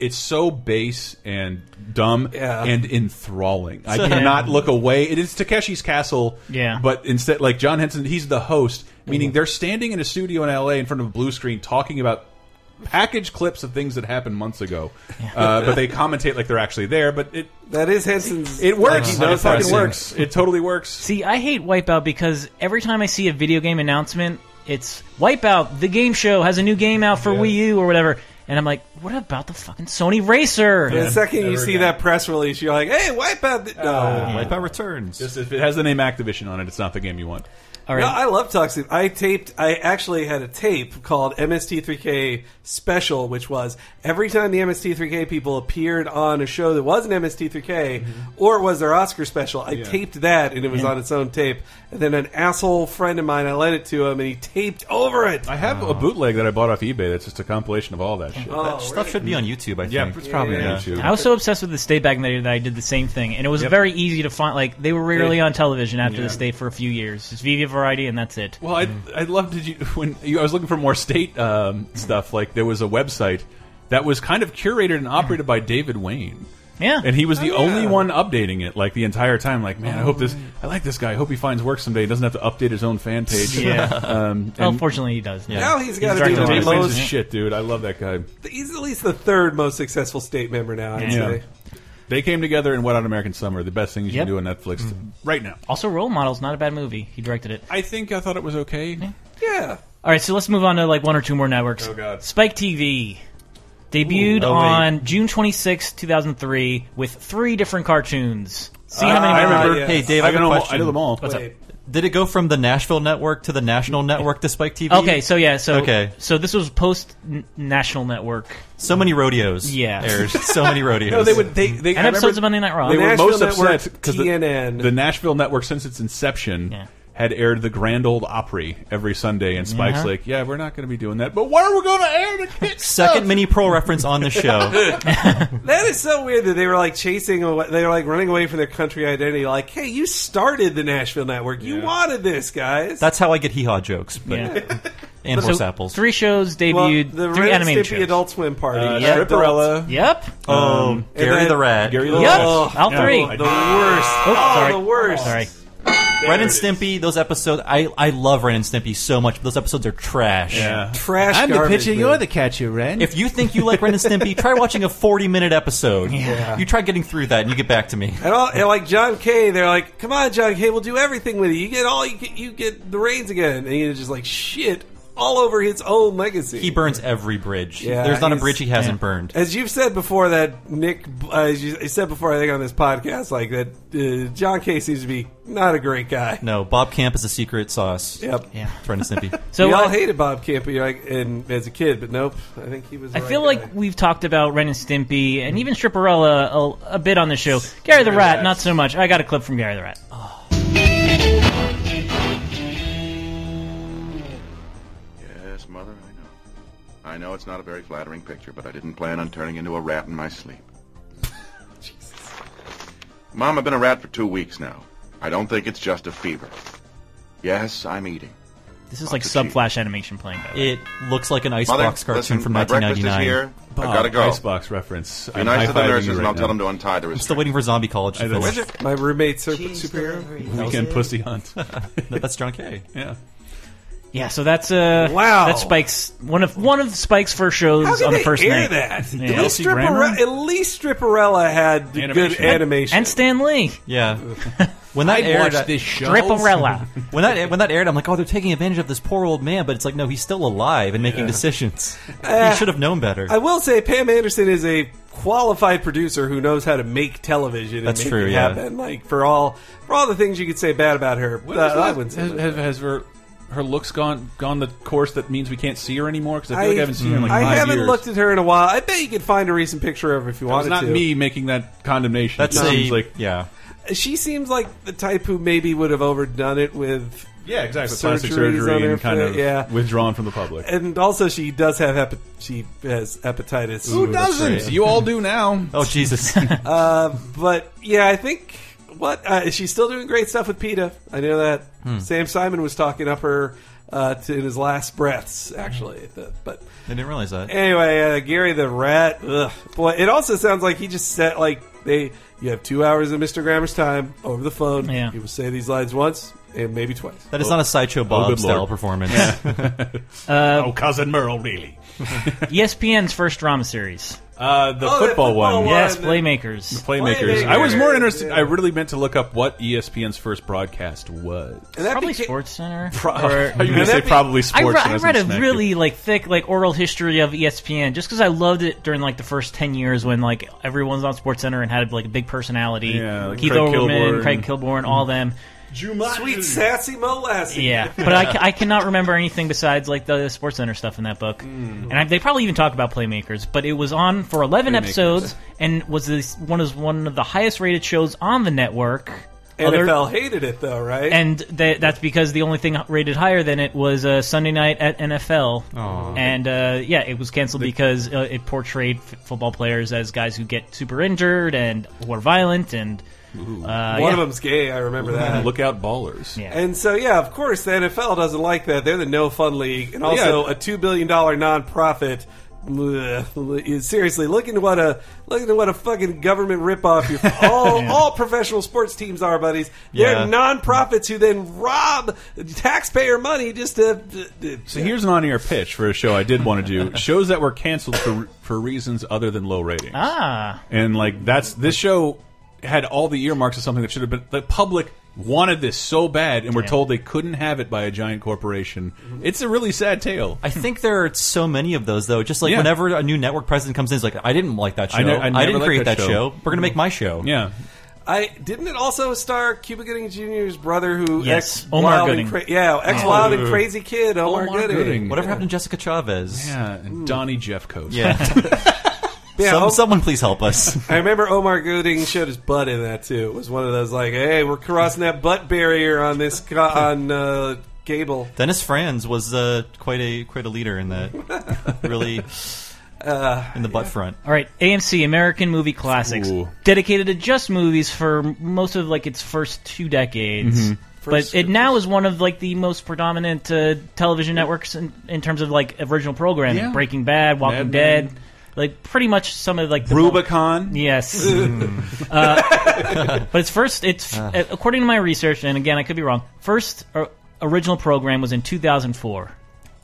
Speaker 5: it's so base and dumb
Speaker 6: Yeah.
Speaker 5: and enthralling. I
Speaker 6: So-
Speaker 5: cannot look away. It is Takeshi's Castle,
Speaker 6: Yeah.
Speaker 5: But instead, like John Henson, he's the host,
Speaker 6: Mm-hmm.
Speaker 5: meaning they're standing in a studio in LA in front of a blue screen talking about package clips of things that happened months ago. Uh, but they commentate like they're actually there. But it
Speaker 6: that is Henson's.
Speaker 5: It works.
Speaker 6: Like,
Speaker 5: it fucking works. It totally works.
Speaker 4: See, I hate Wipeout because every time I see a video game announcement, it's Wipeout, the game show has a new game out for Wii U or whatever. And I'm like, what about the fucking Sony Racer?
Speaker 6: The second you see that press release, you're like, "Hey, Wipeout!" th- No,
Speaker 5: Uh,
Speaker 7: Wipeout returns.
Speaker 5: Just if it has the name Activision on it, it's not the game you want.
Speaker 4: All right.
Speaker 6: No, I love Toxic. I taped. I actually had a tape called MST3K Special, which was every time the MST3K people appeared on a show that was an MST3K
Speaker 5: Mm-hmm.
Speaker 6: or was their Oscar special. I
Speaker 9: Yeah.
Speaker 6: taped that, and it was
Speaker 9: Yeah.
Speaker 6: on its own tape. And then an asshole friend of mine, I lent it to him, and he taped over it.
Speaker 5: I have a bootleg that I bought off eBay that's just a compilation of all that shit.
Speaker 6: Oh, That stuff really?
Speaker 7: should be on YouTube, I
Speaker 5: Yeah,
Speaker 7: think.
Speaker 5: it's probably
Speaker 7: Yeah.
Speaker 5: on YouTube.
Speaker 4: I was so obsessed with this day back in the day that I did the same thing, and it was
Speaker 5: Yep.
Speaker 4: very easy to find. Like they were rarely
Speaker 5: Yeah.
Speaker 4: on television after
Speaker 5: Yeah.
Speaker 4: this day for a few years. It's Viva Variety, and that's it.
Speaker 5: Well, I I love did you when you, I was looking for more state um, stuff. Like there was a website that was kind of curated and operated by David Wayne.
Speaker 4: Yeah,
Speaker 5: and he was the only one updating it like the entire time. Like, man, I hope this. I like this guy. I hope he finds work someday. He doesn't have to update his own fan page.
Speaker 4: Yeah.
Speaker 5: Um,
Speaker 4: Well, fortunately, he does. Yeah.
Speaker 6: Now he's gotta be the
Speaker 5: David Wayne's
Speaker 6: most-
Speaker 5: the shit, dude. I love that guy.
Speaker 6: He's at least the third most successful state member now. I'd
Speaker 5: Yeah.
Speaker 6: say.
Speaker 5: They came together in Wet on American Summer, the best things you can do on Netflix right now.
Speaker 4: Also, Role Models, not a bad movie. He directed it.
Speaker 5: I think I thought it was okay. Yeah.
Speaker 4: All right, so let's move on to like one or two more networks.
Speaker 5: Oh, God.
Speaker 4: Spike TV debuted
Speaker 5: Ooh. Oh, wait.
Speaker 4: on June twenty sixth, 2003, with three different cartoons. See how many?
Speaker 7: Ah, I
Speaker 4: more-
Speaker 7: remember. Hey, Dave, I, have a question.
Speaker 4: What's up?
Speaker 7: Did it go from the Nashville network to the national network to Spike TV?
Speaker 4: Okay, so yeah, so
Speaker 7: okay,
Speaker 4: so this was post n- national network.
Speaker 7: so many rodeos.
Speaker 4: Yeah.
Speaker 7: airs. so many rodeos.
Speaker 5: No, they would. They, they
Speaker 4: And
Speaker 5: I
Speaker 4: episodes
Speaker 5: remember
Speaker 4: of Monday Night Raw.
Speaker 5: They were
Speaker 4: Nashville
Speaker 5: most
Speaker 4: Network,
Speaker 5: upset because the,
Speaker 4: TNN.
Speaker 5: the Nashville network, since its inception, had aired the Grand Old Opry every Sunday, and Spike's
Speaker 7: Uh-huh.
Speaker 5: like, "Yeah, we're not going to be doing that." But why are we going to air the kids?
Speaker 7: Second mini pro reference on the show.
Speaker 6: that is so weird that they were like chasing, away, they were like running away from their country identity. Like, hey, you started the Nashville network. You wanted this, guys.
Speaker 7: That's how I get hee haw jokes. But
Speaker 6: Yeah.
Speaker 7: and
Speaker 6: So,
Speaker 7: horse apples.
Speaker 4: Three shows
Speaker 6: Well,
Speaker 4: debuted.
Speaker 6: the
Speaker 4: three
Speaker 6: Ren and
Speaker 4: animated
Speaker 6: Stimpy
Speaker 4: shows.
Speaker 6: Adult Swim Party.
Speaker 4: Uh,
Speaker 6: Yep.
Speaker 4: Stripperella. Yep.
Speaker 7: Oh, Gary the Rat.
Speaker 5: Gary
Speaker 4: the Yep. Rat.
Speaker 6: Oh,
Speaker 4: All three.
Speaker 6: The worst. oh,
Speaker 7: sorry.
Speaker 6: the worst.
Speaker 4: Sorry.
Speaker 7: Ren and Stimpy, those episodes, I, I love Ren and Stimpy so much. But those episodes are trash.
Speaker 5: Yeah.
Speaker 6: Trash. garbage, man.
Speaker 7: the catcher, Ren. If you think you like Ren and Stimpy, try watching a 40 minute episode.
Speaker 6: Yeah.
Speaker 7: You try getting through that and you get back to me.
Speaker 6: And, all, and like John Kay, they're like, "Come on, John Kay, we'll do everything with you. You get all you get, you get the reins again." And he's just like, "Shit." All over his own legacy.
Speaker 7: He burns every bridge. There's not a
Speaker 6: he's-
Speaker 7: bridge he hasn't burned.
Speaker 6: As you've said before, that Nick, uh, as you I said before, I think on this podcast, like that uh, John Kay seems to be not a great guy.
Speaker 7: No, Bob Camp is a secret sauce.
Speaker 6: Yep.
Speaker 7: Yeah. Ren and Stimpy.
Speaker 6: So
Speaker 4: So uh,
Speaker 6: we all
Speaker 4: I-
Speaker 6: hated Bob Camp, you like, and as a kid, but nope. I think he was. the
Speaker 4: I
Speaker 6: right
Speaker 4: feel
Speaker 6: guy.
Speaker 4: like we've talked about Ren and Stimpy and even Stripperella a, a bit on the show. Gary the Rat, not so much. I got a clip from Gary the Rat.
Speaker 6: Oh,
Speaker 18: Yes, Mother, I know. I know it's not a very flattering picture, but I didn't plan on turning into a rat in my sleep. Mom, I've been a rat for two weeks now. I don't think it's just a fever. Yes, I'm eating.
Speaker 4: This is like sub flash animation playing. by the way.
Speaker 7: It looks like an
Speaker 18: Mother,
Speaker 7: Icebox cartoon
Speaker 18: listen,
Speaker 7: from
Speaker 18: my breakfast is
Speaker 7: 1999.
Speaker 18: here. I gotta go.
Speaker 5: Oh, Icebox reference.
Speaker 18: Be
Speaker 5: I'm
Speaker 18: nice to the
Speaker 5: high-fiving
Speaker 18: nurses,
Speaker 5: you
Speaker 18: and
Speaker 5: right
Speaker 18: I'll tell
Speaker 5: now.
Speaker 18: them to untie the
Speaker 7: I'm still waiting for Zombie College to
Speaker 5: I know.
Speaker 7: finish.
Speaker 6: my roommate's super, superhero.
Speaker 5: Weekend pussy hunt.
Speaker 7: No, that's John Kay.
Speaker 5: Yeah.
Speaker 4: Yeah, so that's uh
Speaker 6: Wow.
Speaker 4: That's Spike's one of one of Spike's first shows
Speaker 6: How can
Speaker 4: on the
Speaker 6: they
Speaker 4: first
Speaker 6: air
Speaker 4: night.
Speaker 6: that?
Speaker 4: Yeah.
Speaker 6: At, least Stripperella, at least Stripperella had good animation.
Speaker 4: and Stan Lee.
Speaker 7: Yeah. When that
Speaker 4: I'd
Speaker 7: aired,
Speaker 4: watch
Speaker 7: I-
Speaker 4: this show. Stripperella.
Speaker 7: when that when that aired, I'm like, oh, they're taking advantage of this poor old man, but it's like, no, he's still alive and making decisions.
Speaker 6: Uh,
Speaker 5: Eh,
Speaker 7: he should have known better.
Speaker 6: I will say Pam Anderson is a qualified producer who knows how to make television. And
Speaker 7: That's
Speaker 6: make
Speaker 7: true,
Speaker 6: It
Speaker 7: yeah.
Speaker 6: happen. Like for all for all the things you could say bad about her,
Speaker 5: When
Speaker 6: uh,
Speaker 5: was
Speaker 6: I
Speaker 5: that-
Speaker 6: wouldn't say
Speaker 5: has,
Speaker 6: that.
Speaker 5: has, has her her looks gone gone the course that means we can't see her anymore? Because I feel
Speaker 6: I-
Speaker 5: like I haven't seen her in like
Speaker 6: I
Speaker 5: five
Speaker 6: haven't
Speaker 5: years.
Speaker 6: looked at her in a while. I bet you could find a recent picture of her if you
Speaker 5: It's
Speaker 6: wanted
Speaker 5: not
Speaker 6: to.
Speaker 5: me making that condemnation.
Speaker 7: That's
Speaker 5: it
Speaker 7: a-
Speaker 5: seems like
Speaker 7: yeah.
Speaker 6: She seems like the type who maybe would have overdone it with
Speaker 5: Yeah, exactly. Plastic
Speaker 6: surgeries on
Speaker 5: surgery
Speaker 6: her
Speaker 5: and kind
Speaker 6: foot,
Speaker 5: of
Speaker 6: yeah.
Speaker 5: withdrawn from the public.
Speaker 6: And also, she does have hepa- she has hepatitis.
Speaker 5: Who
Speaker 6: Ooh, that's
Speaker 5: doesn't?
Speaker 6: right.
Speaker 5: You all do now.
Speaker 7: Oh Jesus!
Speaker 6: uh, but yeah, I think what uh, she's still doing great stuff with PETA. I know that
Speaker 7: Hmm.
Speaker 6: Sam Simon was talking up her uh, to, in his last breaths, actually. The- but
Speaker 7: I didn't realize that.
Speaker 5: eh,
Speaker 6: anyway, uh, Gary the Rat. Ugh. Boy, it also sounds like he just said like they. You have two hours of Mr. Grammer's time over the phone.
Speaker 4: Yeah.
Speaker 6: You will say these lines once. and maybe twice.
Speaker 7: That is not a sideshow Bob style performance.
Speaker 4: Uh,
Speaker 5: oh, cousin Merle, really?
Speaker 4: E ESPN's first drama series.
Speaker 5: Uh, the Oh, the football football one. one.
Speaker 4: Yes,
Speaker 5: The-
Speaker 4: Playmakers.
Speaker 5: The Playmakers.
Speaker 4: Playmakers.
Speaker 5: I was more interested. I really meant to look up what E ESPN's first broadcast was.
Speaker 4: probably Sports Center.
Speaker 5: Pro- I was gonna say probably
Speaker 4: I,
Speaker 5: Sports
Speaker 4: re-
Speaker 5: Center,
Speaker 4: I
Speaker 5: I was
Speaker 4: read
Speaker 5: gonna
Speaker 4: a
Speaker 5: smack
Speaker 4: really like thick like oral history of E ESPN just because I loved it during like the first ten years when like everyone's on Sports Center and had like a big personality.
Speaker 6: Yeah, like
Speaker 4: Keith
Speaker 6: Craig
Speaker 4: Overman,
Speaker 6: Kilborn. Mm.
Speaker 4: Craig Kilborn, all them.
Speaker 6: Sweet sassy molasses.
Speaker 4: Yeah, but I, ca- I cannot remember anything besides like the Sports Center stuff in that book, and I, they probably even talk about Playmakers. But it was on for eleven
Speaker 6: Mm. Playmakers.
Speaker 4: episodes and was this one was one of the highest rated shows on the network. Other-
Speaker 6: NFL hated it though, right?
Speaker 4: and tha that's because the only thing rated higher than it was uh, Sunday night at NFL,
Speaker 6: Aw.
Speaker 4: and uh, yeah, it was canceled because uh, it portrayed f- football players as guys who get super injured and who are violent, and uh,
Speaker 6: One of
Speaker 4: yeah.
Speaker 6: them's gay. I remember that.
Speaker 5: Look out, ballers.
Speaker 6: And so, yeah, of course, the NFL doesn't like that. They're the no fun league, and
Speaker 5: Well,
Speaker 6: also
Speaker 5: yeah.
Speaker 6: a two billion dollar nonprofit. Ugh, Seriously, look into what a look into what a fucking government ripoff your all all professional sports teams are, buddies.
Speaker 5: Yeah.
Speaker 6: They're nonprofits who then rob taxpayer money just to.
Speaker 5: So here's an on-air pitch for a show I did want to do: shows that were canceled for for reasons other than low ratings.
Speaker 4: Ah.
Speaker 5: and like that's this show had all the earmarks of something that should have been the public wanted this so bad, and were
Speaker 7: Yeah.
Speaker 5: told they couldn't have it by a giant corporation. It's a really sad tale.
Speaker 7: I think there are so many of those though. Just like
Speaker 5: Yeah.
Speaker 7: whenever a new network president comes in, it's like, I didn't like that show.
Speaker 5: I ne- I never
Speaker 7: didn't
Speaker 5: liked
Speaker 7: create
Speaker 5: that
Speaker 7: that,
Speaker 5: show. Mm-hmm.
Speaker 7: show. We're gonna make my show.
Speaker 5: Yeah.
Speaker 6: I didn't it also star Cuba Gooding Jr.'s brother, who
Speaker 7: Yes,
Speaker 6: ex
Speaker 7: Omar
Speaker 6: wild
Speaker 7: Gooding.
Speaker 6: and cra- yeah, ex
Speaker 7: Yeah.
Speaker 6: wild and
Speaker 7: Ooh.
Speaker 6: crazy kid Omar,
Speaker 7: Omar
Speaker 6: Gooding.
Speaker 7: Gooding. Whatever happened to Jessica Chavez?
Speaker 5: Yeah, and Donnie Jeffcoat.
Speaker 7: Yeah. Some- someone please help us.
Speaker 6: I remember Omar Gooding showed his butt in that too. It was one of those like, hey, we're crossing that butt barrier on this co- on uh, Gable.
Speaker 7: Dennis Franz was uh, quite a quite a leader in that. really
Speaker 6: Uh,
Speaker 7: in the butt front.
Speaker 4: All right, AMC American Movie Classics,
Speaker 7: Ooh.
Speaker 4: dedicated to just movies for m- most of like its first two decades.
Speaker 7: Mhm.
Speaker 4: but it now is one of like the most predominant uh, television networks in, in terms of like original programming.
Speaker 5: Yeah.
Speaker 4: Breaking Bad, Walking
Speaker 5: Mad
Speaker 4: Dead,
Speaker 5: Men.
Speaker 4: like pretty much some of like the
Speaker 5: Rubicon.
Speaker 4: Yes,
Speaker 5: Mm.
Speaker 4: uh, but its first, it's
Speaker 5: Ah.
Speaker 4: uh, according to my research, and again I could be wrong. First or, original program was in 2004.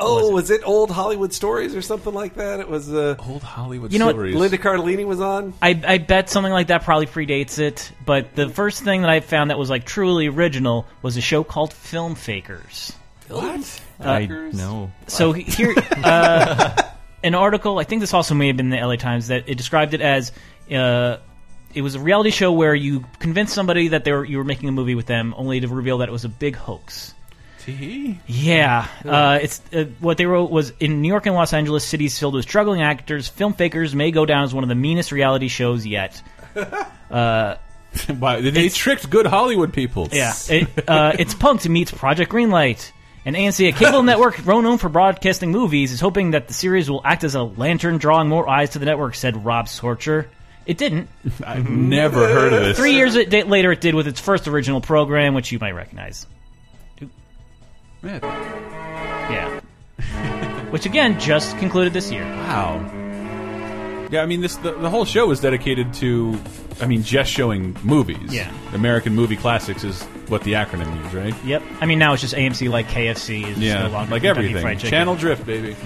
Speaker 6: Oh, was it old Hollywood stories or something like that? It was uh,
Speaker 5: old Hollywood
Speaker 4: You know what- Stories.
Speaker 6: Linda Cardellini was on.
Speaker 4: I, I bet something like that probably predates it, but the first thing that I found that was like truly original was a show called Film Fakers.
Speaker 6: What?
Speaker 7: I know.
Speaker 4: So he- here, uh, an article. I think this also may have been the LA Times that it described it as. Uh, it was a reality show where you convinced somebody that they were, you were making a movie with them, only to reveal that it was a big hoax. Yeah, uh, it's uh, what they wrote was in New York and Los Angeles, cities filled with struggling actors. Film Fakers may go down as one of the meanest reality shows yet. Uh,
Speaker 5: Wow, they tricked good Hollywood people.
Speaker 4: Yeah, it, uh, it's Punked meets Project Greenlight. And ANC, a cable network well known for broadcasting movies, is hoping that the series will act as a lantern drawing more eyes to the network, said Rob Sorcher. It didn't.
Speaker 5: I've never heard of this.
Speaker 4: Three years it- da- later, it did with its first original program, which you might recognize. Yeah. which again just concluded this year.
Speaker 5: Wow. Yeah, I mean, this the, the whole show is dedicated to, I mean, just showing movies.
Speaker 4: Yeah.
Speaker 5: American Movie Classics is what the acronym means, right?
Speaker 4: Yep. I mean, now it's just AMC like KFC is
Speaker 5: Yeah,
Speaker 4: no longer
Speaker 5: like
Speaker 4: Kentucky
Speaker 5: everything.
Speaker 4: Fried Chicken.
Speaker 5: Channel drift, baby.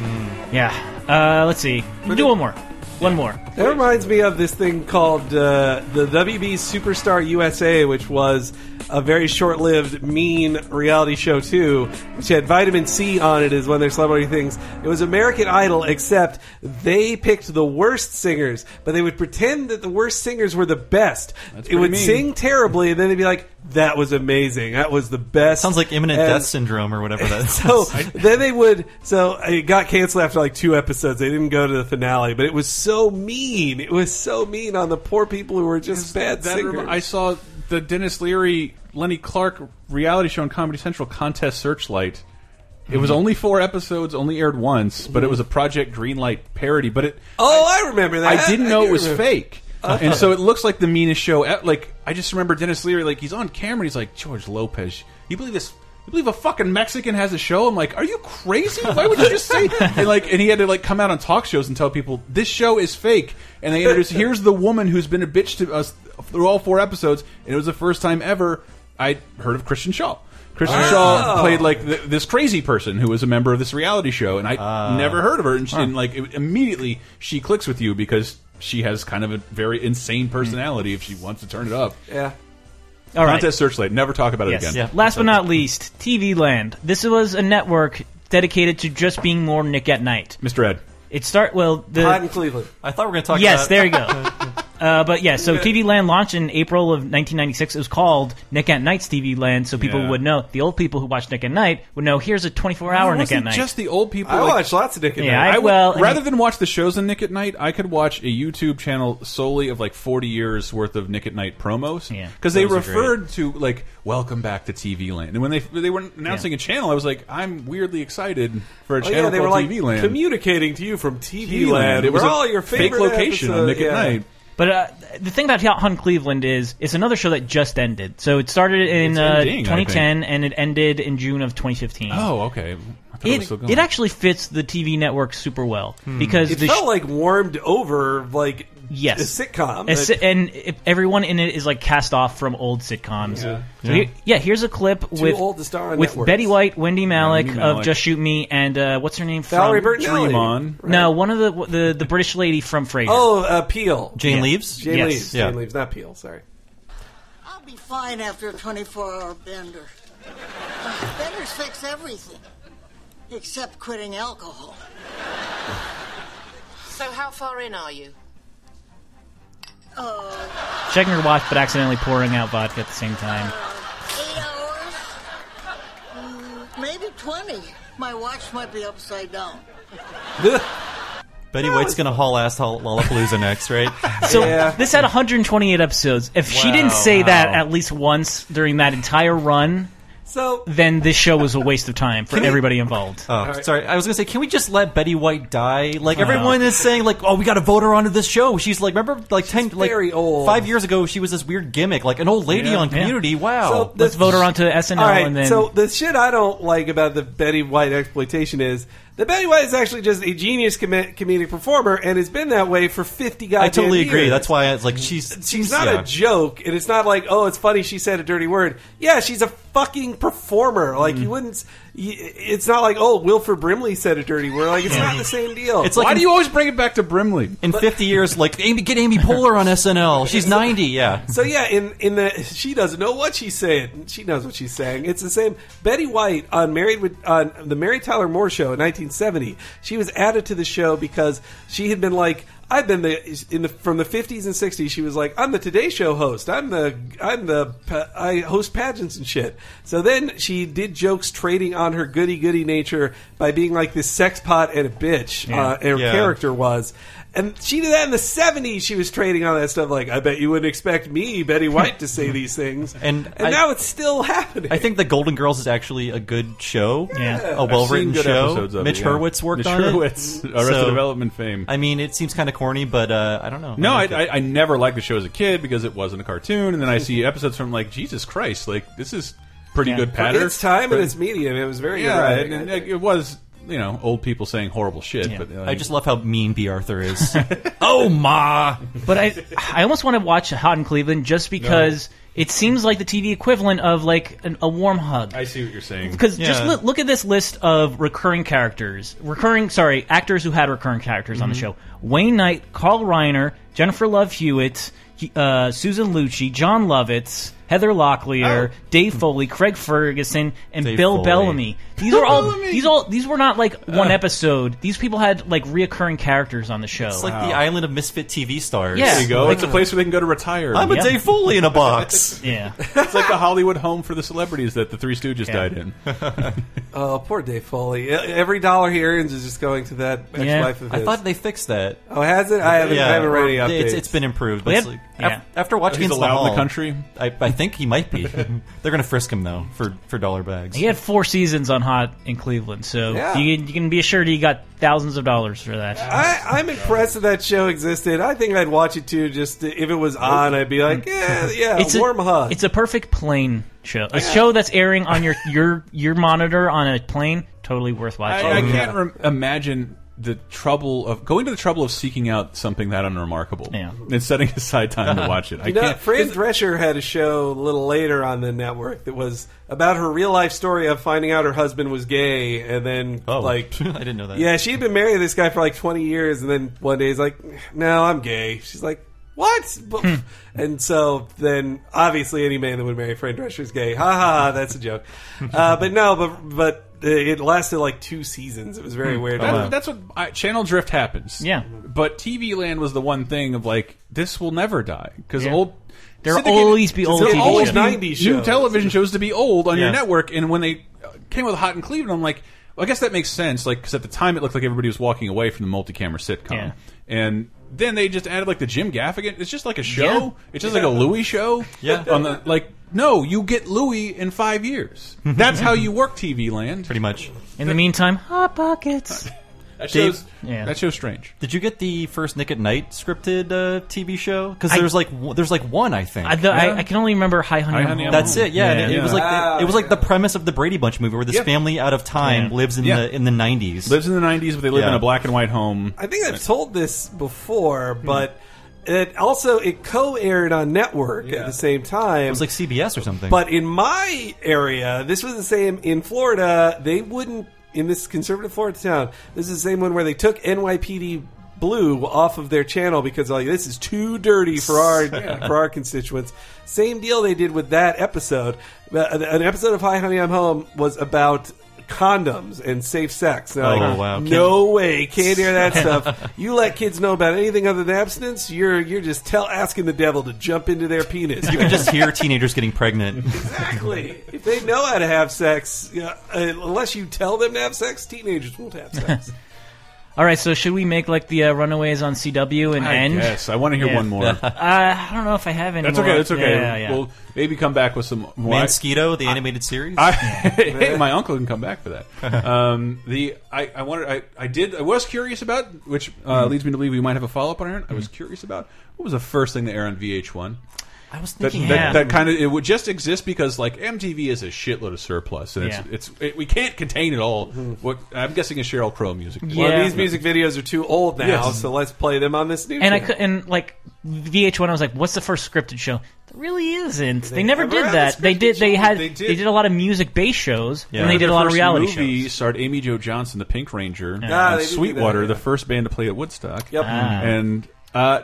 Speaker 4: Yeah. Uh, let's see. Do one more. One more.
Speaker 6: That reminds me of this thing called uh, the WB Superstar USA, which was a very short-lived, mean reality show too, which had vitamin C on it as one of their celebrity things. It was American Idol, except they picked the worst singers, but they would pretend that the worst singers were the best. it
Speaker 7: pretty
Speaker 6: would
Speaker 7: mean.
Speaker 6: sing terribly, and then they'd be like, "That was amazing. That was the best."
Speaker 7: Sounds like imminent
Speaker 6: And-
Speaker 7: death syndrome or whatever that is.
Speaker 6: so then they would. So it got canceled after like two episodes. They didn't go to the finale, but it was so mean. It was so mean on the poor people who were just bad
Speaker 5: That
Speaker 6: singers.
Speaker 5: rem- I saw the Dennis Leary, Lenny Clark reality show on Comedy Central, Contest Searchlight. It was
Speaker 6: Mhm.
Speaker 5: only four episodes, only aired once, but it was a Project Greenlight parody. But it,
Speaker 6: oh, I, remember that.
Speaker 5: I didn't know
Speaker 6: do
Speaker 5: it was
Speaker 6: remember-
Speaker 5: fake.
Speaker 6: Uh,
Speaker 5: and so it looks like the meanest show. e- Like I just remember Dennis Leary, like he's on camera, and he's like George Lopez. You believe this? You believe a fucking Mexican has a show? I'm like, are you crazy? Why would you just say that? And like, and he had to like come out on talk shows and tell people this show is fake. And they introduced here's the woman who's been a bitch to us through all four episodes, and it was the first time ever I would heard of Christian Shaw. Kristen
Speaker 6: Oh.
Speaker 5: Shaw played like th this crazy person who was a member of this reality show, and I never heard of her. And, she, and like it, immediately, she clicks with you because she has kind of a very insane personality. If she wants to turn it up,
Speaker 6: Yeah.
Speaker 4: All right.
Speaker 5: Contest Searchlight. Never talk about it again.
Speaker 4: Last but not least, TV Land. This was a network dedicated to just being more Nick at Night.
Speaker 5: Mr. Ed.
Speaker 4: It start well
Speaker 5: Uh,
Speaker 4: the
Speaker 6: Hot in Cleveland.
Speaker 7: I thought we were going to talk
Speaker 4: yes,
Speaker 7: about
Speaker 4: there you go. Uh, but yeah, so
Speaker 7: Yeah.
Speaker 4: TV Land launched in April of 1996. It was called Nick at Night's TV Land, so people
Speaker 5: Yeah.
Speaker 4: would know. The old people who watch Nick at Night would know. Here's a 24-hour
Speaker 5: It
Speaker 4: Nick at
Speaker 5: wasn't
Speaker 4: Night.
Speaker 5: Just the old people.
Speaker 6: I
Speaker 5: like-
Speaker 6: watch lots of Nick at
Speaker 4: Yeah,
Speaker 6: Night.
Speaker 4: I-
Speaker 5: I would,
Speaker 4: well, and
Speaker 5: rather
Speaker 4: it-
Speaker 5: than watch the shows on Nick at Night, I could watch a YouTube channel solely of like 40 years worth of Nick at Night promos. Yeah, because they
Speaker 7: Those are great.
Speaker 5: referred to like "Welcome back to TV Land," and when they they were announcing a channel, I was like, I'm weirdly excited for a
Speaker 6: Oh,
Speaker 5: channel
Speaker 6: yeah, they were
Speaker 5: called
Speaker 6: like
Speaker 5: TV Land.
Speaker 6: communicating to you from TV
Speaker 5: TV Land.
Speaker 6: Land.
Speaker 5: It was
Speaker 6: where
Speaker 5: a
Speaker 6: all your
Speaker 5: fake
Speaker 6: favorite
Speaker 5: location on
Speaker 6: episodes-
Speaker 5: Nick at
Speaker 6: yeah.
Speaker 5: Night.
Speaker 4: But uh, the thing about Hot Hunt Cleveland is it's another show that just ended. So it started in
Speaker 5: It's
Speaker 4: uh,
Speaker 5: ending, I think.
Speaker 4: 2010 and it ended in June of 2015.
Speaker 5: oh, okay. I thought it, was
Speaker 4: It,
Speaker 5: still going. Hmm.
Speaker 4: it actually fits the TV network super well because
Speaker 6: it
Speaker 4: the
Speaker 6: felt
Speaker 4: sh-
Speaker 6: like warmed over like
Speaker 4: yes
Speaker 6: a
Speaker 4: A
Speaker 6: sitcom. that-
Speaker 4: si- and if everyone in it is like cast off from old sitcoms.
Speaker 6: Yeah.
Speaker 4: So
Speaker 6: Yeah.
Speaker 4: here- yeah, here's a clip
Speaker 6: Too
Speaker 4: with
Speaker 6: old to star on
Speaker 4: with
Speaker 6: networks.
Speaker 4: Betty White, Wendy Malick,
Speaker 6: Wendy
Speaker 4: of
Speaker 6: Malick.
Speaker 4: Just Shoot Me, and uh, what's her name?
Speaker 6: Valerie
Speaker 4: from
Speaker 6: Bertinelli. Dream On.
Speaker 4: No, one of the the, the British lady from Frasier.
Speaker 6: Oh, uh, Peel.
Speaker 4: Jane
Speaker 6: Yeah.
Speaker 4: Leaves?
Speaker 6: Jane
Speaker 4: Yes.
Speaker 6: Leaves.
Speaker 4: Yeah.
Speaker 6: Jane Leaves, not Peel. Sorry.
Speaker 19: I'll be fine after a 24 hour bender. Benders fix everything, except quitting alcohol.
Speaker 20: So how far in are you?
Speaker 4: Checking her watch, but accidentally pouring out vodka at the same time.
Speaker 19: Eight hours? Mm, maybe 20. My watch might be upside down.
Speaker 7: Betty White's going to haul ass to Lollapalooza next, right?
Speaker 4: So this had 128 episodes. If she didn't say
Speaker 7: Wow.
Speaker 4: that at least once during that entire run,
Speaker 6: so
Speaker 4: then this show was a waste of time for everybody involved.
Speaker 7: Oh, sorry. I was gonna say, can we just let Betty White die? Like
Speaker 4: Oh.
Speaker 7: everyone is saying, like, oh, we got to vote her onto this show. She's like, remember, like ten, like
Speaker 6: very old.
Speaker 7: five years ago, she was this weird gimmick, like an old lady
Speaker 4: Yeah.
Speaker 7: on
Speaker 4: Yeah.
Speaker 7: Community. Wow.
Speaker 4: So Let's vote her onto SNL
Speaker 6: All right,
Speaker 4: and then-
Speaker 6: so the shit I don't like about the Betty White exploitation is that Betty White is actually just a genius com- comedic performer and has been that way for fifty goddamn
Speaker 7: I totally agree.
Speaker 6: years.
Speaker 7: That's why it's like she's
Speaker 6: she's not
Speaker 7: yeah.
Speaker 6: a joke, and it's not like oh, it's funny she said a dirty word. Yeah, she's a fucking performer. Like you wouldn't. s- y- It's not like oh, Wilford Brimley said a dirty word. Like it's not the same deal.
Speaker 7: It's like
Speaker 6: Why
Speaker 7: in-
Speaker 6: do
Speaker 5: you always bring it back to Brimley?
Speaker 7: In fifty years, like Amy, get Amy Poehler on SNL. She's ninety. Yeah.
Speaker 6: So yeah, in in the she doesn't know what she's saying. She knows what she's saying. It's the same. Betty White on Married with on the Mary Tyler Moore show in 1970. She was added to the show because she had been like. I've been the in the from the 50s and 60s. She was like, "I'm the Today Show host. I'm the I'm the pa- I host pageants and shit." So then she did jokes trading on her goody goody nature by being like this sex pot and a bitch.
Speaker 9: Yeah.
Speaker 6: Uh, her
Speaker 9: Yeah.
Speaker 6: character character was. And she did that in the 70s. She was trading on that stuff like, I bet you wouldn't expect me, Betty White, to say these things.
Speaker 7: And,
Speaker 6: And
Speaker 7: I-
Speaker 6: now it's still happening.
Speaker 7: I think the Golden Girls is actually a good show,
Speaker 6: Yeah.
Speaker 7: a
Speaker 6: I've
Speaker 7: well-written
Speaker 5: seen good
Speaker 7: show.
Speaker 5: episodes of it,
Speaker 7: Mitch
Speaker 5: yeah.
Speaker 7: Hurwitz worked
Speaker 5: Mitch
Speaker 7: on it.
Speaker 5: Hurwitz, Arrested Development fame.
Speaker 7: I mean, it seems kind of corny, but uh, I don't know.
Speaker 5: No, I,
Speaker 7: like it.
Speaker 5: I, I never liked the show as a kid because it wasn't a cartoon, and then I see episodes from like Jesus Christ, like this is pretty
Speaker 6: Yeah.
Speaker 5: good
Speaker 6: For
Speaker 5: pattern.
Speaker 6: its time and
Speaker 5: But-
Speaker 6: its medium, it was very good
Speaker 5: yeah,
Speaker 6: writing,
Speaker 5: and- and,
Speaker 6: I
Speaker 5: like, it was you know old people saying horrible shit. But uh,
Speaker 7: I just love how mean B. Arthur is. oh ma!
Speaker 4: But I, I almost want to watch Hot in Cleveland just because it seems like the TV equivalent of like an, a warm hug.
Speaker 5: I see what you're saying
Speaker 4: Because just look, look at this list of recurring characters, recurring sorry, actors who had recurring characters on the
Speaker 7: Mhm.
Speaker 4: show: Wayne Knight, Carl Reiner, Jennifer Love Hewitt, he- uh, Susan Lucci, John Lovitz, Heather Locklear, Dave Foley, Craig Ferguson, and
Speaker 7: Oh. Dave
Speaker 4: Bill
Speaker 7: Foley.
Speaker 4: Bellamy. These
Speaker 7: Bill
Speaker 4: are all
Speaker 7: Bellamy!
Speaker 4: these all these were not like one
Speaker 7: Ugh.
Speaker 4: episode. These people had like reoccurring characters on the show.
Speaker 7: It's like the island of misfit TV stars.
Speaker 4: Yeah.
Speaker 5: there you go.
Speaker 4: Like-
Speaker 5: it's a place where they can go to retire.
Speaker 4: I'm a Yeah. Dave
Speaker 7: Foley in a box.
Speaker 4: yeah,
Speaker 5: it's like the Hollywood home for the celebrities that the Three Stooges died in.
Speaker 6: Oh, poor Dave Foley. E- Every dollar he earns is just going to that ex wife of his.
Speaker 7: I thought they fixed that.
Speaker 6: Oh, has it? I haven't- I haven't read any
Speaker 7: It's-
Speaker 6: updates.
Speaker 7: it's been improved.
Speaker 6: We
Speaker 7: But it's
Speaker 6: had-
Speaker 7: like,
Speaker 6: yeah.
Speaker 7: af- After watching
Speaker 6: He's
Speaker 7: Against
Speaker 6: allowed in the
Speaker 7: Hall,
Speaker 6: country?
Speaker 7: I, I think he might be. They're going to frisk him though for for dollar bags.
Speaker 4: He had four seasons on Hot in Cleveland, so
Speaker 6: Yeah.
Speaker 4: you, can- you can be assured he got thousands of dollars for that.
Speaker 6: I, I'm impressed that that show existed. I think I'd watch it too. Just to- if it was on, I'd be like, yeah, yeah,
Speaker 4: It's a-
Speaker 6: warm hug.
Speaker 4: It's a perfect plane show. A show that's
Speaker 5: Oh,
Speaker 4: airing on your your your monitor on a plane, totally worth watching.
Speaker 5: I, I can't rem- imagine the trouble of going to the trouble of seeking out something that unremarkable yeah. and setting aside time to watch it. I
Speaker 6: You know,
Speaker 5: can't.
Speaker 6: Fran Drescher had a show a little later on the network that was about her real life story of finding out her husband was gay, and then like
Speaker 7: I didn't know that.
Speaker 6: Yeah, she had been married to this guy for like 20 years, and then one day he's like, "No, I'm gay." She's like, "What?" But- and so then, obviously, any man that would marry Fran Drescher is gay. Ha ha! ha, That's a joke. uh, but no, but but uh, it lasted like two seasons. It was very
Speaker 5: Hmm.
Speaker 6: weird.
Speaker 5: That- That's what I, channel drift happens.
Speaker 6: Yeah.
Speaker 5: but TV Land was the one thing of like this will never die because
Speaker 6: Yeah.
Speaker 5: old.
Speaker 6: There'll
Speaker 5: syndicated-
Speaker 6: always be old
Speaker 5: there'll
Speaker 6: TV
Speaker 5: always
Speaker 6: shows.
Speaker 5: be
Speaker 6: 90s
Speaker 5: New
Speaker 6: shows.
Speaker 5: television shows to be old on your
Speaker 6: Yeah.
Speaker 5: network, and when they uh, came with Hot in Cleveland, I'm like, well, I guess that makes sense. Like, because at the time it looked like everybody was walking away from the multi-camera sitcom,
Speaker 6: Yeah.
Speaker 5: and then they just added like the Jim Gaffigan. It's just like a show.
Speaker 6: Yeah.
Speaker 5: It's just like a Louis show.
Speaker 7: Yeah.
Speaker 5: On the like, no, you get Louis in five years. That's how you work TV Land. Pretty
Speaker 7: much.
Speaker 4: In the meantime, hot pockets.
Speaker 5: That
Speaker 7: Dave-
Speaker 5: show's that show's strange.
Speaker 7: Did you get the first Nick at Night scripted uh, TV show? Because
Speaker 4: I-
Speaker 7: there's like one- there's like one I think.
Speaker 4: I, the,
Speaker 7: Yeah.
Speaker 4: I, I can only remember High Honey. I'm Home.
Speaker 7: That's it. Yeah, and it, it was like
Speaker 4: Wow.
Speaker 7: the, it was like the premise of the Brady Bunch movie, where this
Speaker 4: Yeah.
Speaker 7: family out of time
Speaker 5: Yeah.
Speaker 7: lives in
Speaker 5: Yeah.
Speaker 7: the in the nineties.
Speaker 5: Lives in the nineties, but they live
Speaker 7: Yeah.
Speaker 5: in a black and white home.
Speaker 6: I think I've told this before, but it also it co-aired on network at the same time. It was
Speaker 7: like CBS or something.
Speaker 6: But in my area, this was the same in Florida. They wouldn't in this conservative Florida town. This is the same one where they took NYPD Blue off of their channel because like this is too dirty for our
Speaker 9: Yeah.
Speaker 6: for our constituents. Same deal they did with that episode. Uh, An episode of Hi Honey I'm Home was about condoms and safe sex. They're
Speaker 7: Oh,
Speaker 6: like,
Speaker 7: wow.
Speaker 6: No way, can't hear that stuff. You let kids know about anything other than abstinence, you're you're just tell asking the devil to jump into their penis.
Speaker 7: you can just hear teenagers getting pregnant.
Speaker 6: exactly. If they know how to have sex, you know, uh, unless you tell them to have sex, teenagers won't have sex.
Speaker 4: All right, so should we make like the uh, Runaways on CW and
Speaker 5: I
Speaker 4: end?
Speaker 5: guess. I wanna hear one more.
Speaker 4: uh, I don't know if I have any.
Speaker 5: That's
Speaker 4: more.
Speaker 5: okay. That's okay.
Speaker 4: Yeah, yeah.
Speaker 5: We'll maybe come back with some more.
Speaker 7: Mansquito, the animated series.
Speaker 5: I, hey, my uncle can come back for that. Um, the I, I wanted I, I did I was curious about which uh,
Speaker 4: Mm-hmm.
Speaker 7: Mhm.
Speaker 5: leads me to believe we might have a follow up on Aaron. I was curious about what was the first thing that aired on VH1.
Speaker 7: I was
Speaker 5: That,
Speaker 7: thinking
Speaker 5: that,
Speaker 7: that.
Speaker 5: that kind of it would just exist because like MTV is a shitload of surplus and
Speaker 6: Yeah.
Speaker 5: it's it's it, we can't contain it all.
Speaker 4: Mm-hmm.
Speaker 5: What I'm guessing is Cheryl Crow music.
Speaker 6: Well, these music videos are too old now,
Speaker 5: Yes.
Speaker 6: so let's play them on this new.
Speaker 4: and I
Speaker 6: channel.
Speaker 4: cou- and like VH1, I was like, "What's the first scripted show?" There really isn't. They, never
Speaker 5: never
Speaker 4: did
Speaker 5: had
Speaker 4: that.
Speaker 5: a
Speaker 4: They did. They had. They
Speaker 5: did.
Speaker 4: did, a lot of music based shows, and they did a lot of reality shows.
Speaker 5: movie starred Amy Jo Johnson, the Pink Ranger,
Speaker 4: Ah,
Speaker 5: and
Speaker 4: they did do
Speaker 5: Sweetwater,
Speaker 4: that,
Speaker 5: the first band to play at Woodstock.
Speaker 4: Yep. Ah.
Speaker 5: And uh,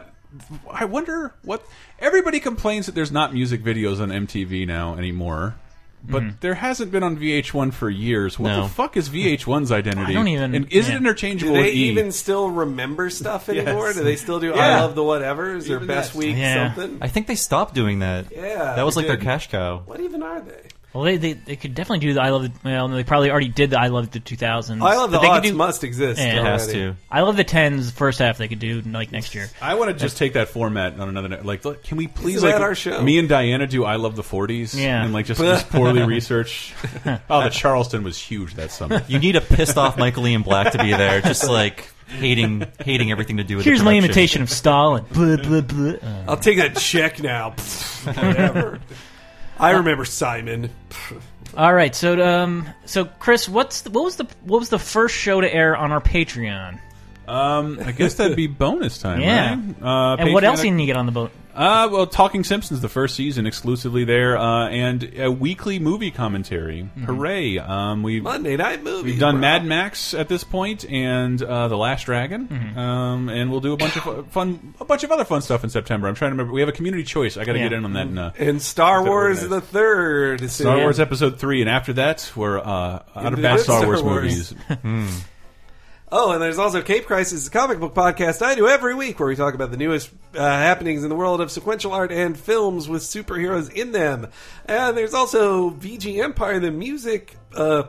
Speaker 5: I wonder what everybody complains that there's not music videos on MTV now anymore. But there hasn't been on VH1 for years. What
Speaker 7: No.
Speaker 5: the fuck is VH1's identity?
Speaker 6: I don't even-
Speaker 5: And is
Speaker 6: yeah.
Speaker 5: it interchangeable
Speaker 6: Do they
Speaker 5: with E?
Speaker 6: even still remember stuff
Speaker 5: Yes.
Speaker 6: anymore? Do they still do
Speaker 5: Yeah.
Speaker 6: I love the whatevers or
Speaker 5: Even
Speaker 6: best
Speaker 5: that.
Speaker 6: week
Speaker 4: Yeah.
Speaker 6: something?
Speaker 7: I think they stopped doing that.
Speaker 6: Yeah,
Speaker 7: that was
Speaker 6: they
Speaker 7: like
Speaker 6: did.
Speaker 7: their cash cow.
Speaker 6: What even are they?
Speaker 4: Well, they, they they could definitely do the I love the well. No, they probably already did the I love the 2000s.
Speaker 6: I Love the
Speaker 4: But they could
Speaker 6: Aughts must exist
Speaker 4: Yeah.
Speaker 6: It has already. to.
Speaker 4: I love the 10s first half. They could do like next year.
Speaker 5: I want to just take that format on another. net- Like, look, can we please
Speaker 6: Isn't
Speaker 5: like
Speaker 6: that our show?
Speaker 5: me and Diana do "I Love the '40s"?
Speaker 4: Yeah.
Speaker 5: and like just, just poorly research. oh, the Charleston was huge that summer.
Speaker 7: You need a pissed off Michael Ian Black to be there, just like hating hating everything to do with.
Speaker 4: Here's
Speaker 7: the
Speaker 4: my
Speaker 7: production.
Speaker 4: imitation of Stalin. Blah, blah, blah. Uh,
Speaker 6: I'll take that check now. Whatever. I remember Simon.
Speaker 4: all right, so um, so Chris, what's the, what was the what was the first show to air on our Patreon?
Speaker 5: Um, I guess that'd be bonus time.
Speaker 4: Yeah.
Speaker 5: right?
Speaker 4: And what else
Speaker 5: Patreon-
Speaker 4: can you get on the boat?
Speaker 5: Uh, well, Talking Simpsons, the first season, exclusively there, uh, and a weekly movie commentary.
Speaker 4: Mm-hmm.
Speaker 5: Hooray! Um, we
Speaker 6: Monday night movies.
Speaker 5: We've done
Speaker 6: bro.
Speaker 5: Mad Max at this point, and uh, The Last Dragon,
Speaker 4: Mm-hmm.
Speaker 5: um, and we'll do a bunch of fu- fun, a bunch of other fun stuff in September. I'm trying to remember. We have a community choice. I got to
Speaker 6: Yeah.
Speaker 5: get in on that. And, uh,
Speaker 6: and Star Wars the third. is
Speaker 5: Star
Speaker 6: in.
Speaker 5: Wars Episode Three, and after that, we're uh, out
Speaker 6: Into
Speaker 5: of
Speaker 6: the
Speaker 5: bad
Speaker 6: good
Speaker 5: Star,
Speaker 6: Star
Speaker 5: Wars,
Speaker 6: Wars.
Speaker 5: movies. Hmm.
Speaker 6: Oh, and there's also Cape Crisis, a comic book podcast I do every week where we talk about the newest uh, happenings in the world of sequential art and films with superheroes in them. And there's also VG Empire, the music, uh,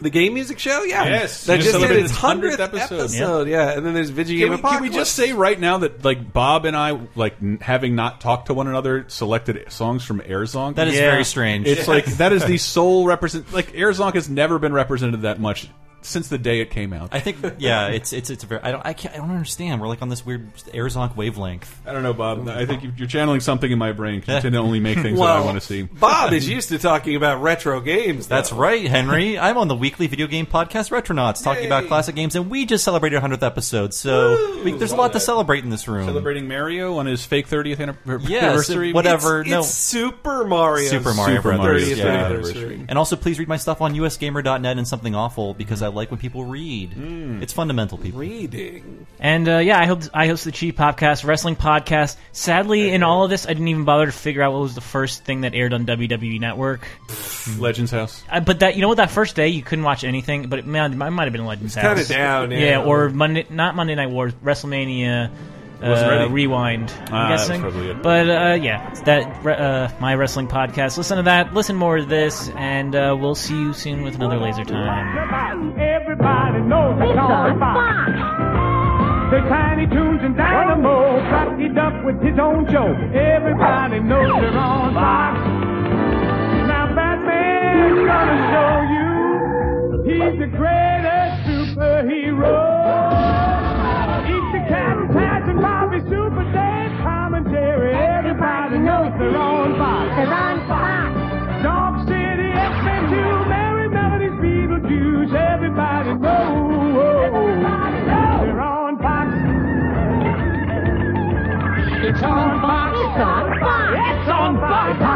Speaker 6: the game music show. Yeah,
Speaker 5: Yes,
Speaker 6: that
Speaker 5: you
Speaker 6: just did
Speaker 5: celebrated
Speaker 6: its
Speaker 5: its 100th
Speaker 6: hundredth
Speaker 5: episode.
Speaker 6: episode. Yeah. and then there's
Speaker 5: Can
Speaker 6: VG
Speaker 5: we,
Speaker 6: Apocalypse.
Speaker 5: can we just say right now that like Bob and I like n- having not talked to one another selected songs from Airzonk?
Speaker 7: That is Yeah. very strange.
Speaker 5: It's
Speaker 7: Yes.
Speaker 5: like that is the sole represent like Airzonk has never been represented that much since the day it came out.
Speaker 7: I think yeah, it's it's it's a very I don't I can't I don't understand. We're like on this weird Arizonic wavelength.
Speaker 5: I don't know, Bob. I think you're channeling something in my brain. 'cause You tend to only make things that I
Speaker 7: Well,
Speaker 5: want to see.
Speaker 6: Bob is used to talking about retro games.
Speaker 7: That's right, Henry. I'm on the weekly video game podcast Retronauts, talking about classic games, and we just celebrated our 100th episode. So we, there's a lot to celebrate in this room.
Speaker 5: Celebrating Mario on his fake 30th anniversary.
Speaker 7: Yes, whatever. no,
Speaker 6: Super Mario.
Speaker 7: Super Mario
Speaker 5: Super
Speaker 7: Brothers.
Speaker 5: Mario's
Speaker 7: yeah.
Speaker 5: anniversary.
Speaker 7: And also, please read my stuff on usgamer.net and something awful because I like when people read. It's fundamental, people.
Speaker 6: Reading.
Speaker 4: And uh, yeah, I hope I host the Cheap Podcast Wrestling Podcast. Sadly, in all of this, I didn't even bother to figure out what was the first thing that aired on WWE Network.
Speaker 5: Legends House.
Speaker 4: Uh, but that you know what that first day you couldn't watch anything. But it, man, it might have been Legends
Speaker 6: It's kinda
Speaker 4: House.
Speaker 6: down, yeah.
Speaker 4: or Monday, not Monday Night Wars, WrestleMania. Uh,
Speaker 5: Wasn't ready.
Speaker 4: Rewind. I'm
Speaker 5: Ah, that's
Speaker 4: guessing.
Speaker 5: probably it.
Speaker 4: But uh, yeah, it's that re- uh, my wrestling podcast. Listen to that. Listen more to this, and uh, we'll see you soon with another Laser Time.
Speaker 17: Everybody knows it's on Fox. The Tiny Toons and Dynamo got it up with his own show. Everybody knows they're on Fox. Now Batman's gonna show you he's the greatest superhero. Eat the cat and Taz and Bobby Super Dave, Tom and Jerry. Everybody knows they're on Fox. They're on Fox. Dog City, X-Men 2, Mary Melody's Beetlejuice. Everybody knows. Everybody knows. They're on Fox. It's on Fox. It's on Fox. It's on Fox.